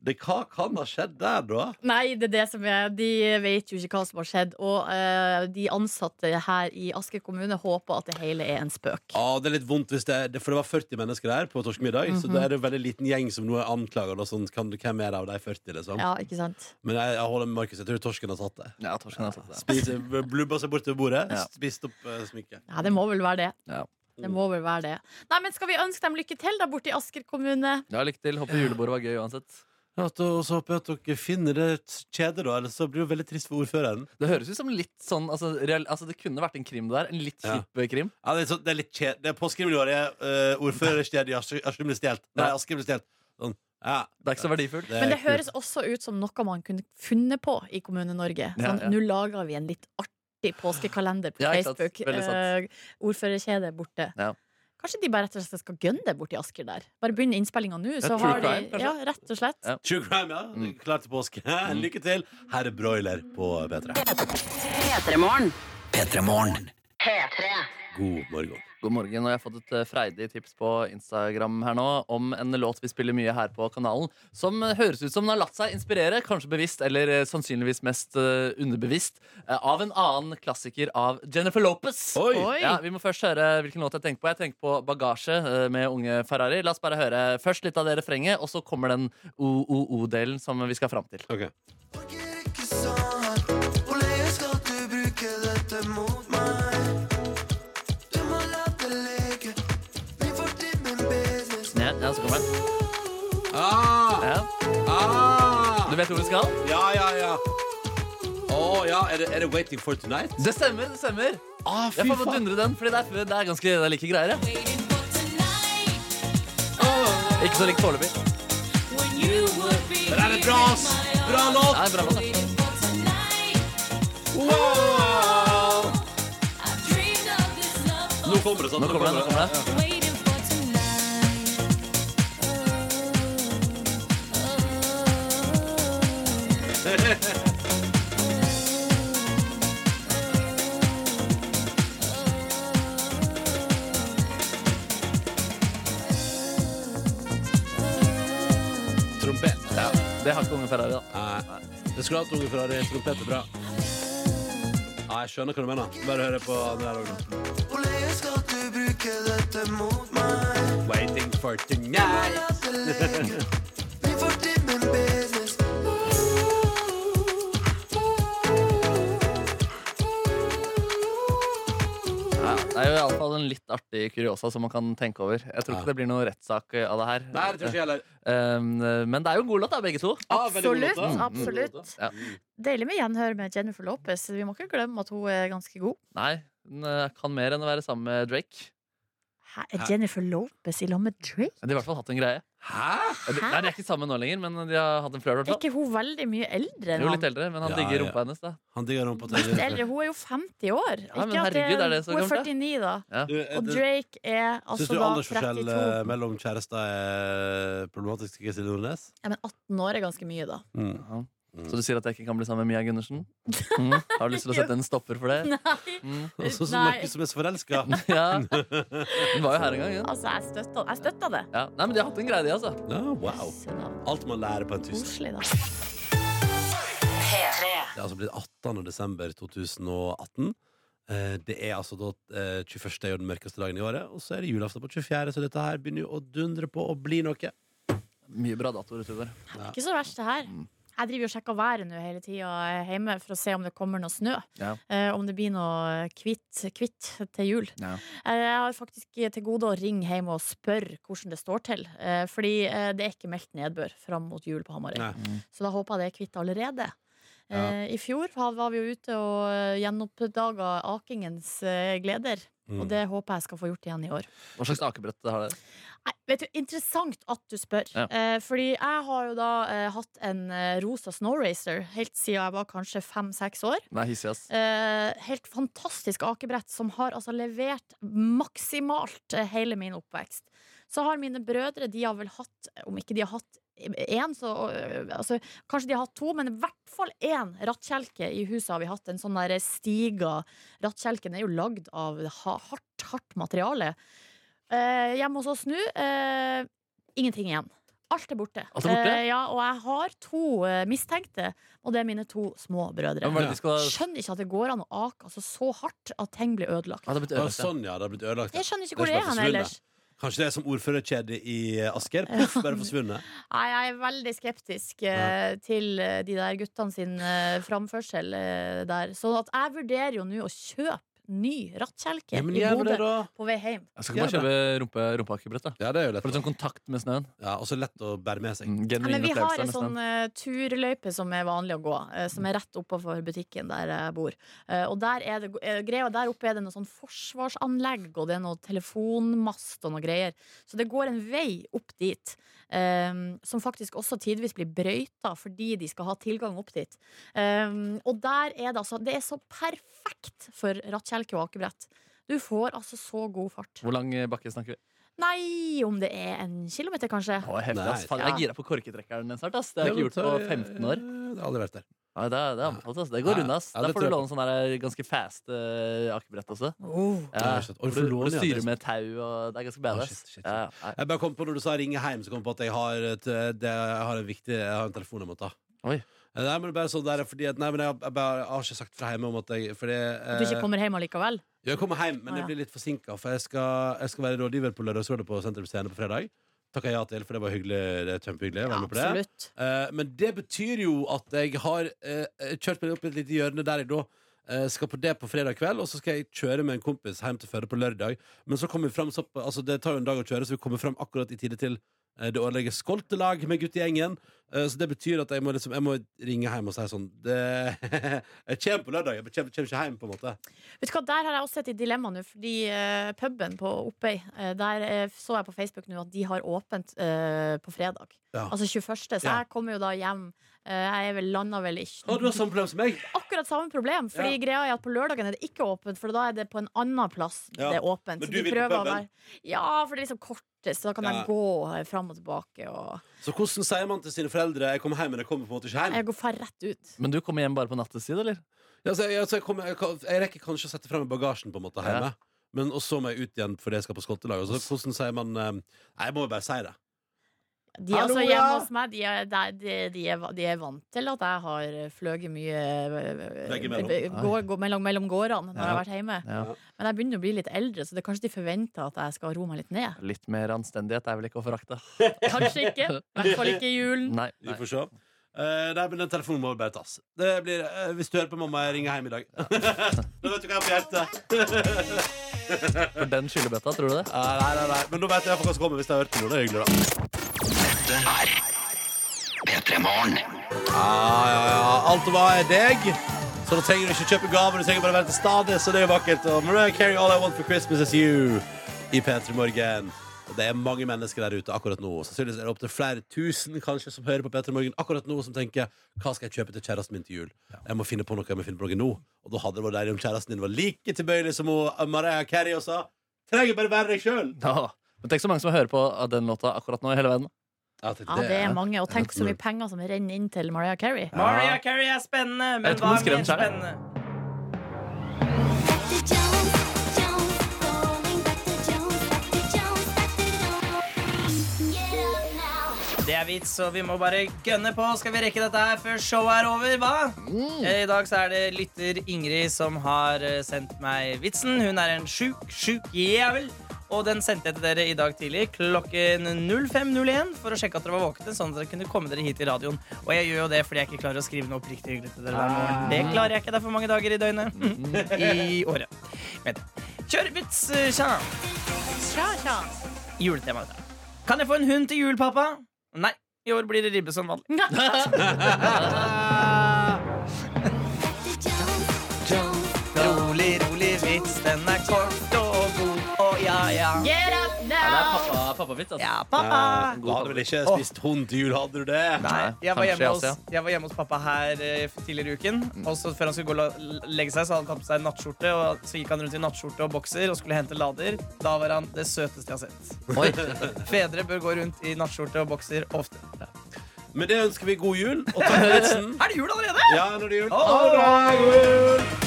S4: det, Hva kan ha skjedd der, da?
S7: Nei, det er det som er De vet jo ikke hva som har skjedd. Og eh, de ansatte her i Asker kommune håper at det hele er en spøk.
S4: Ja, Det er litt vondt, hvis det, er- det, for det var 40 mennesker der på torskemiddag. Så
S7: Mhm.
S4: det er en veldig liten gjeng som nå er anklaga. Sånn, kan- hvem er det av de 40? Liksom.
S7: Ja, ikke sant?
S4: Men jeg, jeg holder med Markus. Jeg tror torsken har tatt det.
S6: Ja, torsken har tatt det.
S4: Spise, blubba seg bortover bordet,
S6: Ja.
S4: spist opp eh, smykket.
S7: Ja, det må vel være det.
S6: Ja.
S7: Det må vel være det. Nei, men Skal vi ønske dem lykke til da borte i Asker kommune?
S6: Ja, lykke til. Håper julebordet var gøy uansett.
S4: Ja, og så håper jeg at dere finner det kjedet, da. Ellers så blir det veldig trist for ordføreren.
S6: Det høres ut som litt sånn altså, real, altså, Det kunne vært en krim det der. En litt
S4: Ja.
S6: hipp krim.
S4: eh, Ja, det er, så, det er litt kjed... Det er påskrivelåret. Uh, Ordførerstedet i Asker Asker ble stjålet. Nei, Asker ble stjålet. Sånn, ja,
S6: Det er ikke så verdifullt.
S4: er
S7: Men det
S4: kult.
S7: høres også ut som noe man kunne funnet på i Kommune-Norge.
S6: Ja,
S7: Sånn,
S6: ja.
S7: Nå lager vi en litt artig påskekalender på
S6: Ja, ikke sant.
S7: Facebook.
S6: Veldig sant.
S7: Eh, ordførerkjedet er borte.
S6: Ja.
S7: Kanskje de bare rett og slett skal gønne det borti Asker der. Bare begynn innspillinga nå, så
S6: true
S7: har de
S6: crime, kanskje?
S7: Ja, rett og slett.
S6: Ja.
S4: True crime, ja. Klar til påske. Lykke til. Her er broiler på P3.
S2: P3morgen.
S4: God morgen.
S6: God morgen, og jeg har fått et eh, freidig tips på Instagram her nå om en låt vi spiller mye her på kanalen, som eh, høres ut som den har latt seg inspirere, kanskje bevisst, eller eh, sannsynligvis mest eh, underbevisst, eh, av en annen klassiker av Jennifer Lopez.
S4: Oi!
S7: Oi.
S6: Ja, vi må først høre hvilken låt jeg tenker på. Jeg tenker på Bagasje eh, med Unge Ferrari. La oss bare høre først litt av det refrenget, og så kommer den OOO-delen som vi skal fram til.
S4: Ok.
S6: Ja, ja, så kommer den.
S4: Ah,
S6: Ja.
S4: ah.
S6: Du vet hvor vi skal?
S4: Ja, ja, ja. Å ja, er det, er det Waiting for Tonight?
S6: Det stemmer, det stemmer.
S4: Ah,
S6: Jeg får bare dundre den, fordi det er, det er ganske det er like greier. Ja. Ikke så likt foreløpig.
S4: Det der er bra, ass! Bra låt!
S6: Det er bra låt. da.
S4: Wow! Nå kommer det sånn.
S6: Nå kommer den. Nå kommer den.
S4: Trompet. Ja.
S6: Det har ikke Unge Ferrari, da.
S4: Nei. Det skulle hatt unge Ferrari. Trompet er bra. Nei, jeg skjønner hva du mener. Bare hør på den der også. Waiting for tonight.
S6: Ja, det er jo iallfall en litt artig kuriosa som man kan tenke over. Jeg tror
S4: Ja.
S6: ikke det blir noen rettssak eh, av det her.
S4: Nei, det tror jeg ikke heller.
S6: Um, eh, Men det er jo en god låt, da, begge to.
S4: Ah, veldig god låt,
S7: Absolutt.
S4: da.
S7: absolutt
S6: Ja.
S7: Deilig med gjenhør med Jennifer Lopez. Vi må ikke glemme at hun er ganske god.
S6: Nei, den eh, kan mer enn å være sammen med Drake.
S7: Hæ, er Jennifer Lopez i lag med Drake?
S6: De har i hvert fall hatt en greie.
S4: Hæ?
S6: Ja, de- Nei, De er ikke sammen nå lenger, men de har hatt en flør. i
S7: Er
S6: hvert fall.
S7: ikke hun veldig mye eldre enn
S6: Jo, litt
S7: han?
S6: eldre, men han
S4: Ja,
S6: digger
S4: ja.
S6: rumpa hennes, da.
S4: Han digger rumpa til
S7: Litt eldre, Hun er jo 50 år.
S6: Ja, men
S7: Ikke at
S6: herregud, er det så
S7: hun er
S6: gammelt, da?
S7: 49 da. Og
S4: Syns
S7: Drake er altså
S4: Eh, du
S7: da
S4: aldersforskjell
S7: 32.
S4: eh, mellom kjærester er problematisk? Ikke Silje Nordnes?
S7: Ja, men 18 år er ganske mye, da.
S4: Mm.
S6: Så du sier at jeg ikke kan bli sammen med Mia Gundersen? Mm. Har du lyst til å sette en stopper for det? Mm.
S4: Og så som
S7: Nei.
S4: noen som er så forelska.
S6: Ja. Hun var jo her en gang. Hun.
S7: Altså, jeg støtta, jeg støtta det.
S6: Ja. Nei, men de har hatt en greie, de, altså.
S4: Ja, wow.
S7: Så da,
S4: Alt man lærer på en tusen.
S7: Koselig, da.
S4: Det er altså blitt 18. desember 2018. Eh, Det er altså da eh, 21. er jo den mørkeste dagen i året, og så er det julaften på 24., så dette her begynner jo å dundre på å bli noe.
S6: Mye bra datoer utover.
S7: Ikke så verst, det her.
S4: Mm.
S7: Jeg driver jo og sjekker været nå hele tida hjemme for å se om det kommer noe snø.
S6: Ja.
S7: Eh, om det blir noe kvitt, kvitt til jul.
S6: Ja.
S7: Eh, jeg har faktisk til gode å ringe hjem og spørre hvordan det står til. Eh, fordi eh, det er ikke meldt nedbør fram mot jul på Hamarøy.
S4: Nei.
S7: Så da håper jeg det er kvitt allerede. Eh, I fjor var var vi jo ute og eh, gjenoppdaga akingens eh, gleder.
S4: Mm.
S7: Og det håper jeg skal få gjort igjen i år.
S6: Hva slags akebrett har dere?
S7: Nei, vet du, Interessant at du spør.
S6: Ja.
S7: Eh, fordi jeg har jo da eh, hatt en eh, rosa snowracer helt siden jeg var kanskje fem-seks år.
S6: Nei, hissig, ass.
S7: Eh, helt fantastisk akebrett som har altså levert maksimalt eh, hele min oppvekst. Så har mine brødre, de har vel hatt, om ikke de har hatt én, så eh, altså, Kanskje de har hatt to, men i hvert fall én rattkjelke i huset har vi hatt. En sånn der stiga. Rattkjelken er jo lagd av ha, hardt, hardt materiale. Eh, hjemme hos oss nå, eh, ingenting igjen. Alt er borte.
S6: Alt er borte?
S7: Eh, ja, og jeg har to eh, mistenkte, og det er mine to små brødre.
S6: Hva var det de skal
S4: Altså-
S7: Skjønner ikke at det går an å ake altså, så hardt at ting blir ødelagt.
S6: ah, det er blitt
S4: Ja,
S6: ødelagt, ja.
S4: sånn, ja. Det har blitt ødelagt. ja.
S7: Jeg skjønner ikke hvor
S4: Det
S7: det
S4: er
S7: er
S4: som
S7: hen
S4: er
S7: ellers.
S4: Kanskje det er som ordførerkjedet i Asker? Puff, bare forsvunnet.
S7: Nei, jeg er veldig skeptisk eh, til eh, de der guttene sin eh, framførsel eh, der. Så at jeg vurderer jo nå å kjøpe ny rattkjelke
S4: Ja, men
S7: i
S4: gjør det,
S7: Bodø
S4: da.
S7: på vei hjem.
S1: Så kan man kjøpe rumpe, rumpeakebrett. da.
S4: Ja, det er jo
S1: For
S4: lett.
S1: en sånn kontakt med snøen.
S4: Ja, og så lett å bære med seg.
S1: Mm,
S7: Ja, men
S1: Genuin
S7: vi har
S1: opplevelse
S7: ei
S1: av
S7: sånn
S1: snøen.
S7: eh, turløype som er vanlig å gå, eh, som er rett oppover butikken der jeg bor. Eh, og der er det eh, greia der oppe er det noe sånn forsvarsanlegg, og det er noe telefonmast og noe greier. Så det går en vei opp dit, eh, som faktisk også tidvis blir brøyta fordi de skal ha tilgang opp dit. Eh, og der er det altså Det er så perfekt for rattkjelke og akebrett. Du får altså så god fart.
S1: Hvor lang eh, bakke snakker vi?
S7: Nei, om det er en kilometer, kanskje.
S1: Å, heftig, ass.
S4: Nei.
S1: Faen, jeg er gira på korketrekkeren snart. ass. Det har jeg ikke gjort på 15 år.
S4: Det har aldri vært der.
S1: Ja, det, er- det er anbefalt, ass. Det går
S4: Ja.
S1: unna. ass.
S4: Ja,
S1: Da
S4: det
S1: får du
S4: tror jeg.
S1: låne sånn der ganske fast eh, akebrett også.
S7: Oh.
S1: Ja,
S4: Ja, shit. Oi,
S1: hvor du,
S4: for
S1: hvor du
S4: lån, ja, det
S1: styrer
S4: er
S1: med tau, og det er ganske badass.
S4: shit, shit, shit.
S1: Ja, ja.
S4: Jeg bare kom på når du sa ringe hjem, så kom jeg på at jeg har, et, eh, det, jeg har en viktig Jeg har en telefon jeg må ta.
S1: Oi.
S4: Eh, Nei, men det er bare sånn der fordi at, Nei, men jeg, har- jeg, bare, jeg har ikke sagt fra hjemme om at jeg fordi, eh,
S7: At du ikke kommer hjem allikevel?
S4: Jo, Jeg kommer hjem, men
S7: Å, ja.
S4: jeg blir litt forsinka, for jeg skal, jeg skal være rådgiver på Lørdagsrådet på Sentrum Scene på fredag. Takker jeg ja til, for det var hyggelig. Det er kjempehyggelig. å være med på det.
S7: Absolutt.
S4: Eh, men det betyr jo at jeg har eh, kjørt meg opp i et lite hjørne der jeg da eh, skal på det på fredag kveld, og så skal jeg kjøre med en kompis hjem til Førde på lørdag. Men så kommer vi fram så, altså Det tar jo en dag å kjøre, så vi kommer fram akkurat i tide til eh, det årlige skoltelag med guttegjengen. Eh, så det betyr at jeg må, liksom, jeg må ringe hjem og si sånn det, Jeg kommer på lørdag, jeg kommer, kommer ikke hjem, på en måte.
S7: Vet du hva, Der har jeg også et dilemma nå, fordi eh, puben på Oppøy eh, Der eh, så jeg på Facebook nå at de har åpent eh, på fredag.
S4: Ja.
S7: Altså 21., så
S4: Ja.
S7: jeg kommer jo da hjem. Eh, jeg er vel landa vel ikke
S4: Å, du har samme problem som meg!
S7: Akkurat samme problem, Fordi greia er at på lørdagen er det ikke åpent, for da er det på en annen plass
S4: Ja.
S7: det er åpent.
S4: Men
S7: Så
S4: du
S7: de
S4: vil på
S7: prøver å
S4: puben?
S7: være- Ja, for det er liksom kortest, så da kan
S4: Ja.
S7: jeg gå eh, fram og tilbake og
S4: Så hvordan sier man til sine foreldre 'jeg kommer hjem', men jeg kommer på en måte ikke hjem?
S7: Jeg går far rett ut.
S1: Men du kommer hjem bare på nattestid, eller?
S4: Ja, så jeg, altså, jeg, kommer, jeg, kan- jeg rekker kanskje å sette frem bagasjen på en måte hjemme. Men og så må jeg ut igjen fordi jeg skal på skoltelag. Og så Hvordan sier man eh, Nei, jeg må jo bare si det.
S7: De er
S4: Hallo,
S7: altså
S4: ja.
S7: hjemme hos meg de er, de, de, de, er, de er vant til at jeg har fløyet mye eh,
S4: Veggimellom.
S7: be- gå- gå- mellom, mellom gårdene når jeg har vært hjemme.
S1: Ja.
S7: Men jeg begynner å bli litt eldre, så det er kanskje de forventer at jeg skal roe meg litt ned.
S1: Litt mer anstendighet er vel ikke å forakte.
S7: Kanskje ikke. I hvert fall ikke i julen.
S1: Nei,
S4: Vi
S1: nei.
S4: får se. Eh, nei, men den telefonen må vi bare tas. Det blir, eh, hvis du hører på, mamma, jeg ringer hjem i dag. da vet du hva jeg har på hjertet.
S1: For den skyllebøtta, tror du det?
S4: Eh, nei, nei, nei. Men da vet jeg iallfall hva som kommer. Hvis jeg har hørt på noe, det er hyggelig, da. Ja, Ah, ja, ja. Alt og hva er deg. Så da trenger du ikke kjøpe gaver, du trenger bare være til stede. Så det er jo vakkert. Og Mariah Carey, All I Want for Christmas Is You i P3 Morgen. Og det er mange mennesker der ute akkurat nå. Sannsynligvis er det opptil flere tusen kanskje som hører på P3 Morgen akkurat nå, som tenker hva skal jeg kjøpe til kjæresten min til jul? Jeg må finne på noe, jeg må finne på noe nå. Og da hadde det vært deilig om kjæresten din var like tilbøyelig som hun, eh, Mariah Carey og sa trenger bare være deg sjøl.
S1: Ja. Men tenk så mange som hører på av den låta akkurat nå i hele verden.
S4: Ja,
S7: Ja, det er mange. Og tenk så mye penger som renner inn til Mariah Carey.
S5: Mariah Carey er spennende,
S1: Jeg
S5: men
S1: vet ikke om
S5: hva
S1: hun skrev
S5: er
S1: den
S5: mer
S1: selv.
S5: spennende? Det er vits, så vi må bare gønne på. Skal vi rekke dette her før showet er over, hva? Eh, I dag så er det lytter Ingrid som har eh, sendt meg vitsen. Hun er en sjuk, sjuk jævel. Og den sendte jeg til dere i dag tidlig klokken 05.01 for å sjekke at dere var våkne. Sånn at dere kunne komme dere hit i radioen. Og jeg gjør jo det fordi jeg ikke klarer å skrive noe oppriktig hyggelig til dere hver morgen. Det klarer jeg ikke. Det er for mange dager i døgnet. I året. Men kjør vits, eh, tja!
S7: Tja, tja.
S5: Juletema. dette. Kan jeg få en hund til jul, pappa? Nei. I år blir det ribbe som vanlig. Rolig, rolig vits, den er kort og god, og ja, ja.
S7: Get up
S1: Det er
S7: now!
S1: pappa, pappavits, altså.
S5: Ja, pappa.
S4: Du hadde vel ikke spist hund til jul, hadde du det?
S5: Eh, Nei, jeg var,
S1: kanskje
S5: hjemme hos,
S1: Asia.
S5: jeg var hjemme hos pappa her eh, tidligere i uken. Og så Før han skulle gå og la- legge seg, så hadde han tatt på seg en nattskjorte. Og så gikk han rundt i nattskjorte og bokser og skulle hente lader. Da var han det søteste jeg har sett.
S1: Oi.
S5: Fedre bør gå rundt i nattskjorte og bokser ofte.
S4: Med det ønsker vi god jul, og takk for vitsen.
S5: Er det jul allerede?
S4: Ja, når det er jul.
S5: Å,
S4: Ha det bra, god jul!